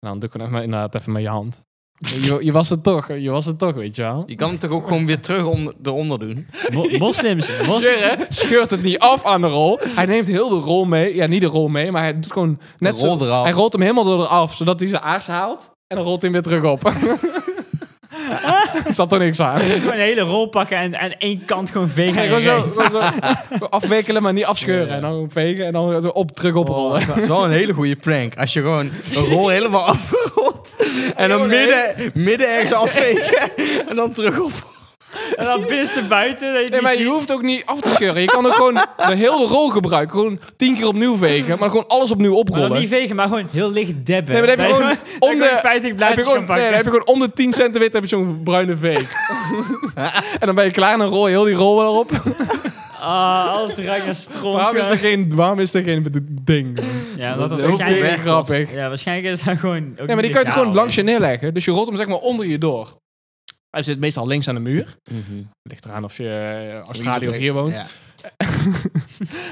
Speaker 2: Nou, dan doe ik hem even- inderdaad even met je hand. Je, je was het toch, je was het toch, weet je wel.
Speaker 1: Je kan hem toch ook gewoon weer terug onder, eronder doen?
Speaker 3: Mo-
Speaker 2: *laughs*
Speaker 3: moslims, mos-
Speaker 2: Jurre scheurt het niet af aan de rol. Hij neemt heel de rol mee. Ja, niet de rol mee, maar hij doet gewoon net
Speaker 1: De rol
Speaker 2: zo...
Speaker 1: eraf.
Speaker 2: Hij
Speaker 3: *laughs*
Speaker 2: rolt hem helemaal door eraf, zodat hij zijn aars haalt. En dan rolt hij hem weer terug op. Er zat er niks aan.
Speaker 3: Gewoon een hele rol pakken en aan één kant gewoon vegen.
Speaker 2: Nee, gewoon
Speaker 3: en
Speaker 2: zo,
Speaker 3: recht.
Speaker 2: gewoon zo gewoon afwikkelen, maar niet afscheuren.
Speaker 1: Ja.
Speaker 2: En dan gewoon vegen en dan zo op, terug
Speaker 3: Oh.
Speaker 1: *laughs*
Speaker 2: oprollen.
Speaker 1: Dat is wel een hele goede prank. Als je gewoon een rol helemaal *laughs* afrolt. En dan
Speaker 2: Jongen,
Speaker 1: midden, midden ergens
Speaker 2: *laughs*
Speaker 1: afvegen. En dan terug op.
Speaker 3: En dan binnenste buiten. Dat je
Speaker 2: Nee,
Speaker 3: niet
Speaker 2: maar je
Speaker 3: ziet.
Speaker 2: hoeft ook niet af te scheuren. Je kan ook gewoon de hele rol gebruiken. Gewoon tien keer opnieuw vegen, maar dan gewoon alles opnieuw
Speaker 3: Maar dan niet
Speaker 2: oprollen.
Speaker 3: vegen, maar gewoon heel licht debben.
Speaker 2: Nee, maar dan heb je gewoon
Speaker 3: *laughs*
Speaker 2: om de-
Speaker 3: feitelijk
Speaker 2: Dan Heb je,
Speaker 3: blaadjes
Speaker 2: gewoon,
Speaker 3: kan
Speaker 2: nee, dan heb
Speaker 3: pakken.
Speaker 2: je gewoon om de 10 centimeter heb je zo'n bruine
Speaker 3: *laughs*
Speaker 2: veeg. en dan ben je klaar en dan rol je heel die rol wel op.
Speaker 3: *laughs* Ah, alles ruikt naar stront.
Speaker 2: Waarom is, er
Speaker 3: gewoon.
Speaker 2: geen, waarom is er geen ding?
Speaker 3: Ja,
Speaker 1: Dat
Speaker 3: dat was
Speaker 1: is ook
Speaker 3: waarschijnlijk-
Speaker 1: weer
Speaker 2: grappig.
Speaker 3: Ja, waarschijnlijk is dat gewoon... ook
Speaker 2: Nee, maar die
Speaker 3: niet
Speaker 2: kan je toch gewoon
Speaker 3: legaal,
Speaker 2: langs je neerleggen. Dus je rolt hem zeg maar onder je door. Hij zit meestal links aan de muur. Ligt eraan of je eh, Australië of hier woont.
Speaker 1: Ja.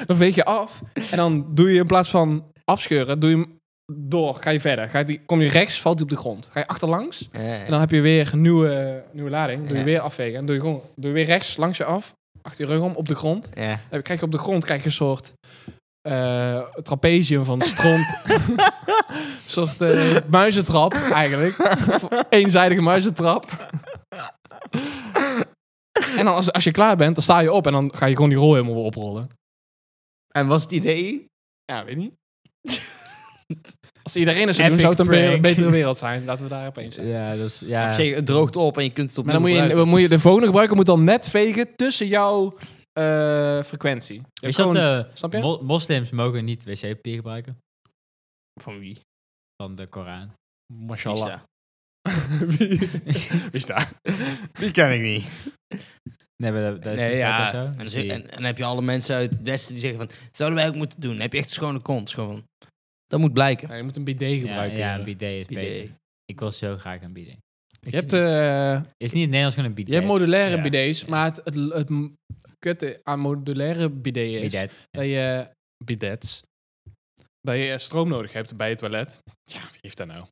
Speaker 2: Dan veeg je af. En dan doe je in plaats van afscheuren, doe je hem door. Ga je verder. Ga je, die- kom je rechts, valt hij op de grond. Ga je achterlangs. En dan heb je weer een nieuwe, nieuwe lading. Doe je
Speaker 1: Ja.
Speaker 2: weer afvegen. En doe je, gewoon, doe je weer rechts, langs je af. Achter je rug om, op de grond.
Speaker 1: Ja.
Speaker 2: Dan Eh, krijg je op de grond krijg je een soort eh, trapezium van stront. een soort eh, muizentrap eigenlijk. Of eenzijdige muizentrap. en dan als, als je klaar bent, dan sta je op en dan ga je gewoon die rol helemaal weer oprollen.
Speaker 1: En was het idee?
Speaker 2: Ja, weet niet. *laughs* Als iedereen het zou
Speaker 3: Epic
Speaker 2: doen, zou het een be-
Speaker 3: prank.
Speaker 2: betere wereld zijn. Laten we daarop eens zijn.
Speaker 3: Ja, dat is...
Speaker 1: Op
Speaker 3: Ja.
Speaker 1: zich, het droogt op en je kunt het
Speaker 2: Maar dan
Speaker 1: opnieuw
Speaker 2: moet je,
Speaker 1: gebruiken.
Speaker 2: moet je de volgende gebruiker moet dan net vegen tussen jouw eh, frequentie. Je hebt
Speaker 3: Is dat...
Speaker 2: gewoon-
Speaker 3: eh,
Speaker 2: snap je?
Speaker 3: mo- moslims mogen niet wc-papier gebruiken
Speaker 1: Van wie?
Speaker 3: van de Koran. eh,
Speaker 2: Mashallah.
Speaker 1: Wie is
Speaker 2: *laughs* Wie
Speaker 1: *laughs*
Speaker 2: is daar?
Speaker 1: dat? Die ken ik niet.
Speaker 3: Nee, maar dat, dat is
Speaker 1: Nee,
Speaker 3: niet
Speaker 1: ja.
Speaker 3: ook zo. Dus
Speaker 1: En, dan zie-
Speaker 3: Zie je.
Speaker 1: en, en dan heb je alle mensen uit het Westen die zeggen van... Zouden wij ook moeten doen? Dan heb je echt een schone kont. Gewoon. Dat moet blijken.
Speaker 2: je moet een BD
Speaker 3: ja,
Speaker 2: gebruiken.
Speaker 3: ja,
Speaker 2: joh.
Speaker 3: een bidet is
Speaker 1: Bidet.
Speaker 3: beter. Ik wil zo graag een bidet.
Speaker 1: Ik
Speaker 2: je hebt,
Speaker 1: niet.
Speaker 2: eh,
Speaker 3: Is niet in het Nederlands gewoon een bidet?
Speaker 2: je hebt modulaire
Speaker 3: Ja.
Speaker 2: bidets, maar het, het, het m- kutte aan modulaire bidet is
Speaker 3: Bidet.
Speaker 2: dat je bidets dat je stroom nodig hebt bij het toilet. Ja, wie heeft dat nou?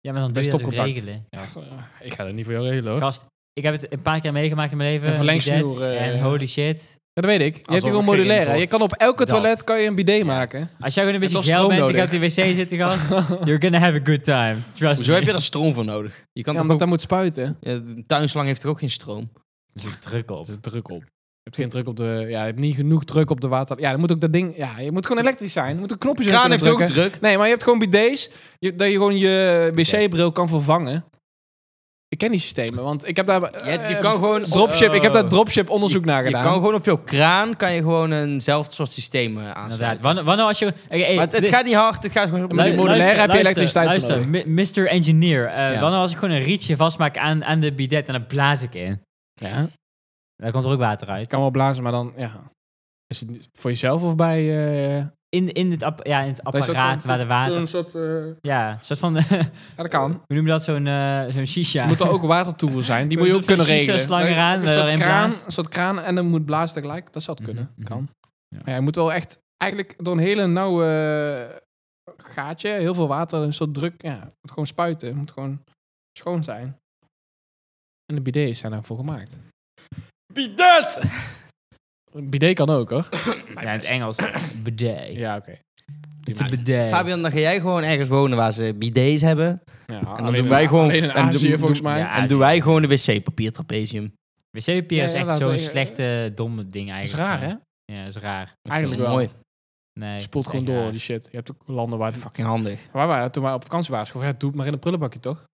Speaker 3: Ja, maar dan
Speaker 2: Dat
Speaker 3: doe
Speaker 2: is
Speaker 3: je dat ook
Speaker 2: stopcontact.
Speaker 3: regelen.
Speaker 2: Ja, ik ga dat niet voor jou regelen hoor.
Speaker 3: Gast, ik heb het een paar keer meegemaakt in mijn leven.
Speaker 2: Een verlengsnoer,
Speaker 3: bidet,
Speaker 2: eh,
Speaker 3: en holy shit.
Speaker 2: Ja, dat weet ik. Je hebt
Speaker 1: Alsof
Speaker 2: gewoon
Speaker 1: er geïnt
Speaker 2: modulaire.
Speaker 1: wordt.
Speaker 2: Je kan op elke
Speaker 3: Dat.
Speaker 2: toilet kan je een bidet *laughs* maken.
Speaker 3: Als jij gewoon een beetje
Speaker 2: was
Speaker 3: geil
Speaker 2: stroom
Speaker 3: bent en gaat die
Speaker 2: nodig.
Speaker 3: wc zitten, gast. *laughs* You're gonna have a good time. Trust
Speaker 1: Hoezo
Speaker 3: me.
Speaker 1: heb je daar stroom voor nodig? Je kan
Speaker 2: Ja,
Speaker 1: toch
Speaker 2: omdat
Speaker 1: ook-
Speaker 2: dat moet spuiten.
Speaker 1: Ja, de tuinslang heeft toch ook geen stroom?
Speaker 3: Er zit druk op.
Speaker 2: Er zit druk op. Je hebt geen druk op de... Ja, je hebt niet genoeg druk op de water... Ja, dan moet ook dat ding... Ja, je moet gewoon elektrisch zijn. Je moet een knopje
Speaker 1: De
Speaker 2: zo
Speaker 1: kraan
Speaker 2: kunnen
Speaker 1: heeft ook
Speaker 2: drukken.
Speaker 1: druk.
Speaker 2: Nee, maar je hebt gewoon bidets je, dat je gewoon je wc-bril kan vervangen. Ik ken die systemen, want ik heb daar...
Speaker 1: Je, je
Speaker 2: eh,
Speaker 1: kan gewoon... op-
Speaker 2: Dropship, ik heb daar dropship onderzoek naar
Speaker 1: je
Speaker 2: gedaan.
Speaker 1: kan gewoon op jouw kraan kan je gewoon eenzelfde soort systeem eh,
Speaker 3: Inderdaad.
Speaker 1: aansluiten.
Speaker 3: Wanneer, wanneer als je... Oké, hey,
Speaker 1: Maar het, het
Speaker 3: dit-
Speaker 1: gaat niet hard, het gaat gewoon...
Speaker 2: Maar die
Speaker 3: lu-
Speaker 2: modulaire
Speaker 3: luister,
Speaker 2: heb je
Speaker 3: luister,
Speaker 2: elektriciteit voor
Speaker 3: Luister, Mi- Mr. Engineer. eh,
Speaker 2: Ja.
Speaker 3: Wanneer als ik gewoon een rietje vastmaak aan, aan de bidet en dan blaas ik in.
Speaker 2: Ja, ik
Speaker 3: Daar komt er ook water uit.
Speaker 2: kan wel blazen, maar dan... Ja. Is het niet voor jezelf of bij... eh,
Speaker 3: In, in, het, app- ja, in het
Speaker 2: bij zo'n-
Speaker 3: apparaat waar de water...
Speaker 2: zo'n soort, eh,
Speaker 3: Ja, een soort van... *laughs* hoe
Speaker 2: ja, dat kan.
Speaker 3: noem je dat? Zo'n eh, zo'n shisha.
Speaker 2: Er moet
Speaker 3: *laughs*
Speaker 2: er ook water voor zijn. Die moet je
Speaker 3: Zo'n
Speaker 2: ook kunnen
Speaker 3: vieze
Speaker 2: regelen.
Speaker 3: slang eraan,
Speaker 2: een, soort
Speaker 3: erin
Speaker 2: kraan,
Speaker 3: blaast.
Speaker 2: een soort kraan en dan moet blazen tegelijk. Dat zou het
Speaker 3: Mhm,
Speaker 2: kunnen.
Speaker 3: mhm.
Speaker 2: Kan.
Speaker 3: Ja.
Speaker 2: Maar ja, je moet wel echt eigenlijk door een hele nauwe eh, gaatje, heel veel water, een soort druk. Ja, het moet gewoon spuiten. Het moet gewoon schoon zijn. En de bidets zijn daarvoor gemaakt.
Speaker 1: Bidet!
Speaker 2: Een bidet kan ook hoor.
Speaker 3: Ja, in het Engels. Bidet.
Speaker 2: Ja, oké.
Speaker 3: It's a bidet.
Speaker 1: Fabian, dan ga jij gewoon ergens wonen waar ze bidets hebben.
Speaker 2: Ja,
Speaker 1: En dan
Speaker 2: alleen
Speaker 1: doen
Speaker 2: in-
Speaker 1: wij gewoon...
Speaker 2: alleen in
Speaker 1: en
Speaker 2: Azië,
Speaker 1: doen-
Speaker 2: volgens
Speaker 1: doen-
Speaker 2: mij.
Speaker 3: Ja,
Speaker 1: En
Speaker 3: Azië.
Speaker 1: doen wij gewoon een wc-papier trapezium.
Speaker 3: Wc-papier is
Speaker 2: Ja, ja,
Speaker 3: echt
Speaker 2: laten
Speaker 3: zo'n
Speaker 2: we-
Speaker 3: slechte, domme ding
Speaker 2: Dat is
Speaker 3: eigenlijk.
Speaker 2: raar hè?
Speaker 3: Ja, is raar.
Speaker 2: Eigenlijk wel.
Speaker 1: Mooi.
Speaker 3: Nee,
Speaker 2: Je spoelt
Speaker 3: is
Speaker 2: gewoon
Speaker 3: echt
Speaker 2: door
Speaker 3: raar.
Speaker 2: die shit. Je hebt ook landen waar
Speaker 1: Fucking handig.
Speaker 2: Waar waren toen wij op vakantie waren? Gewoon, ja, doe het maar in een prullenbakje toch?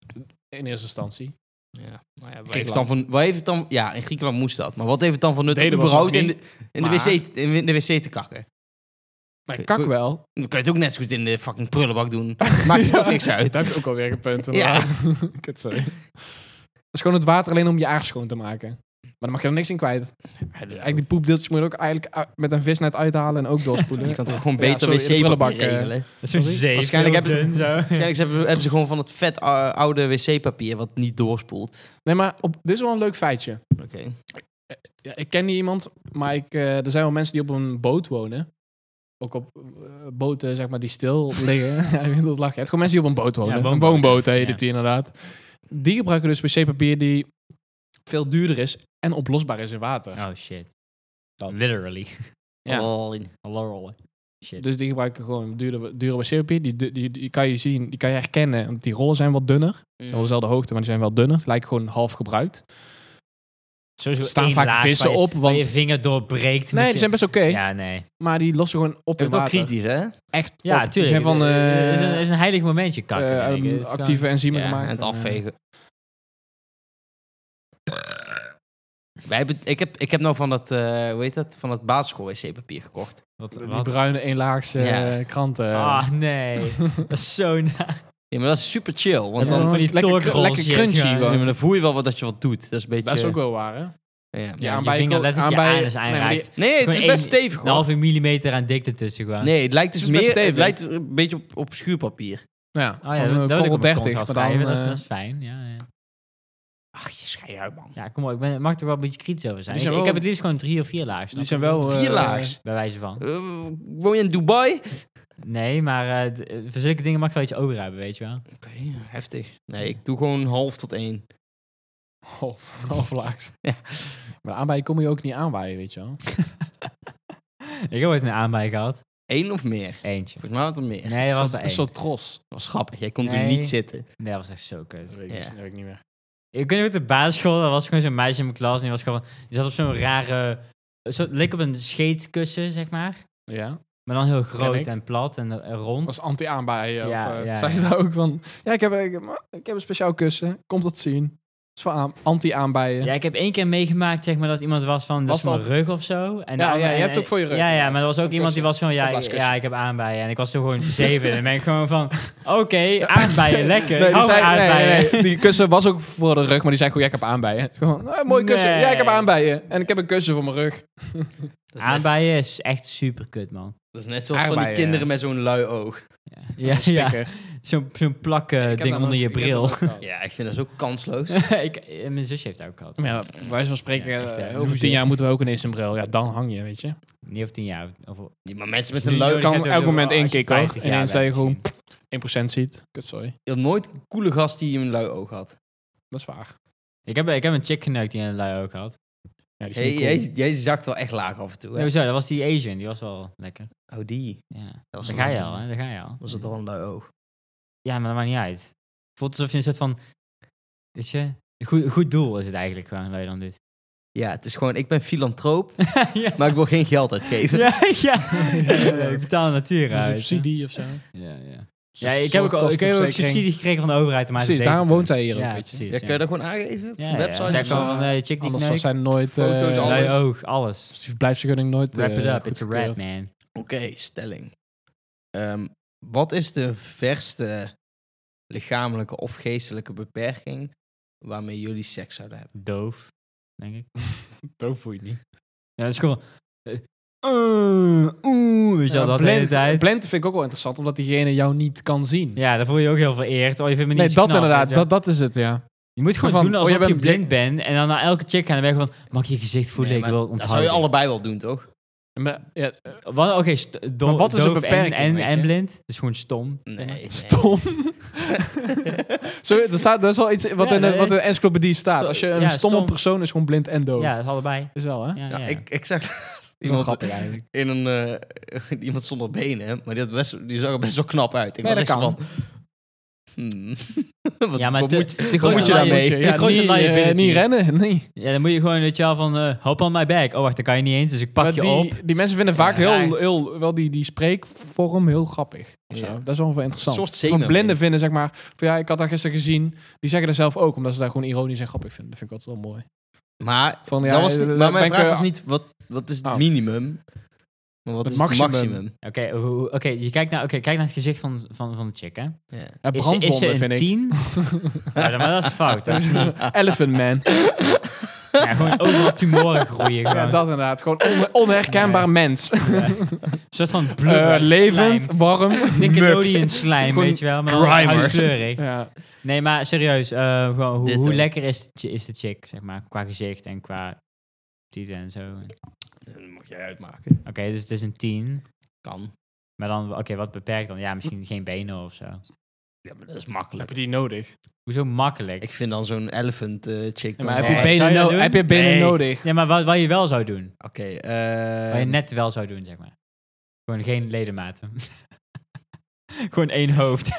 Speaker 2: In eerste instantie.
Speaker 1: Ja, maar ja, wat heeft het dan
Speaker 2: Griekenland.
Speaker 1: van, wat heeft het dan, ja, in Griekenland moest dat. Maar wat heeft het dan van nut om
Speaker 2: Deden was
Speaker 1: überhaupt
Speaker 2: nog
Speaker 1: in
Speaker 2: niet,
Speaker 1: de, in, de
Speaker 2: maar-
Speaker 1: wc, in, de wc te kakken?
Speaker 2: Maar
Speaker 1: Oké,
Speaker 2: kak
Speaker 1: goed.
Speaker 2: *laughs* wel.
Speaker 1: Dan kan je het ook net zo goed in de fucking prullenbak
Speaker 2: *laughs*
Speaker 1: doen. Maakt het toch niks uit.
Speaker 2: Dat heb ik ook alweer gepunt.
Speaker 1: Ja.
Speaker 2: Ja. *laughs* Kut, sorry. Dat is gewoon het water alleen om je aars schoon te maken. Maar dan mag je er niks in kwijt. Eigenlijk die poepdeeltjes moet je er ook eigenlijk uit- met een visnet uithalen en *laughs* ook doorspoelen.
Speaker 1: Je kan toch gewoon
Speaker 2: Ja,
Speaker 1: beter
Speaker 2: sorry, in de
Speaker 1: wc-papier
Speaker 2: prullenbak, eh.
Speaker 1: regelen?
Speaker 3: Dat is zo'n
Speaker 2: Sorry?
Speaker 3: zeep.
Speaker 1: Waarschijnlijk
Speaker 3: heel
Speaker 1: hebben-
Speaker 3: dun
Speaker 2: *laughs*
Speaker 3: zo. *laughs*
Speaker 1: Waarschijnlijk hebben, hebben ze gewoon van het vet eh, oude wc-papier wat niet doorspoelt.
Speaker 2: Nee, maar op, dit is wel een leuk feitje.
Speaker 1: Oké.
Speaker 2: Ja, ik ken niet iemand, maar ik, eh, er zijn wel mensen die op een boot wonen. Ook op eh, boten, zeg maar, die stil *laughs* liggen. Ja, ik wil dat lachen. Je hebt gewoon mensen die op een boot wonen.
Speaker 3: woonboot.
Speaker 2: een woonboot heet
Speaker 3: Ja.
Speaker 2: het hier inderdaad. Die gebruiken dus wc-papier die veel duurder is en oplosbaar is in water.
Speaker 3: Oh shit.
Speaker 2: Dat.
Speaker 3: Literally.
Speaker 2: *laughs* Ja.
Speaker 1: Al in.
Speaker 3: Hallo rollen. Shit.
Speaker 2: Dus die gebruiken gewoon dure, dure wc-papier. Die, die, die, die kan je zien, die kan je herkennen. Want die rollen zijn wat dunner. Ze
Speaker 1: Mm.
Speaker 2: zijn wel dezelfde hoogte, maar die zijn wel dunner. Het lijkt gewoon half gebruikt.
Speaker 3: Sowieso
Speaker 2: Er staan
Speaker 3: één
Speaker 2: vaak
Speaker 3: laag
Speaker 2: vissen
Speaker 3: waar je,
Speaker 2: op,
Speaker 3: Waar
Speaker 2: want...
Speaker 3: je vinger doorbreekt. met
Speaker 2: nee,
Speaker 3: je-
Speaker 2: die zijn best oké.
Speaker 3: Ja, nee.
Speaker 2: Maar die lossen gewoon op
Speaker 1: Je bent
Speaker 2: in
Speaker 1: wel
Speaker 2: water.
Speaker 1: kritisch, hè?
Speaker 2: Echt
Speaker 3: Ja,
Speaker 2: op. Die zijn
Speaker 3: tuurlijk.
Speaker 2: van
Speaker 3: Het
Speaker 2: eh,
Speaker 3: is, een, is een heilig momentje, kakken.
Speaker 2: eh,
Speaker 3: denk ik. Het is gewoon-
Speaker 2: actieve enzymen
Speaker 1: Ja,
Speaker 2: gemaakt.
Speaker 1: en het
Speaker 2: eh,
Speaker 1: afvegen. Wij hebben, ik, heb, ik heb nou van dat, eh hoe heet dat, van dat basisschool wc-papier gekocht.
Speaker 3: Wat,
Speaker 2: die
Speaker 3: wat?
Speaker 2: bruine eenlaagse
Speaker 1: Ja.
Speaker 2: eh, kranten.
Speaker 3: Ah, nee.
Speaker 2: *laughs*
Speaker 3: dat is zo na.
Speaker 1: Ja, maar dat is super chill. Want
Speaker 3: Ja,
Speaker 1: dan,
Speaker 3: van die
Speaker 2: lekker,
Speaker 3: torkrol
Speaker 2: lekker
Speaker 3: shit,
Speaker 2: crunchy
Speaker 3: ja.
Speaker 2: gewoon.
Speaker 1: ja, maar dan voel je wel wat dat je wat doet. Dat is een beetje...
Speaker 2: Dat is ook wel waar, hè?
Speaker 1: ja.
Speaker 3: Ja, je
Speaker 2: bij-
Speaker 3: vinger letterlijk je
Speaker 2: aan bij-
Speaker 3: anus
Speaker 2: nee, maar die-
Speaker 3: aanraakt.
Speaker 1: Nee, het is
Speaker 3: Gewoon
Speaker 1: best
Speaker 3: één-
Speaker 1: stevig
Speaker 3: Een
Speaker 1: hoor.
Speaker 3: halve millimeter aan dikte tussen gewoon.
Speaker 1: Nee, het lijkt dus
Speaker 2: Het is best
Speaker 1: meer, het
Speaker 2: stevig.
Speaker 1: lijkt een beetje op, op schuurpapier.
Speaker 2: Ja,
Speaker 3: Oh ja,
Speaker 2: gewoon, eh,
Speaker 3: dat, dat wil ik
Speaker 2: korrel
Speaker 3: op mijn
Speaker 2: 30.
Speaker 3: kont wel
Speaker 2: maar
Speaker 3: schrijven,
Speaker 2: dan,
Speaker 3: dat, is,
Speaker 2: eh,
Speaker 3: dat is fijn, ja. ja.
Speaker 1: Ach, je schei uit man.
Speaker 3: Ja, kom op, ik, ben, ik mag er wel een beetje kritisch over zijn.
Speaker 2: Die zijn
Speaker 3: ik, ik
Speaker 2: wel-
Speaker 3: heb het liefst gewoon drie of vier laag. snap
Speaker 2: die zijn
Speaker 3: je?
Speaker 2: wel... eh,
Speaker 1: Vier laags.
Speaker 3: Bij wijze van.
Speaker 1: Eh, woon je in Dubai?
Speaker 3: Nee, maar eh, d- eh, voor zulke dingen mag je wel iets over hebben, weet je wel.
Speaker 1: Oké, heftig. Nee, ik doe gewoon half tot één.
Speaker 2: eh, *laughs* Half, half laags.
Speaker 1: Ja.
Speaker 2: Maar aanbijen kom je ook niet aanwaaien, weet je wel.
Speaker 3: Ik heb ooit een aanbij gehad.
Speaker 1: Eén of meer?
Speaker 3: Eentje.
Speaker 1: Volgens mij was het meer.
Speaker 3: Nee, dat was
Speaker 2: Zo'n-
Speaker 3: er één.
Speaker 2: Een soort tros.
Speaker 1: Dat was grappig. Jij kon toen
Speaker 3: Nee.
Speaker 1: niet zitten.
Speaker 3: Nee, dat was echt zo kut.
Speaker 2: weet
Speaker 1: ik dus-
Speaker 2: ik niet meer.
Speaker 3: Ik weet nog op de basisschool, er was gewoon zo'n meisje in mijn klas. En die, was gewoon, die zat op zo'n rare... Zo, leek op een scheetkussen, zeg maar.
Speaker 2: Ja?
Speaker 3: Maar dan heel groot
Speaker 2: ik.
Speaker 3: en plat en eh, rond.
Speaker 2: Als anti-aanbijen.
Speaker 3: Ja,
Speaker 2: of, eh,
Speaker 3: ja,
Speaker 2: zei
Speaker 3: ja.
Speaker 2: je daar ook van... Ja, ik heb, ik, heb- ik heb een speciaal kussen. Komt dat zien. Het is voor aan- anti-aanbijen.
Speaker 3: Ja, ik heb één keer meegemaakt, zeg maar, dat iemand was van, dat
Speaker 2: Was
Speaker 3: is mijn
Speaker 2: dat-
Speaker 3: rug of zo. En de
Speaker 2: Ja,
Speaker 3: andere-
Speaker 2: ja, je
Speaker 3: en-
Speaker 2: hebt ook voor je rug,
Speaker 3: Ja, ja,
Speaker 2: inderdaad.
Speaker 3: maar er was ook
Speaker 2: Zo'n
Speaker 3: iemand die was van, ja, ik,
Speaker 2: Opblaaskussen.
Speaker 3: ja, ik heb aanbijen. En ik was er gewoon zeven. en dan ben ik gewoon van, *laughs* oké, aanbijen, lekker.
Speaker 2: Nee, die,
Speaker 3: ik hou van
Speaker 2: zei, nee,
Speaker 3: aanbijen.
Speaker 2: nee, nee. die kussen was ook voor de rug, maar die zei gewoon, ja, ik heb aanbijen. Gewoon, nou, mooi kussen.
Speaker 3: Nee.
Speaker 2: Ja, ik heb aanbijen. En ik heb een kussen voor mijn rug.
Speaker 1: Dat is, net,
Speaker 3: *laughs* Aanbijen is echt super kut, man.
Speaker 1: dat is net zoals van die
Speaker 2: Aardbeien,
Speaker 1: kinderen
Speaker 3: eh,
Speaker 2: ja.
Speaker 1: met zo'n lui oog.
Speaker 3: Ja, ja,
Speaker 2: Sticker.
Speaker 3: zo'n zo'n plakken
Speaker 2: Ik heb
Speaker 3: ding
Speaker 2: dat
Speaker 3: onder
Speaker 2: nooit-
Speaker 3: je
Speaker 2: ik heb
Speaker 3: bril.
Speaker 2: dat nooit gehad.
Speaker 1: Ja, ik vind dat zo kansloos.
Speaker 3: *laughs* ik, eh, mijn zusje heeft dat ook gehad.
Speaker 2: Maar Ja, bij wijze van spreken,
Speaker 3: Ja, echt,
Speaker 2: eh,
Speaker 3: ja.
Speaker 2: over tien jaar moeten we ook ineens een bril. Ja, dan hang je, weet je.
Speaker 3: Niet of tien jaar. Of, of,
Speaker 1: Ja, maar mensen met
Speaker 3: Nu
Speaker 1: een lui
Speaker 3: nodig
Speaker 1: oog...
Speaker 2: kan
Speaker 3: heb je
Speaker 2: elk
Speaker 3: ook
Speaker 2: moment
Speaker 3: wel als je
Speaker 2: inkikken, hoor.
Speaker 3: 50 jaar
Speaker 2: Ineens
Speaker 3: bent
Speaker 2: zei je gewoon,
Speaker 3: misschien.
Speaker 2: 1% ziet. Kut, sorry.
Speaker 1: Je had nooit een coole gast die een lui oog had.
Speaker 2: Dat is waar.
Speaker 3: Ik heb, ik heb een chick geneukt die een lui ook had.
Speaker 2: Ja, die is
Speaker 1: Jij,
Speaker 2: niet cool.
Speaker 1: jij, jij zakt wel echt laag af en toe.
Speaker 3: Nee,
Speaker 1: Hè?
Speaker 3: hoezo? dat was die Asian, die was wel lekker.
Speaker 1: Oh, die.
Speaker 3: Ja.
Speaker 1: Dat was
Speaker 3: Daar
Speaker 1: een-
Speaker 3: ga je al, hè? Daar ga je al.
Speaker 1: Was het al een lui oog?
Speaker 3: Ja, maar dat maakt niet uit. Voelt alsof je een soort van. Weet je? Een goed, goed doel is het eigenlijk gewoon wat je dan doet.
Speaker 1: Ja, het is gewoon, ik ben filantroop,
Speaker 3: *laughs* ja.
Speaker 1: maar ik wil geen geld uitgeven.
Speaker 3: Ja, *laughs* ja.
Speaker 2: ja, ja.
Speaker 3: Ik betaal de natuur
Speaker 2: Een
Speaker 3: uit.
Speaker 2: subsidie of zo.
Speaker 3: Ja, ja. ja, ik heb ook, al- ik heb ook
Speaker 2: Zorgkostenverzekering.
Speaker 3: subsidie gekregen van de overheid. Maar
Speaker 2: Precies, daarom woont zij hier ook,
Speaker 3: ja,
Speaker 2: weet je.
Speaker 3: Precies,
Speaker 1: Ja, kun je dat gewoon aangeven op zo'n website?
Speaker 3: Zeg
Speaker 1: of zo?
Speaker 3: gewoon van, eh, check die
Speaker 2: Anders
Speaker 3: kneuk.
Speaker 2: was zij nooit... eh, oh.
Speaker 1: Foto's,
Speaker 2: Foto's,
Speaker 1: alles.
Speaker 3: Lui oog, alles.
Speaker 2: Blijfsvergunning nooit
Speaker 3: Wrap
Speaker 2: eh,
Speaker 3: it up, it's a
Speaker 2: goedgekeurd.
Speaker 3: wrap, man.
Speaker 1: Oké, stelling. Ehm, wat is de verste lichamelijke of geestelijke beperking waarmee jullie seks zouden hebben?
Speaker 3: Doof, denk ik.
Speaker 2: *laughs* Doof voel je niet.
Speaker 3: Ja, dat is gewoon... eh, eh, Oeh, weet je wel,
Speaker 2: Ja,
Speaker 3: dat de hele tijd.
Speaker 2: Blend vind ik ook wel interessant, omdat diegene jou niet kan zien.
Speaker 3: Ja, daar voel je je ook heel vereerd. Oh, je vindt me niet
Speaker 2: nee,
Speaker 3: zo
Speaker 2: dat
Speaker 3: knap, weet
Speaker 2: inderdaad.
Speaker 3: je wel.
Speaker 2: Dat, dat is het, ja.
Speaker 3: Je moet gewoon
Speaker 2: Van,
Speaker 3: doen
Speaker 2: oh,
Speaker 3: alsof
Speaker 2: je
Speaker 3: je
Speaker 2: bent
Speaker 3: blind
Speaker 2: blik-
Speaker 3: bent. En dan naar elke chick gaan en weg van... Mag ik je gezicht voelen?
Speaker 1: Nee,
Speaker 3: ik
Speaker 1: maar
Speaker 3: wil het
Speaker 1: Dat zou je
Speaker 3: onthouden.
Speaker 1: allebei wel doen, toch?
Speaker 2: Maar, ja eh,
Speaker 3: Wat, oké, st- do-
Speaker 2: Maar wat is een
Speaker 3: doof
Speaker 2: beperking,
Speaker 3: en, en,
Speaker 2: weet
Speaker 3: en
Speaker 2: je?
Speaker 3: blind. Het is gewoon stom.
Speaker 1: Nee.
Speaker 3: *laughs*
Speaker 2: stom. Sorry, er staat, dat is wel iets wat
Speaker 3: Ja,
Speaker 2: in de
Speaker 3: dat
Speaker 2: wat in
Speaker 3: is-
Speaker 2: de encyclopedie staat.
Speaker 3: Sto-
Speaker 2: Als je een
Speaker 3: ja,
Speaker 2: stomme
Speaker 3: stom.
Speaker 2: persoon is, gewoon blind en doof.
Speaker 3: Ja, dat is allebei.
Speaker 2: Is wel, hè?
Speaker 3: Ja,
Speaker 1: Ja,
Speaker 3: ja.
Speaker 1: Ik, ik zag *laughs*
Speaker 2: Wel
Speaker 1: iemand,
Speaker 2: grappig eigenlijk.
Speaker 1: in een, eh, *laughs* iemand zonder benen, maar die, had best, die zag er best wel knap uit. Ik
Speaker 2: Nee,
Speaker 1: was echt
Speaker 2: dat
Speaker 1: zo van... hmm, *laughs* wat,
Speaker 3: ja, maar
Speaker 1: wat
Speaker 3: te,
Speaker 1: moet je-
Speaker 3: te
Speaker 1: wat
Speaker 3: grote
Speaker 1: moet je
Speaker 3: laai-
Speaker 1: daarmee?
Speaker 3: te
Speaker 2: Ja,
Speaker 3: grote
Speaker 2: niet,
Speaker 3: laai
Speaker 2: eh,
Speaker 3: ability.
Speaker 2: niet rennen, *laughs* nee.
Speaker 3: Ja, dan moet je gewoon, weet je wel, van... eh, hop on my back. Oh, wacht, dat kan je niet eens. Dus ik pak
Speaker 2: Maar
Speaker 3: je
Speaker 2: die,
Speaker 3: op.
Speaker 2: die mensen vinden vaak
Speaker 3: Ja.
Speaker 2: heel, heel, wel die, die spreekvorm heel grappig. of zo.
Speaker 1: Ja.
Speaker 2: Dat is wel wel interessant.
Speaker 1: Een soort
Speaker 2: van
Speaker 1: zenuw.
Speaker 2: blinden vinden, zeg maar. Van, ja, ik had dat gisteren gezien. Die zeggen dat zelf ook, omdat ze daar gewoon ironisch en grappig vinden. Dat vind ik altijd wel mooi.
Speaker 1: Maar,
Speaker 2: Van, ja,
Speaker 1: dat was niet, maar
Speaker 2: eh,
Speaker 1: mijn
Speaker 2: ben ik,
Speaker 1: vraag
Speaker 2: eh,
Speaker 1: was niet, wat, wat is het
Speaker 2: Oh.
Speaker 1: minimum? Maar wat
Speaker 2: Het
Speaker 1: is het maximum?
Speaker 2: maximum.
Speaker 3: Oké, hoe- oké, je kijkt naar, oké, kijk naar het gezicht van, van, van de chick, hè.
Speaker 1: Ja.
Speaker 2: Ja,
Speaker 3: Is ze, is ze
Speaker 2: brandwonden
Speaker 3: een
Speaker 2: vind ik. *laughs*
Speaker 3: 10? ja, dan- maar dat is fout. Dat is niet...
Speaker 2: Elephant Man. *laughs*
Speaker 3: Ja, gewoon overal tumoren groeien.
Speaker 2: ja,
Speaker 3: Gewoon.
Speaker 2: dat inderdaad. Gewoon on- onherkenbaar mens.
Speaker 3: Ja. Een soort van
Speaker 2: Eh,
Speaker 3: blubber,
Speaker 2: levend, warm.
Speaker 3: slijm. Nickelodeon slijm,
Speaker 2: Gewoon
Speaker 3: weet je wel. Maar dan
Speaker 2: grimer.
Speaker 3: huiskleurig.
Speaker 2: Ja.
Speaker 3: Nee, maar serieus. eh, gewoon, hoe,
Speaker 1: Dit,
Speaker 3: hoe
Speaker 1: hè.
Speaker 3: lekker is, de chi- is de chick, zeg maar. Qua gezicht en qua tieten en zo. Oké,
Speaker 1: Dat mag jij uitmaken.
Speaker 3: dus het is een 10.
Speaker 1: Kan.
Speaker 3: Maar dan, oké, wat beperkt dan? Ja, misschien geen benen of zo.
Speaker 1: Ja, maar dat is makkelijk.
Speaker 2: Heb je die nodig?
Speaker 3: Hoezo makkelijk?
Speaker 1: Ik vind dan zo'n elephant eh, chick.
Speaker 2: Ja,
Speaker 1: dan
Speaker 2: maar heb
Speaker 1: wel-
Speaker 2: je
Speaker 3: Nee.
Speaker 2: benen,
Speaker 3: Zou je dat
Speaker 2: no-
Speaker 3: doen?
Speaker 2: heb je benen
Speaker 3: Nee.
Speaker 2: nodig?
Speaker 3: Ja, maar wat, wat je wel zou doen.
Speaker 1: Oké, eh,
Speaker 3: Wat je net wel zou doen, zeg maar. Gewoon geen ledematen. *laughs* Gewoon één hoofd. *laughs*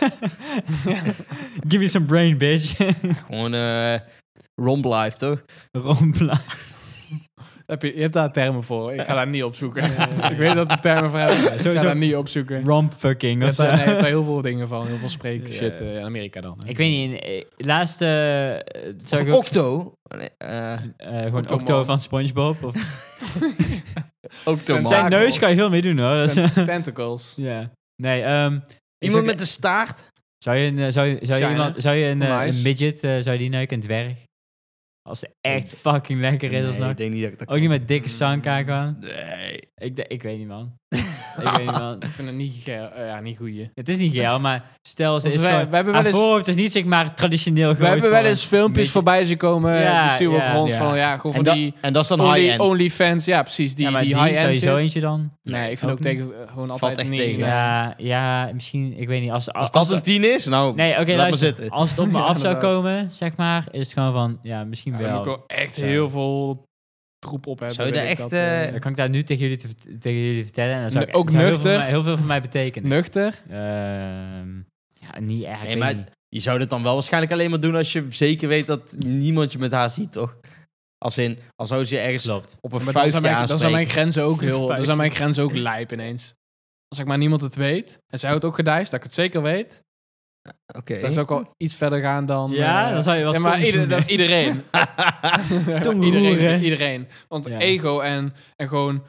Speaker 3: Give me some brain, bitch. *laughs*
Speaker 1: Gewoon eh romp life, toch?
Speaker 3: Rompla.
Speaker 2: Heb je, je hebt daar termen voor. Ik ga daar niet opzoeken.
Speaker 3: Ja.
Speaker 2: *laughs* ik weet dat er termen voor hebben. ik ga
Speaker 3: Sowieso.
Speaker 2: daar niet opzoeken. Je
Speaker 3: Rompfucking of
Speaker 2: hebt,
Speaker 3: zo.
Speaker 2: daar, eh, nee, je hebt daar heel veel dingen van. Heel veel spreek shit
Speaker 1: Ja.
Speaker 2: eh, in Amerika dan. hè.
Speaker 3: Ik weet niet, in, eh, laatste... eh, zag ik
Speaker 1: Of
Speaker 3: ook-
Speaker 1: Octo. Nee, eh,
Speaker 3: eh, gewoon
Speaker 2: Octomom.
Speaker 3: Octo van Spongebob. Of
Speaker 2: *laughs*
Speaker 1: Octo
Speaker 2: Zijn
Speaker 3: zijn
Speaker 2: Mago.
Speaker 3: neus kan je veel mee doen hoor. Dat is-
Speaker 2: Tent- Tentacles.
Speaker 3: *laughs* ja. Nee, ehm, ik zeg-
Speaker 1: Iemand met een staart.
Speaker 3: Zou je een, eh, zou je, zou je
Speaker 2: Shiner.
Speaker 3: iemand, zou je een, eh,
Speaker 2: Nice.
Speaker 3: een midget, eh, zou je die neuken, een dwerg? Als ze echt fucking lekker is
Speaker 1: Nee,
Speaker 3: alsnog.
Speaker 1: ik denk niet dat ik dat
Speaker 3: Ook niet met dikke zangkaak aan.
Speaker 1: Nee.
Speaker 3: Ik, de- ik weet niet man. ik weet niet
Speaker 2: *laughs*
Speaker 3: man.
Speaker 2: Ik vind het niet, ge- eh, ja, niet goeie.
Speaker 3: Het is niet geil, maar stel ze
Speaker 2: Want
Speaker 3: is
Speaker 2: wij-
Speaker 3: gewoon...
Speaker 2: wij hebben wel
Speaker 3: haar
Speaker 2: eens-
Speaker 3: voorhoofd is niet zeg maar traditioneel
Speaker 2: We
Speaker 3: groot
Speaker 2: hebben
Speaker 3: voor
Speaker 2: wel eens
Speaker 3: een
Speaker 2: filmpjes
Speaker 3: midget.
Speaker 2: voorbij zien komen. eh,
Speaker 3: Ja,
Speaker 2: die sturen
Speaker 3: ja.
Speaker 2: op ons
Speaker 1: Ja.
Speaker 2: van ja, gewoon
Speaker 1: En,
Speaker 2: van
Speaker 1: dat-
Speaker 2: die
Speaker 1: en dat is dan
Speaker 2: only,
Speaker 1: high-end.
Speaker 2: OnlyFans. Ja, precies. Die,
Speaker 3: Ja, maar
Speaker 2: die,
Speaker 3: die,
Speaker 2: high-end
Speaker 3: sowieso
Speaker 2: shit.
Speaker 3: eentje dan.
Speaker 2: Nee, ik vind
Speaker 3: Ook
Speaker 2: ook tegen eh, gewoon altijd
Speaker 1: echt
Speaker 2: niet.
Speaker 1: tegen,
Speaker 2: eh,
Speaker 3: Ja, ja, misschien, ik weet niet. Als, als,
Speaker 1: Als dat
Speaker 3: als
Speaker 1: een
Speaker 3: het-
Speaker 1: tien is, nou,
Speaker 3: Nee, oké,
Speaker 1: laat maar
Speaker 3: luister.
Speaker 1: zitten.
Speaker 3: Als het op
Speaker 2: *laughs*
Speaker 3: me
Speaker 2: Ja,
Speaker 3: af zou
Speaker 2: inderdaad.
Speaker 3: komen, zeg maar, is het gewoon van, ja, misschien
Speaker 2: Ja, dan
Speaker 3: wel.
Speaker 2: moet ik wel echt
Speaker 3: Zo.
Speaker 2: heel veel troep op hebben.
Speaker 1: Zou je
Speaker 2: wil
Speaker 1: daar
Speaker 2: ik
Speaker 1: echt,
Speaker 2: dat, eh,
Speaker 1: eh,
Speaker 3: Dan kan ik daar nu tegen jullie, te vert- tegen jullie vertellen. En dan zou
Speaker 2: Nu-
Speaker 3: ik,
Speaker 2: ook
Speaker 3: zou heel veel
Speaker 2: nuchter?
Speaker 3: voor mij- Heel veel voor mij betekenen.
Speaker 2: nuchter?
Speaker 3: Ehm, ja, niet echt.
Speaker 1: Nee, maar je zou dit dan wel waarschijnlijk alleen maar doen als je zeker weet dat niemand je met haar ziet, toch? Als in, als zou ze je ergens
Speaker 3: Klopt.
Speaker 1: op een
Speaker 2: Maar dan
Speaker 1: vuistje
Speaker 2: zijn, mijn, dan zijn mijn
Speaker 1: aanspreken.
Speaker 2: grenzen ook heel... Dan
Speaker 3: Vijf.
Speaker 2: zijn mijn grenzen ook lijp ineens. Als ik maar niemand het weet, en zij houdt ook gedijst, dat ik het zeker weet,
Speaker 1: Oké.
Speaker 2: dat is ook al iets verder gaan dan...
Speaker 3: Ja,
Speaker 2: eh,
Speaker 3: dan zou je wel
Speaker 2: ja, maar
Speaker 3: tong
Speaker 2: ieder-
Speaker 3: zoenen.
Speaker 2: dan iedereen.
Speaker 3: *laughs* Tong
Speaker 2: iedereen,
Speaker 3: roeren.
Speaker 2: iedereen. Want
Speaker 3: Ja.
Speaker 2: ego en, en gewoon...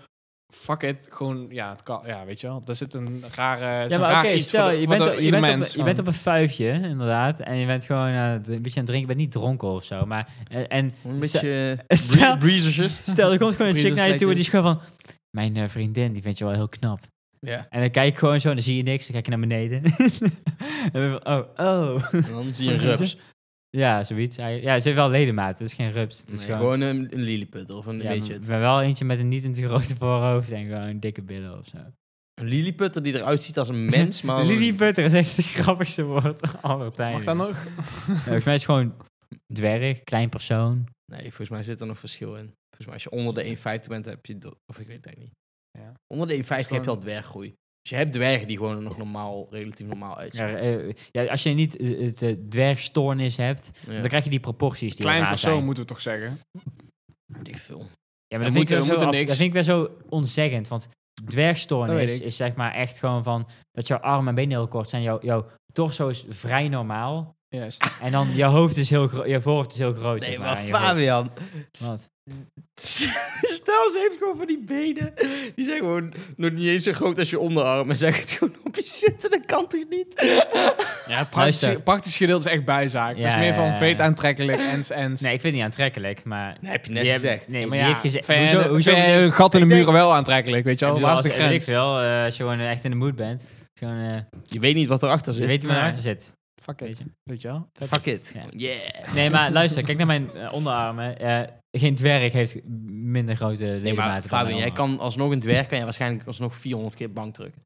Speaker 2: Fuck it, gewoon... Ja, het kan, ja, weet je wel. Er zit een rare...
Speaker 3: Ja,
Speaker 2: zo'n
Speaker 3: maar
Speaker 2: raar
Speaker 3: oké,
Speaker 2: iets
Speaker 3: stel,
Speaker 2: voor de-
Speaker 3: je
Speaker 2: voor
Speaker 3: bent,
Speaker 2: de-
Speaker 3: op, je,
Speaker 2: ieder
Speaker 3: bent
Speaker 2: mens
Speaker 3: op, je
Speaker 2: van.
Speaker 3: bent op een vuifje, inderdaad. En je bent gewoon aan het- een beetje aan het drinken. Je bent niet dronken of zo. Maar, en, en
Speaker 1: Een beetje eh,
Speaker 3: stel,
Speaker 1: breezertjes.
Speaker 3: *laughs* stel, er komt
Speaker 2: *laughs*
Speaker 3: gewoon een chick naar je toe en die
Speaker 1: Breezersleetjes.
Speaker 3: is gewoon van... Mijn eh, vriendin, die vind je wel heel knap.
Speaker 1: Ja.
Speaker 3: En dan kijk ik gewoon zo en dan zie je niks. Dan kijk je naar beneden. *laughs* en dan van, oh, oh.
Speaker 1: En Dan zie je een rups.
Speaker 3: Ja, zoiets. eigenlijk. Ja, ze heeft wel ledematen. Het is geen rups. Het is
Speaker 1: Nee,
Speaker 3: gewoon...
Speaker 1: gewoon een, een lilliput of een
Speaker 3: Ja,
Speaker 1: beetje.
Speaker 3: maar- maar wel eentje met een niet in te grote voorhoofd en gewoon dikke billen of zo.
Speaker 1: Een lilliputter die eruit ziet als
Speaker 3: *laughs*
Speaker 1: een mens, maar...
Speaker 3: Lily Butter is echt het grappigste woord *laughs* aller
Speaker 2: Mag
Speaker 3: tijden.
Speaker 2: dat nog?
Speaker 3: Ja, Volgens mij is het gewoon dwerg, klein persoon.
Speaker 1: Nee, volgens mij zit er nog verschil in. Volgens mij als je onder de 1,50 bent, heb je... do- Of ik weet het eigenlijk niet.
Speaker 2: Ja.
Speaker 1: Onder de 1,50 heb je
Speaker 2: Gewoon-
Speaker 1: al dwerggroei. Dus je hebt dwergen die gewoon nog normaal, relatief normaal
Speaker 3: Ja,
Speaker 1: uitzien.
Speaker 3: eh, ja, als je niet eh, het eh, dwergstoornis hebt,
Speaker 1: Ja.
Speaker 3: dan krijg je die proporties die
Speaker 2: Klein
Speaker 3: raar
Speaker 2: persoon
Speaker 3: zijn.
Speaker 2: moeten we toch zeggen?
Speaker 1: Die film.
Speaker 3: Ja, maar
Speaker 2: Er
Speaker 3: dat,
Speaker 2: moet-
Speaker 3: vind ik
Speaker 2: er
Speaker 3: weer
Speaker 2: moet er
Speaker 3: zo abs-
Speaker 2: niks.
Speaker 3: dat vind ik weer zo onzeggend, want
Speaker 2: Dat
Speaker 3: dwergstoornis
Speaker 2: weet ik.
Speaker 3: is zeg maar echt gewoon van dat jouw armen en benen heel kort zijn. Jouw, jouw torso is vrij normaal
Speaker 2: Juist.
Speaker 3: en dan je hoofd is heel gro- je voorhoofd is heel groot.
Speaker 1: Nee,
Speaker 3: zeg
Speaker 1: maar
Speaker 3: en je hoofd-
Speaker 1: Fabian... *laughs*
Speaker 3: Wat?
Speaker 1: Stel, ze heeft gewoon van die benen. Die zijn gewoon nog niet eens zo groot als je onderarm. En zij gaat gewoon op je zitten. Dat kan toch niet?
Speaker 2: Ja, het praktische,
Speaker 3: Luister.
Speaker 2: praktische gedeelte is echt bijzaak. het is
Speaker 3: Ja,
Speaker 2: meer
Speaker 3: ja,
Speaker 2: van
Speaker 3: ja.
Speaker 2: veet aantrekkelijk, ens, ens.
Speaker 3: Nee, ik vind het niet aantrekkelijk, maar...
Speaker 1: Dat heb je net
Speaker 3: Die hebben-
Speaker 1: gezegd.
Speaker 3: nee,
Speaker 2: Ja,
Speaker 3: maar die heeft gezegd...
Speaker 2: vind jij-
Speaker 3: Hoezo, hoezo,
Speaker 2: vind jij een gat in de muren wel aantrekkelijk, weet je
Speaker 3: Ik
Speaker 2: wel?
Speaker 3: bedoel,
Speaker 2: Waar is de
Speaker 3: als- weet ik
Speaker 2: grens?
Speaker 3: wel, eh, als je gewoon echt in de mood bent. Het is Gewoon, eh,
Speaker 1: Je weet niet wat erachter
Speaker 3: je
Speaker 1: zit.
Speaker 3: weet waar
Speaker 2: Nee.
Speaker 3: achter zit.
Speaker 2: Fuck
Speaker 3: Weet
Speaker 2: it,
Speaker 3: je.
Speaker 2: weet je wel?
Speaker 1: Fuck it.
Speaker 3: Ja.
Speaker 1: Yeah.
Speaker 3: Nee, maar *laughs* luister, kijk naar mijn eh, onderarmen. Eh, geen dwerg heeft minder grote
Speaker 1: Nee,
Speaker 3: ledematen.
Speaker 1: maar
Speaker 3: dan
Speaker 1: Fabian,
Speaker 3: mijn
Speaker 1: jij
Speaker 3: onderarm.
Speaker 1: kan alsnog een dwerg. Kan je waarschijnlijk alsnog 400 keer bank drukken.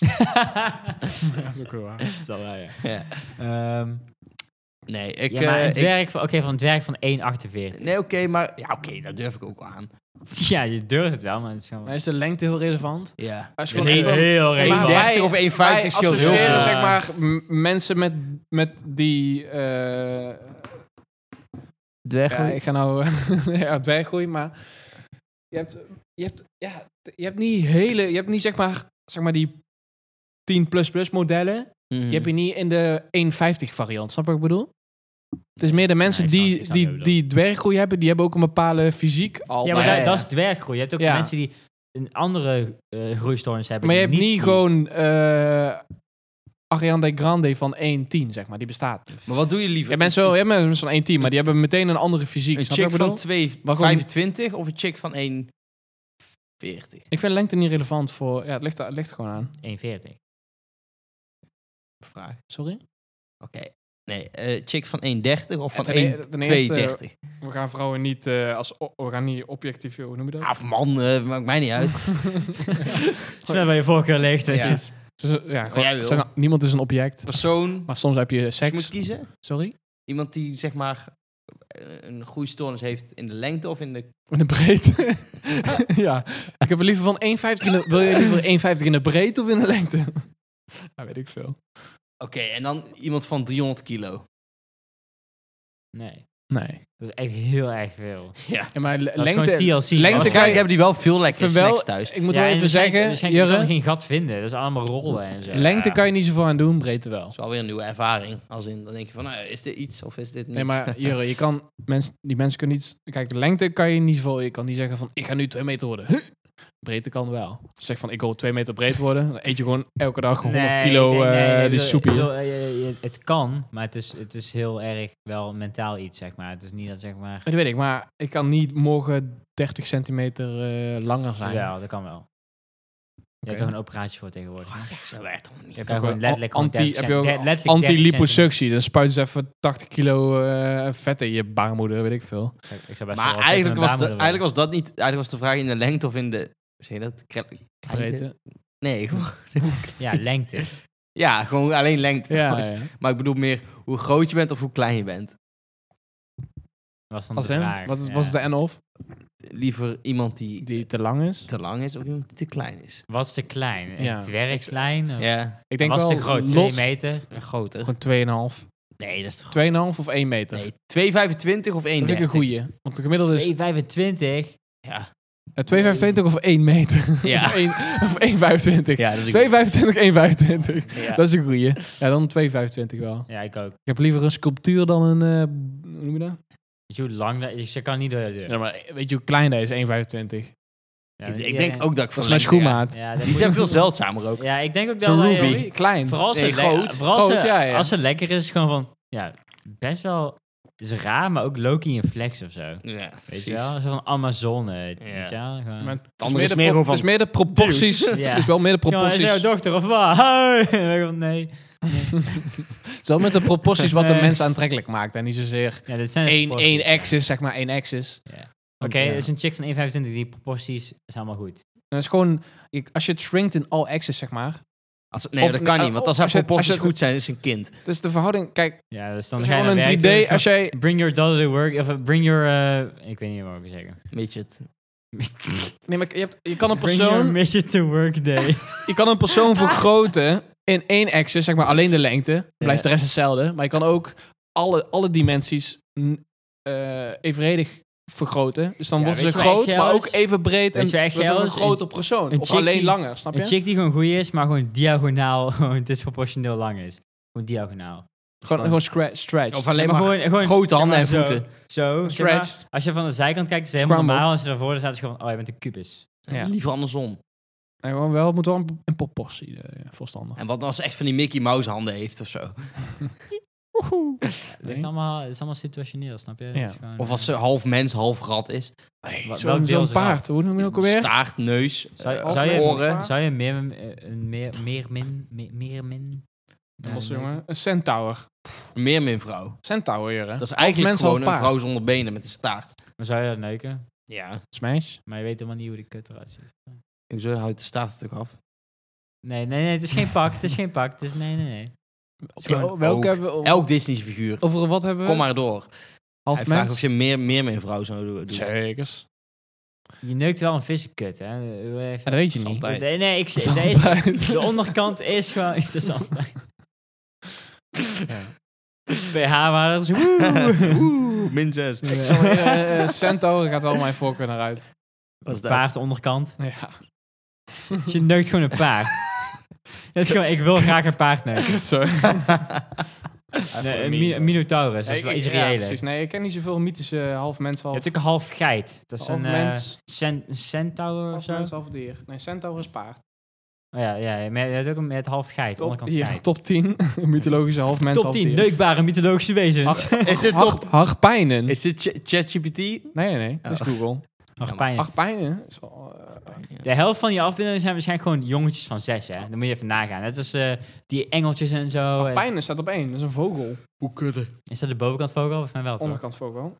Speaker 2: Dat is ook wel waar.
Speaker 3: *laughs* Dat is wel waar, ja.
Speaker 1: Ja.
Speaker 3: Ehm,
Speaker 1: Nee, ik...
Speaker 3: ja, maar
Speaker 1: eh,
Speaker 3: een
Speaker 1: ik-
Speaker 3: dwerg, van- oké, van een dwerg van 1,48.
Speaker 1: Nee, oké, maar... Ja, oké, dat durf ik ook wel aan.
Speaker 3: *laughs* Ja, je durft het wel, maar het is gewoon...
Speaker 2: Maar is de lengte heel relevant?
Speaker 1: Ja.
Speaker 2: Als je
Speaker 3: Heel-
Speaker 2: van
Speaker 3: heel, heel
Speaker 2: Maar
Speaker 3: relevant.
Speaker 2: wij-
Speaker 1: 1,30 of 1,50
Speaker 2: wij
Speaker 1: scheelt heel
Speaker 2: associëren,
Speaker 1: veel.
Speaker 2: zeg maar, m- mensen met, met die... eh,
Speaker 1: Dwerg.
Speaker 2: ja, ik ga nou *laughs* ja, dwerggroei, maar... Je hebt, je, hebt, ja, je hebt niet hele... Je hebt niet, zeg maar, zeg maar die 10-plus-plus modellen.
Speaker 1: Mhm.
Speaker 2: Je hebt je niet in de 1,50 variant, snap je wat ik bedoel? Het is meer de mensen
Speaker 3: ik snap-
Speaker 2: die,
Speaker 3: ik snap wat
Speaker 2: die,
Speaker 3: je
Speaker 2: die dwerggroei hebben, die hebben ook een bepaalde fysiek
Speaker 3: Ja,
Speaker 2: altijd.
Speaker 3: maar
Speaker 1: Ja,
Speaker 3: dat,
Speaker 1: ja,
Speaker 3: dat
Speaker 1: ja.
Speaker 3: is dwerggroei. Je hebt ook
Speaker 2: Ja.
Speaker 3: mensen die een andere eh, groeistoornis hebben.
Speaker 2: Maar je
Speaker 3: die
Speaker 2: hebt niet
Speaker 3: die-
Speaker 2: gewoon eh Ariane Grande van 1,10, zeg maar, die bestaat. niet.
Speaker 1: Maar wat doe je
Speaker 2: Je
Speaker 1: liever?
Speaker 2: hebt mensen, wel- je hebt mensen van 1,10, maar die hebben meteen een andere fysiek,
Speaker 1: Een
Speaker 2: snap je
Speaker 1: chick
Speaker 2: wat ik
Speaker 1: van
Speaker 2: bedoel?
Speaker 1: 2,25 of een chick van 1,40?
Speaker 2: Ik vind lengte niet relevant voor... Ja, het ligt, er- het ligt er gewoon aan. *laughs*
Speaker 3: 1,40.
Speaker 1: Vraag.
Speaker 2: Sorry?
Speaker 1: Oké. Nee, eh chick van 1,30 of van
Speaker 2: ten e- ten eerste-
Speaker 1: 1,32?
Speaker 2: We gaan vrouwen niet eh, als... o- we gaan niet objectief, hoe noem je dat?
Speaker 1: Ah, Of man, eh, maakt mij niet
Speaker 2: *laughs*
Speaker 1: uit.
Speaker 3: Het is net waar je voorkeur ligt. Dus
Speaker 1: Ja.
Speaker 2: Dus, eh, ja, gewoon-
Speaker 1: jij wil.
Speaker 2: zeg- niemand is een object.
Speaker 1: Persoon.
Speaker 2: Maar soms heb je
Speaker 1: Als je moet
Speaker 2: seks.
Speaker 1: kiezen.
Speaker 2: Sorry?
Speaker 1: Iemand die zeg maar een groeistoornis heeft in de lengte of in de...
Speaker 2: In de breedte. *laughs* ja. Ik heb er liever van 1,50 in de... Wil je liever 1,50 in de breedte of in de lengte? Ja, weet ik veel.
Speaker 1: Oké, en dan iemand van 300 kilo.
Speaker 3: Nee,
Speaker 2: Nee.
Speaker 3: dat is echt heel erg veel.
Speaker 1: Ja.
Speaker 2: Ja, maar le-
Speaker 3: Dat
Speaker 2: lengte...
Speaker 3: is gewoon TLC.
Speaker 2: lengte
Speaker 3: man.
Speaker 2: kan je-
Speaker 1: Waarschijnlijk hebben die wel veel lekkere
Speaker 2: vind wel-
Speaker 1: snacks thuis.
Speaker 2: Ik moet
Speaker 3: Ja,
Speaker 2: wel
Speaker 3: en
Speaker 2: even
Speaker 3: waarschijnlijk-
Speaker 2: zeggen,
Speaker 3: waarschijnlijk kan
Speaker 2: Jurre,
Speaker 3: je geen gat vinden. Dat is allemaal rollen en zo.
Speaker 2: lengte
Speaker 1: Ja.
Speaker 2: kan je niet zoveel aan doen, breedte wel.
Speaker 1: Dat is wel weer een nieuwe ervaring. Als in, dan denk je van, nou, is dit iets of is dit niet? *laughs*
Speaker 2: Nee, maar
Speaker 3: *laughs*
Speaker 2: Jurre, je kan... Mensen, die mensen kunnen niet... Kijk, de lengte kan je niet zoveel... Je kan niet zeggen van, ik ga nu 2 meter worden. Huh? Breedte kan wel. Zeg van, ik wil 2 meter breed worden. Dan eet je gewoon elke dag 100
Speaker 3: Nee,
Speaker 2: kilo
Speaker 3: nee,
Speaker 2: eh
Speaker 3: nee, ik
Speaker 2: die
Speaker 3: bedoel-
Speaker 2: soepie.
Speaker 3: ik bedoel, eh, eh, Het kan, maar het is, het is heel erg wel mentaal iets, zeg maar. Het is niet dat, zeg maar...
Speaker 2: Dat weet ik, maar ik kan niet morgen 30 centimeter eh, langer zijn.
Speaker 3: Wel, dat kan wel. Je hebt
Speaker 2: Oké.
Speaker 3: toch een operatie voor tegenwoordig.
Speaker 1: Oh, ja, zo werkt het allemaal
Speaker 3: Je
Speaker 1: niet.
Speaker 3: kan
Speaker 2: ook
Speaker 3: gewoon
Speaker 2: een
Speaker 3: letterlijk
Speaker 2: anti-
Speaker 3: gewoon 30
Speaker 2: heb je ook
Speaker 3: cent-
Speaker 2: een
Speaker 3: letterlijk 30 cent-
Speaker 2: Anti-liposuctie. Dan spuiten ze even 80 kilo eh, vet in je baarmoeder, weet ik veel.
Speaker 3: Ik- ik zou best wel
Speaker 1: Maar
Speaker 3: wat eten
Speaker 1: eigenlijk
Speaker 3: met
Speaker 1: was, de,
Speaker 3: baarmoeder
Speaker 1: eigenlijk was
Speaker 3: willen.
Speaker 1: dat niet... Eigenlijk was de vraag in de lengte of in de... Zeg je dat? Kre-
Speaker 2: Breedte.
Speaker 1: Nee, gewoon-
Speaker 3: Ja, lengte.
Speaker 1: ja, gewoon alleen
Speaker 3: eh,
Speaker 1: lengte.
Speaker 2: Ja,
Speaker 1: trouwens.
Speaker 2: ja.
Speaker 1: Maar ik bedoel meer hoe groot je bent of hoe klein je bent.
Speaker 3: *laughs* Was dan
Speaker 2: Als
Speaker 3: de
Speaker 2: hem,
Speaker 3: vraag.
Speaker 2: wat is,
Speaker 3: ja.
Speaker 2: wat is de en-of?
Speaker 1: Liever iemand die,
Speaker 2: Die te lang is?
Speaker 1: te lang is of iemand die te klein is.
Speaker 3: Was te klein? Een
Speaker 2: Ja.
Speaker 3: dwergslijn? Of-
Speaker 1: Ja,
Speaker 2: Ik denk
Speaker 3: was
Speaker 2: wel
Speaker 3: te groot?
Speaker 2: los-
Speaker 3: 2 meter?
Speaker 1: en groter.
Speaker 2: Gewoon 2,5. 2,5
Speaker 1: Nee, dat is toch...
Speaker 2: of 1 meter?
Speaker 1: Nee, 2,25 of 1,30.
Speaker 2: dat vind ik een goeie. Want de gemiddelde
Speaker 1: Dus-
Speaker 2: is
Speaker 3: 1,25?
Speaker 1: Ja.
Speaker 2: eh, 2,25 of 1
Speaker 3: *laughs*
Speaker 2: meter.
Speaker 1: Ja.
Speaker 2: Of één- of 1,25.
Speaker 1: ja, dat is
Speaker 2: 2,25, 1,25.
Speaker 1: Ja.
Speaker 2: Dat is een goeie. Ja, dan 2,25 wel.
Speaker 3: Ja, ik ook.
Speaker 2: Ik heb liever een sculptuur dan een... eh, hoe noem je dat?
Speaker 3: Weet je hoe lang dat is? Je kan niet door de deur.
Speaker 2: Ja, maar eh, weet je hoe klein dat is? 1,25.
Speaker 3: Ja,
Speaker 1: Ik, ik
Speaker 3: iedereen-
Speaker 1: denk ook dat ik
Speaker 2: Dat
Speaker 1: van
Speaker 2: is mijn
Speaker 1: lengte ga.
Speaker 2: schoenmaat.
Speaker 3: Ja, dat
Speaker 1: Die
Speaker 3: moet-
Speaker 1: zijn veel zeldzamer ook.
Speaker 3: Ja, ik denk ook
Speaker 2: Zo'n
Speaker 3: dat...
Speaker 2: Ruby.
Speaker 3: wij-
Speaker 2: Klein.
Speaker 3: Vooral als,
Speaker 1: Nee,
Speaker 3: ze le-
Speaker 1: groot.
Speaker 3: vooral als
Speaker 2: Groot,
Speaker 3: ze-
Speaker 2: ja, ja.
Speaker 3: als ze lekker is, gewoon van... Ja, best wel... is raar, maar ook Loki in flex of zo.
Speaker 1: Ja,
Speaker 3: Weet
Speaker 1: precies.
Speaker 3: je wel? Zo van Amazone.
Speaker 1: Ja.
Speaker 3: Weet je wel? Gewoon-
Speaker 2: Maar het
Speaker 1: andere is
Speaker 2: de
Speaker 1: meer
Speaker 2: pro-
Speaker 1: gewoon van-
Speaker 2: Het is meer de proporties.
Speaker 3: Ja.
Speaker 2: Het is wel meer de
Speaker 3: Jongen,
Speaker 2: proporties.
Speaker 3: is jouw dochter of wat? *laughs* Hey! En ik van, Nee.
Speaker 2: Het is wel met de proporties wat de
Speaker 3: Nee.
Speaker 2: mens aantrekkelijk maakt. En niet zozeer
Speaker 3: Ja, dit zijn de
Speaker 2: één,
Speaker 3: proporties,
Speaker 2: één
Speaker 3: ja.
Speaker 2: axis, zeg maar één axis.
Speaker 3: Ja.
Speaker 2: Want,
Speaker 3: Oké,
Speaker 2: ja.
Speaker 3: dus een chick van 1,25, die proporties zijn allemaal goed.
Speaker 2: En dat is gewoon, je- als je het shrinkt in all axis, zeg maar.
Speaker 1: Als, nee,
Speaker 2: Of-
Speaker 1: dat kan
Speaker 2: eh,
Speaker 1: niet, want
Speaker 2: of
Speaker 1: als haar
Speaker 2: als je- als
Speaker 1: proporties
Speaker 2: je-
Speaker 1: goed zijn, is ze een kind.
Speaker 2: Dus de verhouding, kijk,
Speaker 3: Ja, dus
Speaker 2: als
Speaker 3: dan
Speaker 2: je
Speaker 3: ga je
Speaker 2: gewoon
Speaker 3: naar werk toe,
Speaker 2: een 3D,
Speaker 3: van,
Speaker 2: als jij...
Speaker 3: Bring your dollar to work, of eh, bring your... eh, ik weet niet wat ik moet zeggen.
Speaker 1: Midget.
Speaker 2: Nee, maar je, hebt, je kan een
Speaker 3: Bring your
Speaker 2: persoon,
Speaker 3: mission to
Speaker 2: *laughs*
Speaker 3: work day.
Speaker 2: je kan een
Speaker 3: *laughs*
Speaker 2: persoon vergroten in één axis, zeg maar alleen de lengte. Dan Blijft de rest hetzelfde. Maar je kan ook alle, alle dimensies mm, eh, evenredig vergroten. Dus dan
Speaker 3: Ja,
Speaker 2: wordt ze
Speaker 3: weet je wat
Speaker 2: groot,
Speaker 3: echt
Speaker 2: maar
Speaker 3: geil
Speaker 2: ook
Speaker 3: is?
Speaker 2: even breed
Speaker 3: Weet
Speaker 2: en
Speaker 3: je wat echt
Speaker 2: wordt ze
Speaker 3: geil
Speaker 2: een
Speaker 3: is?
Speaker 2: groter persoon.
Speaker 3: een
Speaker 2: of
Speaker 3: chick
Speaker 2: alleen
Speaker 3: die-
Speaker 2: langer, snap je?
Speaker 3: een chick die gewoon goed is, maar gewoon diagonaal, *laughs* gewoon disproportioneel lang is. Gewoon diagonaal.
Speaker 2: Gewoon, gewoon scra- stretch.
Speaker 1: Of alleen
Speaker 3: Ja,
Speaker 1: maar
Speaker 3: gewoon, gewoon
Speaker 1: grote handen en
Speaker 3: zeg maar zo,
Speaker 1: voeten.
Speaker 3: Zo, zeg maar,
Speaker 2: Stretched.
Speaker 3: als je van de zijkant kijkt, is het helemaal
Speaker 2: Scrambled.
Speaker 3: normaal. Als je daarvoor staat, is het gewoon, oh, je bent een kubus.
Speaker 2: Ja.
Speaker 1: Liever andersom.
Speaker 2: Nee, gewoon wel, het moet wel een, een proportie eh, volstandig.
Speaker 1: En wat als ze echt van die Mickey Mouse handen heeft of zo.
Speaker 3: Het is allemaal, het is allemaal situationeel, snap je? Het
Speaker 2: Ja.
Speaker 3: is gewoon,
Speaker 1: Of als
Speaker 3: eh,
Speaker 1: ze half mens, half rat is.
Speaker 2: Nee,
Speaker 3: Wat-
Speaker 2: Zo'n
Speaker 3: welk deel
Speaker 2: zo'n
Speaker 3: is
Speaker 2: paard, hoe noem je dat ook alweer?
Speaker 1: Staart, neus,
Speaker 3: Zou,
Speaker 1: eh,
Speaker 3: zou je,
Speaker 1: oren.
Speaker 3: zou je meer, eh, een meer, meer min, meer, meer min...
Speaker 2: Een
Speaker 3: eh,
Speaker 2: losse
Speaker 3: meer-
Speaker 2: jongen. Een centaur.
Speaker 1: Meer min vrouw.
Speaker 2: Centaur, jure.
Speaker 1: Dat
Speaker 2: Dat
Speaker 1: is eigenlijk
Speaker 2: mens,
Speaker 1: gewoon
Speaker 2: half
Speaker 1: een
Speaker 2: paard.
Speaker 1: vrouw zonder benen met een staart.
Speaker 3: Maar zou je dat neuken?
Speaker 1: Ja.
Speaker 2: is meisje.
Speaker 3: Maar je weet helemaal niet hoe die kut eruit ziet.
Speaker 1: Hoezo houdt de staart het toch af?
Speaker 3: Nee, nee, nee, het is geen pak. Het is geen pak. Het is nee, nee, nee.
Speaker 1: is gewoon
Speaker 2: Welke
Speaker 1: ook-
Speaker 2: hebben we?
Speaker 1: Elk Disney figuur.
Speaker 2: Over wat hebben we?
Speaker 1: Kom maar door.
Speaker 2: Half
Speaker 1: Hij vraagt
Speaker 2: mens?
Speaker 1: of je meer, meer min vrouw zou doen.
Speaker 2: Zekers.
Speaker 3: Je neukt wel een vissenkut, hè? Wil je
Speaker 2: Ja,
Speaker 3: even-
Speaker 2: dat weet je niet.
Speaker 1: Zand. Altijd.
Speaker 3: Nee, nee, ik
Speaker 2: Dat is
Speaker 3: deze, *laughs*
Speaker 2: altijd.
Speaker 3: De onderkant is gewoon interessant.
Speaker 2: Ja.
Speaker 3: BH-waardes. woe.
Speaker 1: *laughs* Oeh, min zes.
Speaker 2: Ik zal weer, eh, eh, Centaur gaat wel mijn voorkeur naar uit.
Speaker 1: Wat is dat?
Speaker 3: Paard onderkant.
Speaker 2: Ja,
Speaker 3: Dus je neukt gewoon een paard. Het is gewoon, ik wil graag een paard neuken.
Speaker 2: kut zo.
Speaker 3: Nee, een, mi- een minotaurus, dat is
Speaker 2: Ik-
Speaker 3: wel
Speaker 2: ik-
Speaker 3: iets
Speaker 2: ja,
Speaker 3: reëler.
Speaker 2: precies.
Speaker 3: Je
Speaker 2: Nee, ik ken niet zoveel mythische eh, half mens, half,
Speaker 3: hebt ook een half geit. Dat is
Speaker 2: half
Speaker 3: een eh,
Speaker 2: mens,
Speaker 3: cen- centaur of
Speaker 2: half,
Speaker 3: zo.
Speaker 2: mens, half dier. Nee, Centaur is paard.
Speaker 3: Oh ja, ja, maar je hebt ook een met half geit,
Speaker 2: Top, *laughs*
Speaker 3: onderkant
Speaker 2: hier,
Speaker 3: geit.
Speaker 2: top 10 mythologische half mens,
Speaker 3: Top
Speaker 2: half
Speaker 3: 10
Speaker 2: dier.
Speaker 3: neukbare mythologische wezens.
Speaker 2: Har-
Speaker 1: Is dit
Speaker 2: har-
Speaker 1: top-
Speaker 2: Harpijnen.
Speaker 1: Is dit Ch- ChatGPT?
Speaker 2: Nee, nee, dat is
Speaker 1: Oh.
Speaker 2: Google.
Speaker 3: Ach, pijn.
Speaker 2: Harpijnen? is wel, eh,
Speaker 3: De helft van je afbeeldingen zijn waarschijnlijk gewoon jongetjes van zes, hè. Dan moet je even nagaan. Net als eh, die engeltjes en zo. En-
Speaker 2: Harpijnen staat op één. dat is een vogel.
Speaker 1: Hoe kunnen?
Speaker 3: Is dat de bovenkant vogel? Volgens mij wel, toch?
Speaker 2: Onderkant vogel.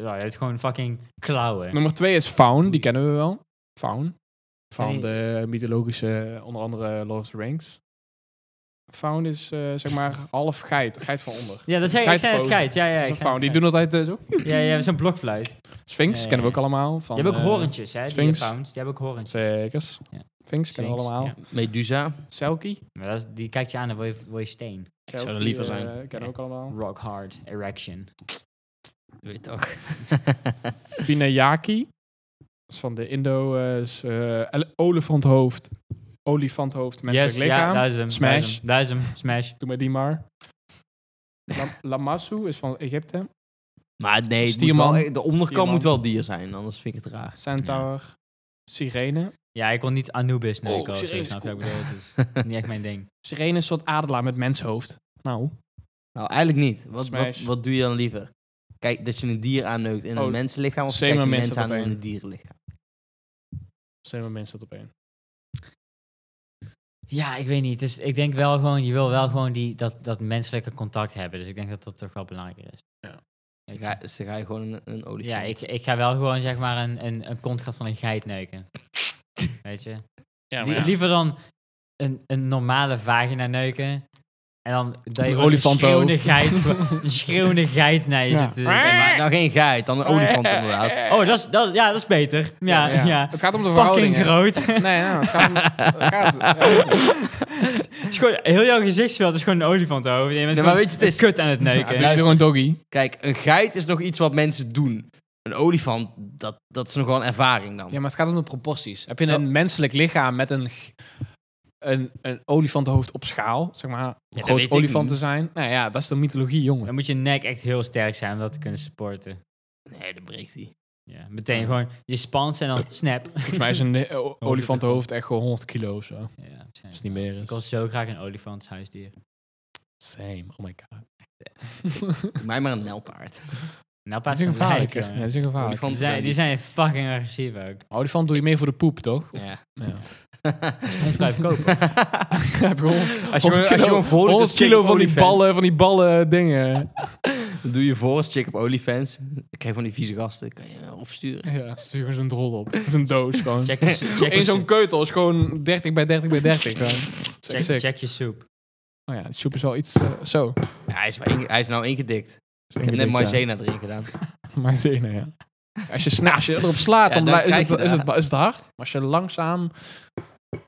Speaker 3: Ja, je hebt gewoon fucking klauwen.
Speaker 2: Nummer twee is Faun, die kennen we wel. Faun.
Speaker 3: Zijn
Speaker 2: Van
Speaker 3: die-
Speaker 2: de mythologische, onder andere Lord of the Rings. Found is eh, zeg maar half geit. Geit van onder.
Speaker 3: Ja, dat zei ik. Ik zei het
Speaker 2: Geitpoten.
Speaker 3: geit. Ja, ja.
Speaker 2: Dat is
Speaker 3: ik
Speaker 2: een
Speaker 3: zei
Speaker 2: found.
Speaker 3: het
Speaker 2: Die
Speaker 3: geit.
Speaker 2: doen altijd eh, zo.
Speaker 3: Ja, ja, zo'n blokfluit.
Speaker 2: Sphinx
Speaker 3: Ja, ja,
Speaker 2: kennen we ook
Speaker 3: ja.
Speaker 2: allemaal. Van,
Speaker 3: Die hebben ook
Speaker 2: eh,
Speaker 3: horentjes, hè? Die
Speaker 2: Sphinx.
Speaker 3: found. Die hebben ook horentjes.
Speaker 2: Zekers.
Speaker 3: Ja.
Speaker 2: Sphinx kennen we
Speaker 3: Sphinx,
Speaker 2: allemaal.
Speaker 3: ja.
Speaker 1: Medusa.
Speaker 2: Selkie.
Speaker 3: Maar dat is- die kijkt je aan, dan word je, word je steen.
Speaker 1: zou er
Speaker 2: Selkie,
Speaker 1: liever
Speaker 2: eh,
Speaker 1: zijn.
Speaker 2: kennen we ook allemaal.
Speaker 3: Rock hard, erection.
Speaker 1: Weet je *laughs* toch?
Speaker 2: Vinayaki. Dat is van de Indo. eh, is, eh, ele- olifanthoofd. Olifanthoofd, menselijk
Speaker 3: Yes,
Speaker 2: lichaam.
Speaker 3: Ja, daar is hem.
Speaker 2: Smash.
Speaker 3: Daar is hem. daar is hem. Smash.
Speaker 2: Doe maar die maar. Lam- Lamassu is van
Speaker 1: *laughs*
Speaker 2: Egypte.
Speaker 1: Maar nee, het moet
Speaker 2: Stierman.
Speaker 1: wel- de onderkant
Speaker 2: Stierman.
Speaker 1: moet wel dier zijn, anders vind ik het raar.
Speaker 2: Centaur. Sirene.
Speaker 3: Ja, ik kon niet Anubis nee,
Speaker 2: Oh,
Speaker 3: ik wou-
Speaker 2: serieus?
Speaker 3: snap je wat ik bedoel? Het is
Speaker 2: *laughs*
Speaker 3: niet echt mijn ding.
Speaker 2: Sirene is een soort adelaar met menshoofd. Nou.
Speaker 1: Nou, eigenlijk niet. Wat, wat,
Speaker 2: Smash.
Speaker 1: wat doe je dan liever? Kijk, dat je een dier aanneukt in
Speaker 2: Oh,
Speaker 1: een mensenlichaam of
Speaker 2: same
Speaker 1: kijk je
Speaker 2: mens
Speaker 1: mensen
Speaker 2: dat
Speaker 1: aan in
Speaker 2: opeen.
Speaker 1: een dierenlichaam?
Speaker 2: Zijn we mensen dat op één.
Speaker 3: Ja, ik weet niet. Dus ik denk wel gewoon, je wil wel gewoon die, dat, dat menselijke contact hebben. Dus ik denk dat dat toch wel belangrijker is.
Speaker 2: Ja.
Speaker 3: Weet je?
Speaker 1: Ga, dus dan ga je gewoon een, een olifant.
Speaker 3: Ja, ik, ik ga wel gewoon zeg maar een, een, een kontgat van een geit
Speaker 2: *laughs*
Speaker 3: neuken. Weet je?
Speaker 2: Ja,
Speaker 3: Lie- Liever dan een, een normale vagina neuken. En dan dat je
Speaker 2: Een
Speaker 3: gewoon een schreeuwende
Speaker 2: olifantenhoofd.
Speaker 3: geit,
Speaker 2: *laughs*
Speaker 3: een schreeuwende geit naar je
Speaker 2: Ja.
Speaker 3: zit. te-
Speaker 1: Nee, maar nou geen geit,
Speaker 3: *laughs*
Speaker 1: dan een olifant inderdaad.
Speaker 3: Oh, dat is, dat, is- ja, dat is beter. Ja, ja.
Speaker 2: Het gaat om de
Speaker 3: Fucking
Speaker 2: verhoudingen.
Speaker 3: groot. *laughs*
Speaker 2: Nee, nou, het gaat om... het gaat, eh,
Speaker 3: Het is gewoon, heel jouw gezichtsveld is gewoon een olifant over. Je
Speaker 1: Nee,
Speaker 3: bent
Speaker 1: maar
Speaker 3: gewoon
Speaker 1: weet je, het is-
Speaker 3: kut aan het
Speaker 2: ja,
Speaker 3: neuken.
Speaker 2: doe je gewoon doggy.
Speaker 1: Kijk, een geit is nog iets wat mensen doen. Een olifant, dat, dat is nog wel een ervaring dan.
Speaker 2: Ja, maar het gaat om de proporties. Heb je
Speaker 1: Zo.
Speaker 2: een menselijk lichaam met een, g- een, een olifantenhoofd op schaal? Zeg maar, hoe
Speaker 1: dat weet
Speaker 2: groot
Speaker 1: ik
Speaker 2: olifanten
Speaker 1: niet.
Speaker 2: zijn? Nou ja, dat is de mythologie, jongen.
Speaker 3: Dan moet je nek echt heel sterk zijn om dat te kunnen supporten.
Speaker 1: Nee, dat breekt hij.
Speaker 3: Ja, meteen gewoon je spant en dan snap.
Speaker 2: Volgens mij is een eh, o- olifantenhoofd echt gewoon 100 kilo of zo. Dat
Speaker 3: *laughs* Ja, zijn-
Speaker 2: is niet meer dus-
Speaker 3: ik
Speaker 2: is.
Speaker 3: wil zo graag een olifantshuisdier.
Speaker 2: Same, oh my *laughs* god.
Speaker 1: Doe mij maar een nelpaard.
Speaker 3: Nou,
Speaker 2: Dat
Speaker 3: pas
Speaker 2: is een
Speaker 3: een lijk,
Speaker 2: gevaarlijke. Ja,
Speaker 3: jongen.
Speaker 2: dat is een gevaarlijke.
Speaker 1: Olifanten
Speaker 3: Die zijn, die zijn fucking agressief ook.
Speaker 2: Olifant doe je meer voor de poep, toch?
Speaker 1: Ja.
Speaker 2: Ja. *laughs*
Speaker 3: Ons blijft kopen.
Speaker 2: Heb je gewoon
Speaker 1: als je, gewoon- als
Speaker 2: 100
Speaker 1: je
Speaker 2: kilo,
Speaker 1: gewoon voor doet,
Speaker 2: 100
Speaker 1: is chick
Speaker 2: kilo
Speaker 1: op
Speaker 2: van die,
Speaker 1: OnlyFans.
Speaker 2: ballen, van die ballen dingen.
Speaker 1: Dat *laughs* doe je voor als chick op OnlyFans. Dan krijg je van die vieze gasten. Kan je eh, opsturen.
Speaker 2: Ja, stuur eens een drol op. Met een doos gewoon.
Speaker 3: Check, je- check, je-
Speaker 2: Eén zo'n keutel is gewoon 30 bij 30 bij *laughs* 30. gewoon. Dat is echt
Speaker 3: check,
Speaker 2: sick.
Speaker 3: check je soep.
Speaker 2: Oh ja, de soep is wel iets eh, zo.
Speaker 1: Ja, hij, is maar één- hij is nou ingedikt. Ik heb net maizena erin gedaan.
Speaker 2: *laughs* Maar zenen, ja. Als je, sna- als je erop slaat,
Speaker 1: Ja,
Speaker 2: dan,
Speaker 1: dan
Speaker 2: blij- is,
Speaker 1: krijg
Speaker 2: het,
Speaker 1: je
Speaker 2: is,
Speaker 1: daar.
Speaker 2: het, is het hard. Maar als je langzaam...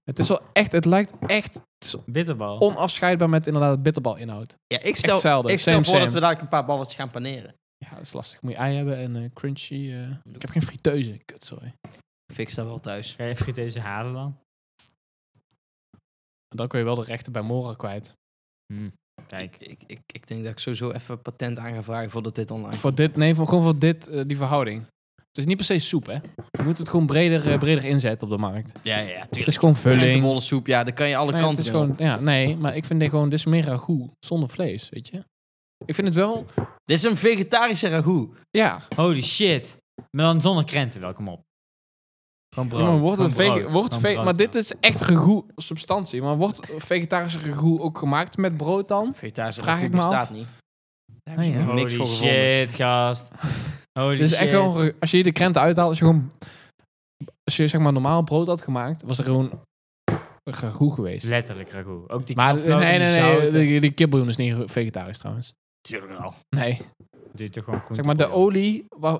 Speaker 2: Het is wel echt... Het lijkt echt
Speaker 3: Bitterbal.
Speaker 2: onafscheidbaar met inderdaad bitterbalinhoud.
Speaker 1: Ja, ik stel,
Speaker 2: Echt zelden.
Speaker 1: ik stel
Speaker 2: Same,
Speaker 1: voor
Speaker 2: same.
Speaker 1: dat we daar een paar balletjes gaan paneren.
Speaker 2: Ja, dat is lastig. Moet je ei hebben en eh, crunchy... eh. Ik heb geen friteuze. Kut, sorry.
Speaker 1: Fix dat wel thuis.
Speaker 3: Ga je friteuze halen dan?
Speaker 2: Dan kun je wel de rechten bij Mora kwijt.
Speaker 3: Hm, Kijk.
Speaker 1: Ik, ik, ik, ik denk dat ik sowieso even patent aan ga vragen voordat dit online
Speaker 2: Voor dit... Nee, voor, gewoon voor dit, eh, die verhouding. Het is niet per se soep, hè. Je moet het gewoon breder, eh, breder inzetten op de markt.
Speaker 1: Ja, ja, ja.
Speaker 2: Het is gewoon vulling.
Speaker 1: soep, ja, daar kan je alle
Speaker 2: Nee, het
Speaker 1: kanten
Speaker 2: is gewoon,
Speaker 1: doen.
Speaker 2: ja, nee, maar ik vind dit gewoon, dit is meer ragout zonder vlees, weet je. Ik vind het wel,
Speaker 1: Dit is een vegetarische ragout.
Speaker 2: ja,
Speaker 3: Holy shit. Maar dan zonder krenten, wel, kom op. Gewoon brood.
Speaker 2: ja, maar wordt
Speaker 3: gewoon
Speaker 2: het vege-
Speaker 3: brood,
Speaker 2: wordt
Speaker 3: gewoon
Speaker 2: ve-
Speaker 3: brood,
Speaker 2: maar
Speaker 3: ja.
Speaker 2: dit is echt ragout substantie. Maar wordt vegetarische ragout ook gemaakt met brood dan?
Speaker 1: Vegetarische
Speaker 2: Vraag
Speaker 1: ragout
Speaker 2: ik me af.
Speaker 1: bestaat niet. Daar heb
Speaker 2: Ah,
Speaker 1: je
Speaker 2: ja.
Speaker 1: nog
Speaker 3: Holy
Speaker 1: niks voor gevonden.
Speaker 3: shit, gast.
Speaker 2: *laughs*
Speaker 3: Holy
Speaker 2: Dit is Dus
Speaker 3: shit.
Speaker 2: echt wel, een ra- als je hier de krenten uithaalt, als je gewoon, als je zeg maar normaal brood had gemaakt, was er gewoon een ragout geweest.
Speaker 3: Letterlijk ragout. Ook die
Speaker 2: maar
Speaker 3: knoflook en
Speaker 2: nee, nee,
Speaker 3: die
Speaker 2: nee,
Speaker 3: zouten.
Speaker 2: die, die kipbouillon is niet vegetarisch trouwens.
Speaker 1: Tuurlijk wel.
Speaker 2: Nee,
Speaker 3: Doe je toch gewoon groente
Speaker 2: zeg maar de
Speaker 3: bouillon.
Speaker 2: olie, wa-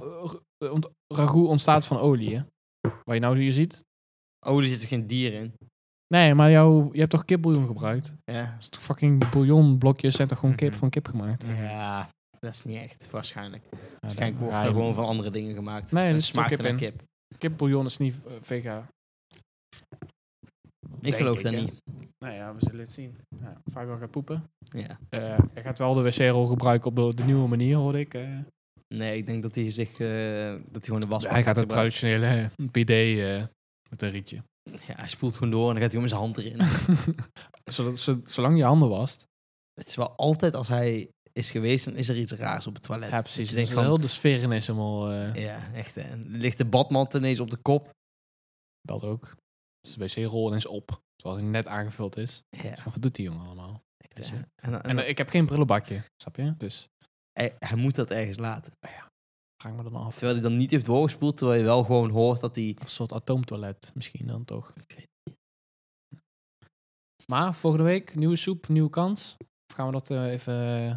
Speaker 2: eh, ont- ragout ontstaat van olie, hè. Wat je nou hier ziet.
Speaker 1: Oh, er zit toch geen dier in?
Speaker 2: Nee, maar jou, je hebt toch kipbouillon gebruikt? Dat
Speaker 1: Ja.
Speaker 2: is toch fucking bouillonblokjes zijn toch gewoon kip
Speaker 3: Mhm.
Speaker 2: van kip gemaakt?
Speaker 1: Ja, dat is niet echt, waarschijnlijk.
Speaker 2: Ja,
Speaker 1: Waarschijnlijk
Speaker 2: dan-
Speaker 1: wordt
Speaker 2: ja,
Speaker 1: er gewoon van andere dingen gemaakt.
Speaker 2: Nee,
Speaker 1: En
Speaker 2: er zit
Speaker 1: smaakt
Speaker 2: kip
Speaker 1: er naar
Speaker 2: in.
Speaker 1: kip.
Speaker 2: Kipbouillon is niet eh, vega.
Speaker 1: Ik
Speaker 2: Denk
Speaker 1: geloof
Speaker 2: ik,
Speaker 1: dat
Speaker 2: hè.
Speaker 1: niet.
Speaker 2: Nou ja, we zullen het zien. Ja, Fabio gaat poepen.
Speaker 1: Ja.
Speaker 2: Eh hij gaat wel de wc-rol gebruiken op de, de nieuwe manier, hoorde ik. eh.
Speaker 1: Nee, ik denk dat hij zich, eh, dat hij gewoon de was
Speaker 2: hij gaat het traditionele eh, PD eh, met een rietje.
Speaker 1: Ja, hij spoelt gewoon door en dan gaat hij gewoon met zijn hand erin.
Speaker 2: *laughs*
Speaker 1: *laughs*
Speaker 2: Zodat, zo- zolang je handen wast.
Speaker 1: het is wel altijd als hij is geweest, dan is er iets raars op het toilet.
Speaker 2: Ja,
Speaker 1: Dat
Speaker 2: precies.
Speaker 1: Je
Speaker 2: Dus
Speaker 1: denkt
Speaker 2: van...
Speaker 1: van,
Speaker 2: Heel de sfeer is helemaal... eh,
Speaker 1: ja, echt. hè. En ligt de badmat ineens op de kop.
Speaker 2: Dat ook. Dus de wc-rol ineens op. Terwijl hij net aangevuld is.
Speaker 1: Ja,
Speaker 2: Wat doet die jongen allemaal?
Speaker 1: echt. hè. En, dan- en
Speaker 2: En
Speaker 1: dan-
Speaker 2: eh, ik heb geen brillenbakje, snap je? Dus
Speaker 1: hij, hij moet dat ergens laten.
Speaker 2: vraag me dan af.
Speaker 1: Terwijl hij dan niet heeft doorgespoeld, terwijl je wel gewoon hoort dat hij...
Speaker 2: Een soort atoomtoilet misschien dan toch. Maar volgende week, nieuwe soep, nieuwe kans. Of gaan we dat eh, even eh,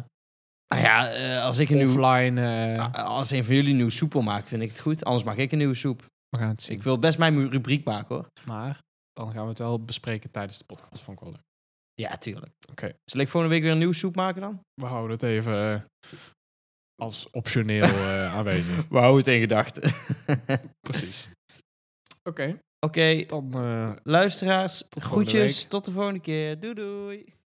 Speaker 1: Nou ja, eh, als ik een nieuw,
Speaker 2: offline... eh,
Speaker 1: a- als een van jullie een nieuwe soep wil maken, vind ik het goed. Anders maak ik een nieuwe soep.
Speaker 2: we gaan het
Speaker 1: Dus ik
Speaker 2: zien.
Speaker 1: wil best mijn rubriek maken hoor.
Speaker 2: Maar dan gaan we het wel bespreken tijdens de podcast van Colin.
Speaker 1: Ja, tuurlijk.
Speaker 2: Oké.
Speaker 1: Zal ik volgende week weer een nieuwe soep maken dan?
Speaker 2: We houden het even eh, als optioneel eh, aanwezig.
Speaker 1: We houden het in gedachten.
Speaker 2: *laughs* Precies. Oké,
Speaker 1: *laughs* Oké,
Speaker 2: dan... eh,
Speaker 1: luisteraars,
Speaker 2: Tot volgende
Speaker 1: groetjes.
Speaker 2: week.
Speaker 1: Tot de volgende keer. Doei doei.